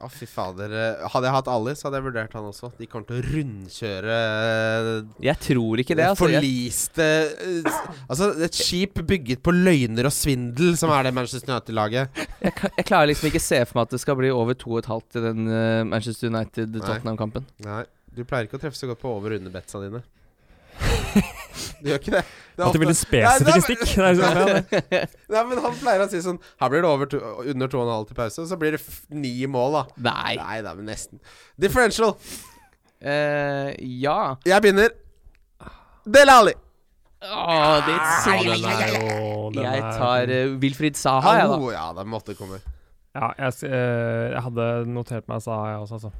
Speaker 3: Å, fy fader. eh, Hadde jeg hatt Ali, så hadde jeg vurdert han også. De kommer til å rundkjøre eh,
Speaker 2: Jeg tror ikke det, altså. Jeg,
Speaker 3: Forliste eh, Altså, et skip bygget på løgner og svindel, som er det Manchester United-laget.
Speaker 2: jeg, kan- jeg klarer liksom ikke se for meg at det skal bli over 2,5 i den eh, Manchester United-Tottenham-kampen.
Speaker 3: Nei, du pleier ikke å treffe så godt på over- og underbetsa dine. Du gjør ikke det. det er
Speaker 4: At det
Speaker 3: ofte-
Speaker 4: blir litt spesifikk
Speaker 3: Nei,
Speaker 4: stikk. Det er liksom, ja, det.
Speaker 3: Nei, men han pleier å si sånn Her blir det over to, under 2,5 til pause, så blir det f ni mål, da.
Speaker 2: Nei.
Speaker 3: Nei da, men nesten. Differential.
Speaker 2: Eh, ja.
Speaker 3: Jeg begynner. Del Ali.
Speaker 2: Åh, ditt
Speaker 4: Å, den
Speaker 2: sole
Speaker 4: er jo- den
Speaker 2: Jeg
Speaker 4: er-
Speaker 2: tar eh, Wilfried Saha, jeg, da.
Speaker 3: Au, ja, det måtte komme.
Speaker 4: Ja, jeg, s- eh, jeg hadde notert meg, sa jeg også, altså.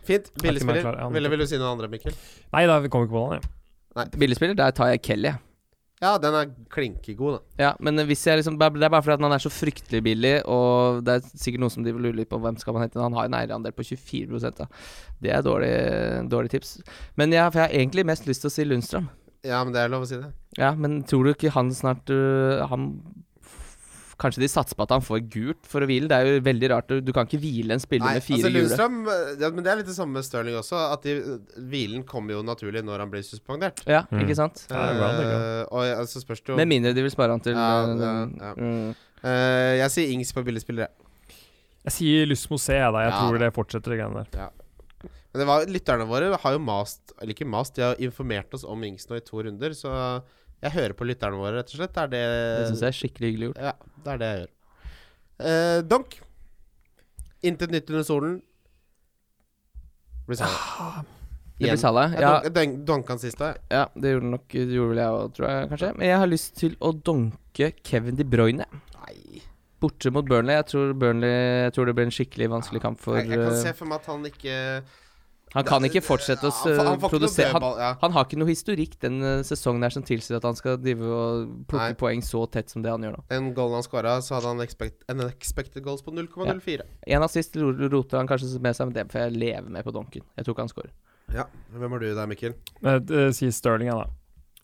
Speaker 3: Fint.
Speaker 4: ikke meg
Speaker 3: Billigspiller.
Speaker 4: klar, ja, men-
Speaker 3: Ville vil du si noe andre, Mikkel?
Speaker 4: Nei da, vi kom ikke på den. jeg.
Speaker 2: Billigspiller, der tar jeg Kelly. jeg.
Speaker 3: Ja, den er klinkegod, da.
Speaker 2: Ja, men hvis jeg liksom Det er bare fordi at han er så fryktelig billig, og det er sikkert noen som de vil lure litt på hvem skal man hente. Han har en eierandel på 24 da. Det er dårlig, dårlig tips. Men jeg, for jeg har egentlig mest lyst til å si Lundstrøm.
Speaker 3: Ja, men det er lov å si det.
Speaker 2: Ja, men tror du ikke han snart øh, Han f- Kanskje de satser på at han får gult for å hvile. Det er jo veldig rart. Du- Du kan ikke hvile en spiller
Speaker 3: Nei,
Speaker 2: med fire
Speaker 3: altså
Speaker 2: gule.
Speaker 3: Lundstrøm ja, Men det er litt det samme med Stirling også. At de, hvilen kommer jo naturlig når han blir suspendert.
Speaker 2: Ja,
Speaker 4: Mm.
Speaker 2: ikke sant?
Speaker 4: Ja, det er bra, det er
Speaker 3: Eh, og ja, så spørs det jo
Speaker 2: Med mindre de vil spare han til
Speaker 3: Ja,
Speaker 2: øh,
Speaker 3: ja,
Speaker 2: den-
Speaker 3: ja.
Speaker 2: mm.
Speaker 3: Eh, Jeg sier Ings på billigspillere.
Speaker 4: Jeg sier Lysmo C, jeg, da. Jeg
Speaker 3: Ja,
Speaker 4: tror
Speaker 3: da.
Speaker 4: det fortsetter, de greiene der.
Speaker 3: Men det var, lytterne våre har jo mast Eller ikke mast, de har informert oss om Ings nå i to runder, så jeg hører på lytterne våre, rett og slett. Det er det
Speaker 2: Det syns jeg er skikkelig hyggelig gjort.
Speaker 3: Ja, det er det jeg gjør. Eh, donk. Intet nytt under solen. Blir
Speaker 4: Ah,
Speaker 3: Salah.
Speaker 2: Det
Speaker 3: Igjen.
Speaker 2: blir Salah.
Speaker 3: Jeg
Speaker 2: Ja,
Speaker 3: donk- donk- donka han sist da. jeg.
Speaker 2: ja, det gjorde nok det gjorde vel jeg òg, tror jeg, kanskje. Men jeg har lyst til å donke Kevin De Bruyne.
Speaker 3: Nei.
Speaker 2: Borte mot Burnley. Jeg tror, Burnley, jeg tror det blir en skikkelig vanskelig kamp for
Speaker 3: jeg, jeg kan
Speaker 2: øh,
Speaker 3: se for meg at han ikke
Speaker 2: Han kan ikke fortsette å
Speaker 3: Ja, han får- han
Speaker 2: s-
Speaker 3: får ikke noe
Speaker 2: produsere han,
Speaker 3: dødball, ja.
Speaker 2: han har ikke noe historikk den eh, sesongen her som tilsier at han skal drive og plukke
Speaker 3: Nei.
Speaker 2: poeng så tett som det han gjør nå.
Speaker 3: Den goalen han skåra, så hadde han expect, en expected goals på 0,04.
Speaker 2: En assist ro- roter han kanskje med seg, men det får jeg leve med på donken. Jeg tror ikke han scorer.
Speaker 3: Ja. Hvem har du der, Mikkel?
Speaker 4: Men Jeg eh, sier Sterling, jeg, da.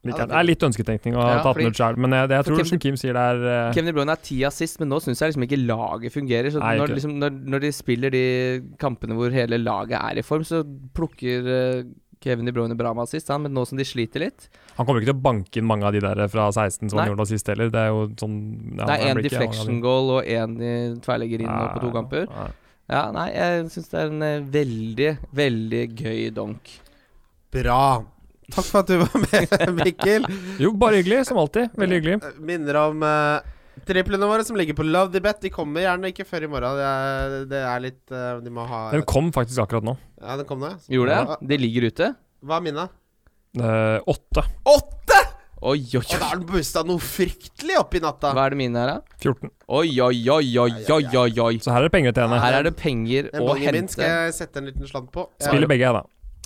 Speaker 3: Ja,
Speaker 4: Liker
Speaker 3: det
Speaker 4: han. Det er litt ønsketenkning å
Speaker 2: Ja,
Speaker 4: ta
Speaker 2: fordi-
Speaker 4: den ut sjøl, men jeg, det jeg
Speaker 2: For
Speaker 4: tror
Speaker 2: Kim-
Speaker 4: som Kim sier, det er eh,
Speaker 2: Kevin De Bruyne er ti assist, men nå syns jeg liksom ikke laget fungerer. Så når,
Speaker 4: Nei, ikke det.
Speaker 2: liksom, når, når de spiller de kampene hvor hele laget er i form, så plukker eh, Kevin De Bruyne bra med assist, han, men nå som de sliter litt
Speaker 4: Han kommer ikke til å banke inn mange av de der fra 16 som
Speaker 2: Nei.
Speaker 4: han gjorde nå sist heller. Det er jo sånn ja,
Speaker 2: Det
Speaker 4: han
Speaker 2: er én
Speaker 4: blir ikke- han
Speaker 2: deflection goal og én tverrlegger inn nå på to
Speaker 4: Nei,
Speaker 2: kamper.
Speaker 4: nei.
Speaker 2: Ja, nei, jeg syns det er en eh, veldig, veldig gøy donk.
Speaker 3: Bra. Takk for at du var med, Mikkel.
Speaker 4: Jo, bare hyggelig, som alltid. Veldig hyggelig.
Speaker 3: Eh, Minner om eh, triplene våre som ligger på Love the Bet. De kommer gjerne ikke før i morgen. Det er, det er litt eh, De må ha
Speaker 4: Den kom faktisk akkurat nå.
Speaker 3: Ja, den kom nå. ja.
Speaker 2: Gjorde
Speaker 3: Ja.
Speaker 2: det? De ligger ute?
Speaker 3: Hva er minna?
Speaker 4: Eh, åtte.
Speaker 3: Åtte!
Speaker 2: Oi, oi,
Speaker 3: Og da
Speaker 2: oi.
Speaker 3: har den busta noe fryktelig oppi natta.
Speaker 2: Hva er det mine her, da?
Speaker 4: 14.
Speaker 2: Oi, oi, oi, oi, oi, oi, oi.
Speaker 4: Så her er det penger til henne.
Speaker 2: Her er det penger å
Speaker 3: Den bongen min
Speaker 2: hente.
Speaker 3: skal jeg sette en liten slant på. Jeg
Speaker 4: Spiller begge, jeg,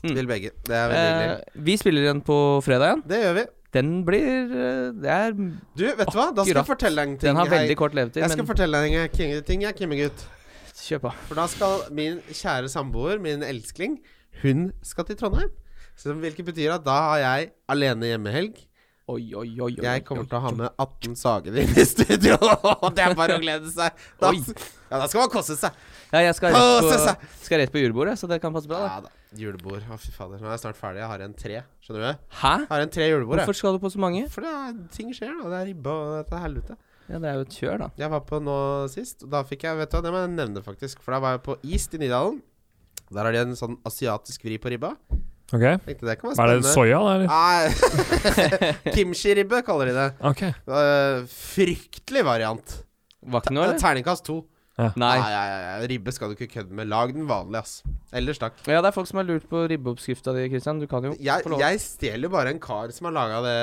Speaker 4: da.
Speaker 3: vil begge. Det er veldig
Speaker 2: Eh,
Speaker 3: hyggelig.
Speaker 2: vi spiller igjen på fredag igjen.
Speaker 3: Det gjør vi.
Speaker 2: Den blir eh, Det er Den
Speaker 3: Du, vet du hva? Da skal jeg
Speaker 2: Akkurat.
Speaker 3: fortelle deg en ting.
Speaker 2: har
Speaker 3: hei.
Speaker 2: veldig kort levetid,
Speaker 3: jeg skal
Speaker 2: men
Speaker 3: fortelle deg en king- ting, jeg, Kimmegutt.
Speaker 2: kjøp av.
Speaker 3: For da skal min kjære samboer, min elskling, hun skal til Trondheim. Så, hvilket betyr at da har jeg alene hjemmehelg.
Speaker 2: Oi, oi, oi. oi
Speaker 3: Jeg kommer
Speaker 2: oi,
Speaker 3: til å ha
Speaker 2: oi.
Speaker 3: med 18 sager inn i studio. Og det er bare å glede seg. Da,
Speaker 2: Oi.
Speaker 3: ja, da skal man koste seg.
Speaker 2: Ja, jeg skal
Speaker 3: Å, se,
Speaker 2: rett,
Speaker 3: se.
Speaker 2: på, skal rett på julebordet, så det kan passe bra,
Speaker 3: Ja da. Julebord. Å, fy fader. Nå er jeg snart ferdig. Jeg har en tre. Skjønner du? Jeg
Speaker 2: da. Hæ?
Speaker 3: har en tre julebord. jeg.
Speaker 2: Hvorfor skal du på så mange?
Speaker 3: For det er, ting skjer, da. Det er ribba og dette helvete.
Speaker 2: Ja, det er jo et kjør, da.
Speaker 3: Jeg var på nå sist, og da fikk jeg Vet du hva, det må jeg nevne, faktisk. For da var jeg på East i Nydalen. Der har de en sånn asiatisk vri på ribba.
Speaker 4: Ok.
Speaker 3: Tenkte det kan være
Speaker 4: Hva er det
Speaker 3: spennende.
Speaker 4: soya, da? Eller?
Speaker 3: Nei, kimchi-ribbe kaller de det.
Speaker 4: Ok.
Speaker 3: Eh, fryktelig variant. Eh,
Speaker 2: Var ikke noe, eller?
Speaker 3: Terningkast to.
Speaker 2: Nei.
Speaker 3: Nei, nei, nei, ribbe skal du ikke kødde med. Lag den vanlig, ass. Ellers takk.
Speaker 2: Ja, det er folk som har lurt på ribbeoppskrifta di, Christian. Du kan jo
Speaker 3: Jeg,
Speaker 2: få lov.
Speaker 3: jeg stjeler jo bare en kar som har laga det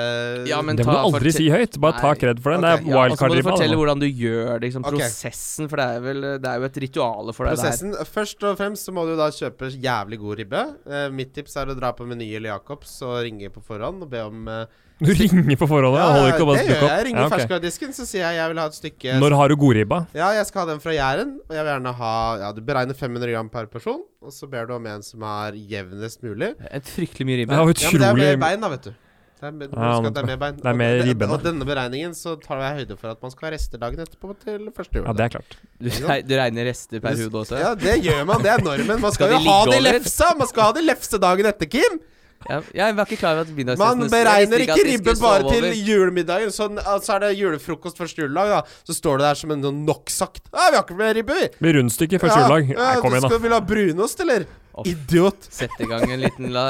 Speaker 2: Ja, men
Speaker 4: Det må du
Speaker 2: ta-
Speaker 4: aldri
Speaker 2: fortell-
Speaker 4: si høyt. Bare ta
Speaker 3: Nei.
Speaker 4: kred for den. Det
Speaker 2: Ja, og
Speaker 3: Ok,
Speaker 4: er
Speaker 2: så må du
Speaker 4: wildcard-ribba.
Speaker 2: fortelle
Speaker 4: altså.
Speaker 2: hvordan du gjør det, liksom,
Speaker 3: Ok.
Speaker 2: prosessen, for det er, vel, det er jo et ritual for deg der.
Speaker 3: prosessen. Først og fremst så må du da kjøpe jævlig god ribbe. Eh, mitt tips er å dra på Meny eller Jacobs og ringe på forhånd og be om eh,
Speaker 4: Du ringer på forholdet.
Speaker 3: Ja,
Speaker 4: holder ikke
Speaker 3: det
Speaker 4: å bare
Speaker 3: gjør
Speaker 4: dukke
Speaker 3: jeg.
Speaker 4: opp.
Speaker 3: Jeg ringer
Speaker 4: Ja, ok.
Speaker 3: ferskvaredisken, så sier jeg jeg vil ha et stykke
Speaker 4: Når har du godribba?
Speaker 3: Ja, jeg skal ha den fra Jæren, og jeg vil gjerne ha Ja, du beregner 500 gram per person, og så ber du om en som er jevnest mulig.
Speaker 2: Et fryktelig mye
Speaker 4: Det er
Speaker 2: ribbe.
Speaker 3: Ja,
Speaker 4: jo
Speaker 3: men det er
Speaker 4: utrolig
Speaker 3: mer bein, da, vet du. Det er, mer-
Speaker 4: Ja,
Speaker 3: husk at det er mer bein.
Speaker 4: det er mer
Speaker 3: og,
Speaker 4: ribbe, da.
Speaker 3: og denne beregningen så tar jeg høyde for at man skal ha rester dagen etterpå til første jul.
Speaker 4: Ja, det er klart.
Speaker 2: Du, reg- du regner rester per hode også?
Speaker 3: Ja, det gjør man. Det er normen. Man
Speaker 2: Skal
Speaker 3: skal,
Speaker 2: de
Speaker 3: jo ha
Speaker 2: ligge
Speaker 3: det i
Speaker 2: over?
Speaker 3: lefsa! Man skal ha det i lefse dagen etter, Kim!
Speaker 2: Ja, jeg var ikke klar over at
Speaker 3: Man
Speaker 2: middagsgjestene
Speaker 3: beregner
Speaker 2: jeg
Speaker 3: ikke
Speaker 2: visste at de
Speaker 3: ribbe
Speaker 2: skulle
Speaker 3: bare
Speaker 2: sove
Speaker 3: til
Speaker 2: over.
Speaker 3: julemiddagen. Sånn, ah, så er det julefrokost første juledag, da. Så står du der som en sånn nok-sagt. Ja, vi har ikke mer ribbe, vi!
Speaker 4: Blir rundstykke første juledag. Nei,
Speaker 3: ja,
Speaker 4: kom
Speaker 3: du
Speaker 4: igjen, da.
Speaker 3: skal, vil du ha brunost, eller?
Speaker 2: Off.
Speaker 3: Idiot.
Speaker 2: Sette i gang en liten la,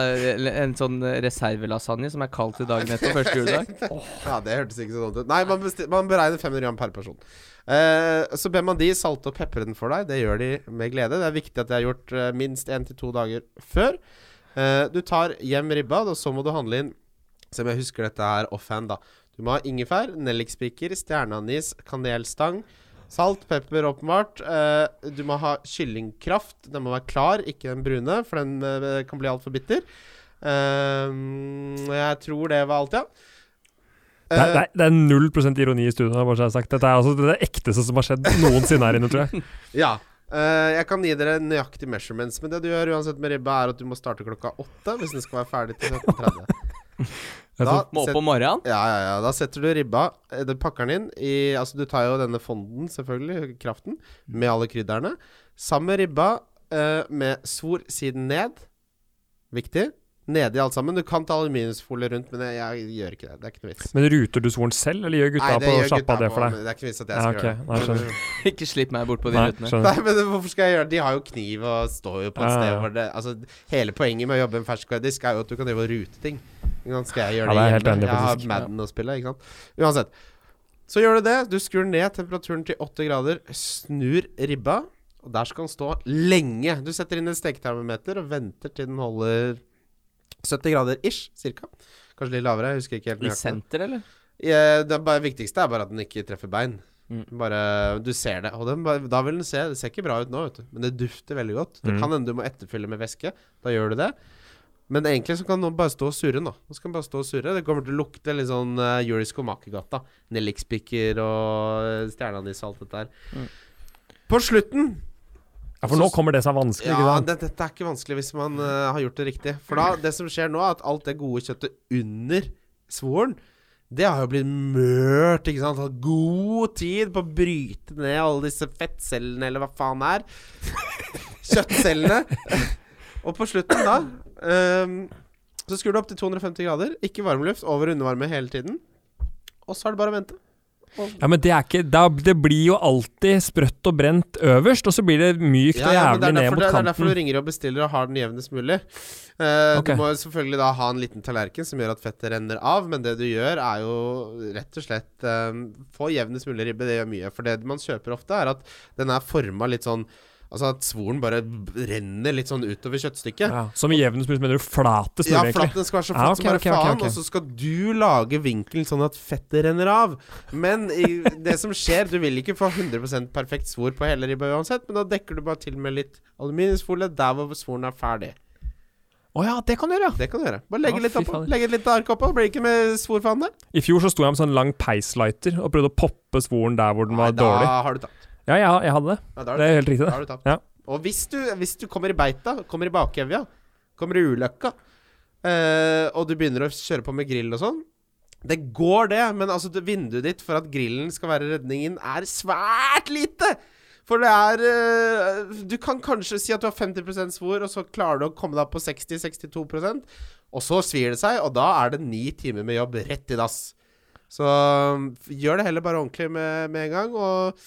Speaker 2: En sånn reservelasagne som er kald til dagen etter første juledag.
Speaker 3: Ja, det hørtes ikke sånn ut. Nei, man, besti- man beregner 500 gram per person. Eh, så ber man de salte og pepre den for deg. Det gjør de med glede. Det er viktig at de har gjort eh, minst én til to dager før. Eh, du tar hjem ribba, og så må du handle inn Se om jeg husker dette her offhand, da. Du må ha ingefær, nellikspiker, stjerneanis, kanelstang. Salt, pepper, åpenbart. Eh, du må ha kyllingkraft. Den må være klar, ikke den brune, for den eh, kan bli altfor bitter. Eh, jeg tror det var alt, ja.
Speaker 4: Det er,
Speaker 3: Eh,
Speaker 4: det er- det er null prosent ironi i studio. Bare så jeg har sagt. Dette er altså det ekteste som har skjedd noensinne her inne, tror jeg.
Speaker 3: Ja. Eh, jeg kan gi dere nøyaktig measurements, men det du gjør uansett med ribba, er at du må starte klokka åtte hvis den skal være ferdig til 17.30. Da
Speaker 2: Må
Speaker 3: set-
Speaker 2: opp om morgenen.
Speaker 3: ja, ja, ja. Da setter du ribba eh, Du pakker den inn i Altså, du tar jo denne fonden, selvfølgelig, kraften,
Speaker 4: Mm.
Speaker 3: med alle krydderne. Sammen med ribba, eh, med svor siden ned. Viktig. Nedi alt sammen. Du kan ta aluminiumsfolie rundt, men jeg, jeg gjør ikke det. Det er ikke noe vits.
Speaker 4: Men ruter du svoren selv, eller gjør gutta på sjappa det for deg?
Speaker 3: men det er ikke noe vits at jeg
Speaker 4: Ja,
Speaker 3: skal
Speaker 4: ok,
Speaker 3: gjøre det.
Speaker 4: Nei, skjønner.
Speaker 2: Ikke slipp meg bort på de
Speaker 4: Nei,
Speaker 2: rutene.
Speaker 4: skjønner.
Speaker 3: Nei, men hvorfor skal jeg gjøre det? De har jo kniv og står jo på et
Speaker 4: Sånn.
Speaker 3: sted
Speaker 4: Ja, ja, ja.
Speaker 3: hvor det Altså, hele poenget med å jobbe med ferskvaredisk er jo at du kan drive og rute ting. Ikke sant? Skal jeg
Speaker 4: Ja,
Speaker 3: gjøre
Speaker 4: det er
Speaker 3: det
Speaker 4: helt
Speaker 3: hjemme? Jeg
Speaker 4: enig,
Speaker 3: har
Speaker 4: faktisk.
Speaker 3: Madden å spille, ikke sant. Uansett. Så gjør du det. Du skrur ned temperaturen til 8 grader, snur ribba, og der skal den stå lenge. Du setter inn en steketermometer og venter til den holder 70 grader ish, cirka. Kanskje litt lavere, jeg husker ikke helt.
Speaker 2: I
Speaker 3: nøyaktig.
Speaker 2: senter, eller?
Speaker 3: Ja, Det er bare, viktigste er bare at den ikke treffer bein.
Speaker 2: Mm.
Speaker 3: Bare, Du ser det. Og den, bare- da vil den se Det ser ikke bra ut nå, vet du. men det dufter veldig godt. Det
Speaker 4: Mm.
Speaker 3: kan hende du må etterfylle med væske. Da gjør du det. Men egentlig så kan den bare stå og surre nå. Nå skal den bare stå og surre Det kommer til å lukte litt sånn uh, Juris Komakergata. Nellikspiker og eh, Stjernanis og alt dette her.
Speaker 2: Mm.
Speaker 3: På slutten
Speaker 4: Ja, for nå kommer det som er vanskelig, ikke
Speaker 3: ja,
Speaker 4: sant?
Speaker 3: det, dette er ikke vanskelig hvis man eh, har gjort det riktig. For da, det som skjer nå, er at alt det gode kjøttet under svoren, det har jo blitt mørt, ikke sant? Hatt god tid på å bryte ned alle disse fettcellene, eller hva faen det er. Kjøttcellene. Og på slutten, da ehm, Så skrur du opp til 250 grader. Ikke varmluft, over og undervarme hele tiden. Og så er det bare å vente.
Speaker 4: Ja, men det er ikke da, Det blir jo alltid sprøtt og brent øverst, og så blir det mykt og
Speaker 3: men det
Speaker 4: jævlig
Speaker 3: er
Speaker 4: ned
Speaker 3: derfor-
Speaker 4: mot
Speaker 3: Det er derfor du
Speaker 4: kanten.
Speaker 3: ringer og bestiller og har den jevnest mulig. Eh,
Speaker 4: Ok.
Speaker 3: Du må jo selvfølgelig da ha en liten tallerken som gjør at fettet renner av, men det du gjør, er jo rett og slett eh, Få jevnest mulig ribbe, det gjør mye. For det man kjøper ofte, er at den er forma litt sånn Altså at svoren bare b- renner litt sånn utover kjøttstykket.
Speaker 4: Ja, som i jevnest mulig, mener du flatest
Speaker 3: Ja,
Speaker 4: mulig,
Speaker 3: flatt,
Speaker 4: egentlig.
Speaker 3: den skal være så
Speaker 4: Ja,
Speaker 3: flatt
Speaker 4: ok,
Speaker 3: som bare
Speaker 4: ok, ok,
Speaker 3: faen,
Speaker 4: ok.
Speaker 3: og så skal du lage vinkelen sånn at fettet renner av. Men i, det som skjer, du vil ikke få 100 perfekt svor på hele ribba uansett, men da dekker du bare til med litt aluminiumsfolie der hvor svoren er ferdig.
Speaker 4: Å ja, det kan du gjøre, ja.
Speaker 3: Det kan du gjøre. Bare legge
Speaker 4: Å,
Speaker 3: litt
Speaker 4: fy
Speaker 3: oppå.
Speaker 4: fader.
Speaker 3: Legge et lite ark oppå. Blir det ikke med svorfaen der?
Speaker 4: I fjor så sto jeg med sånn lang peislighter og prøvde å poppe svoren der hvor den var
Speaker 3: Nei,
Speaker 4: dårlig.
Speaker 3: Da har du tapt.
Speaker 4: Ja, jeg, jeg hadde det.
Speaker 3: Ja, da har du,
Speaker 4: Det er helt riktig,
Speaker 3: da
Speaker 4: det.
Speaker 3: har du tapt.
Speaker 4: Ja.
Speaker 3: Og hvis du, hvis du kommer i beita, kommer i bakevja, kommer i ulykka, eh, og du begynner å kjøre på med grill og sånn Det går, det, men altså det, vinduet ditt for at grillen skal være redningen, er svært lite! For det er eh, Du kan kanskje si at du har 50 svor, og så klarer du å komme deg opp på 60-62 og så svir det seg, og da er det ni timer med jobb rett i dass. Så um, f- gjør det heller bare ordentlig med, med en gang. Og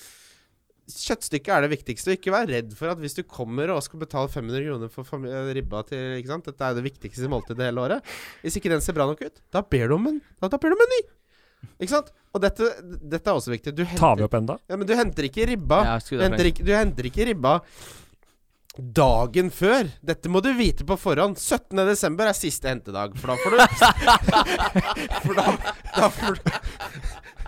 Speaker 3: kjøttstykket er det viktigste. Ikke vær redd for at hvis du kommer og skal betale 500 kroner for fami- eh, ribba til ikke sant? Dette er det viktigste måltidet hele året. Hvis ikke den ser bra nok ut, da ber du om en, da, da ber du om en ny! Ikke sant? Og dette, dette er også viktig. Du
Speaker 4: Tar vi
Speaker 3: henter,
Speaker 4: opp enda?
Speaker 3: ja, men du henter ikke ribba
Speaker 2: Ja,
Speaker 3: du
Speaker 2: skulle det
Speaker 3: henter,
Speaker 2: trengt.
Speaker 3: ikke, du henter ikke ribba dagen før. Dette må du vite på forhånd. 17. desember er siste hentedag, for da får du For da, da får du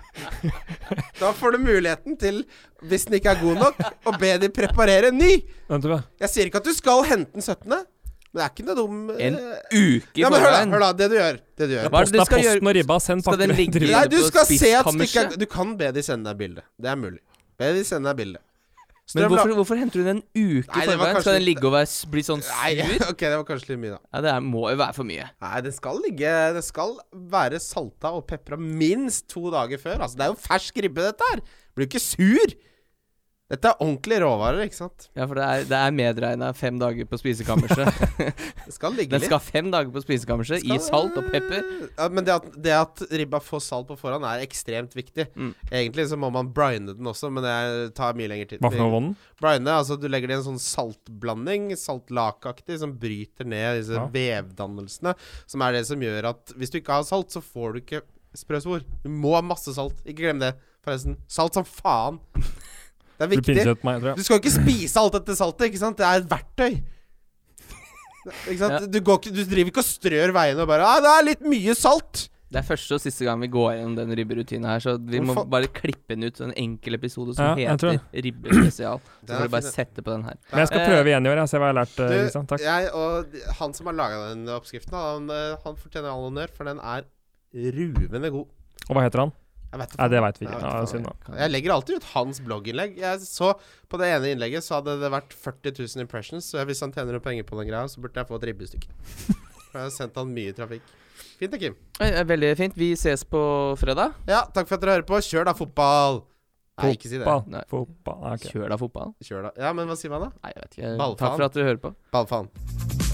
Speaker 3: Da får du muligheten til, hvis den ikke er god nok, å be de preparere en ny.
Speaker 4: Vent, du, ja.
Speaker 3: Jeg sier ikke at du skal hente den 17., men det er ikke noe dum
Speaker 2: En
Speaker 3: eh,
Speaker 2: uke i
Speaker 3: ja, men hør da,
Speaker 2: forveien.
Speaker 3: hør da, det du gjør. Det du gjør.
Speaker 2: Hva er det du
Speaker 4: Posten er
Speaker 2: skal gjøre?
Speaker 4: posten og ribba, send
Speaker 2: Skal den
Speaker 4: pakker.
Speaker 2: ligge
Speaker 4: Driver-
Speaker 3: Nei,
Speaker 2: inne
Speaker 3: du
Speaker 2: på
Speaker 3: skal se at
Speaker 2: spiskammerset?
Speaker 3: stykket er Du kan be de sende deg bilde. Det er mulig. Be de sende deg bilde.
Speaker 2: Men
Speaker 3: Strømla-
Speaker 2: hvorfor, hvorfor henter du den en uke
Speaker 3: Nei,
Speaker 2: i
Speaker 3: det var
Speaker 2: forveien? Skal
Speaker 3: kanskje
Speaker 2: den ligge og være, s- bli sånn
Speaker 3: Nei,
Speaker 2: sur?
Speaker 3: ok, det var kanskje litt mye, da.
Speaker 2: Ja, det er, må jo være for mye.
Speaker 3: Nei, den skal ligge Den skal være salta og pepra minst to dager før. Altså, det er jo fersk ribbe, dette her. Blir jo ikke sur. Dette er ordentlige råvarer, ikke sant?
Speaker 2: Ja, for det er, det er medregna fem dager på spisekammerset.
Speaker 3: Det skal ligge
Speaker 2: Den
Speaker 3: litt.
Speaker 2: skal ha fem dager på spisekammerset i
Speaker 3: Skal-
Speaker 2: salt og pepper.
Speaker 3: Ja, men det at, det at ribba får salt på forhånd, er ekstremt viktig.
Speaker 2: Mm.
Speaker 3: Egentlig så må man brine den også, men det er- tar mye lengre tid.
Speaker 4: Hva for noe, Vonden?
Speaker 3: Brine, altså du legger det i en sånn saltblanding, saltlakaktig, som bryter ned disse
Speaker 4: Ja.
Speaker 3: vevdannelsene. Som er det som gjør at hvis du ikke har salt, så får du ikke sprø svor. Du må ha masse salt. Ikke glem det, forresten. Salt som faen. Det er
Speaker 4: Du
Speaker 3: viktig.
Speaker 4: pinchet meg, tror jeg.
Speaker 3: Du skal jo ikke spise alt dette saltet, ikke sant? Det er et verktøy. Ikke sant?
Speaker 2: Ja.
Speaker 3: Du, går ikke, du driver ikke og strør veiene og bare ah, 'Det er litt mye salt'.
Speaker 2: Det er første og siste gang vi går gjennom den ribberutinen her, så vi må
Speaker 3: Hvorfor-
Speaker 2: bare klippe den ut. En enkel episode som
Speaker 4: Ja, jeg tror
Speaker 2: heter Ribbespesial.
Speaker 3: Den
Speaker 2: Så
Speaker 3: er
Speaker 2: får du bare
Speaker 3: fin, den.
Speaker 2: sette på den her.
Speaker 4: Men jeg skal
Speaker 2: Eh,
Speaker 4: prøve igjen i år, jeg. Se hva jeg har lært. eh,
Speaker 3: Du,
Speaker 4: Kristian. Takk.
Speaker 3: Jeg og de- han som har laga den oppskriften, han, eh, han fortjener all honnør, for den er ruvende god.
Speaker 4: Og hva heter han?
Speaker 3: Jeg vet det
Speaker 4: Nei, det veit vi
Speaker 3: Nei,
Speaker 4: ikke.
Speaker 3: jeg vet
Speaker 4: Ja,
Speaker 3: ikke.
Speaker 4: synd da.
Speaker 3: Jeg legger alltid ut hans blogginnlegg. Jeg så På det ene innlegget så hadde det vært 40 000 impressions, så hvis han tjener noen penger på den greia, så burde jeg få et ribbestykke. For Jeg har sendt han mye trafikk. Fint, det, Kim.
Speaker 2: Eh, eh, Veldig fint. Vi ses på fredag.
Speaker 3: Ja, takk for at dere hører på. Kjør da, fotball! Nei, ikke si det.
Speaker 4: Fotball.
Speaker 2: Nei.
Speaker 4: Fotball. Ah, ok.
Speaker 2: Kjør da fotball.
Speaker 3: Kjør da. Ja, men hva sier man da?
Speaker 2: Nei, jeg vet ikke.
Speaker 3: Ballfaen.
Speaker 2: Takk for at du hører på.
Speaker 3: Ballfaen.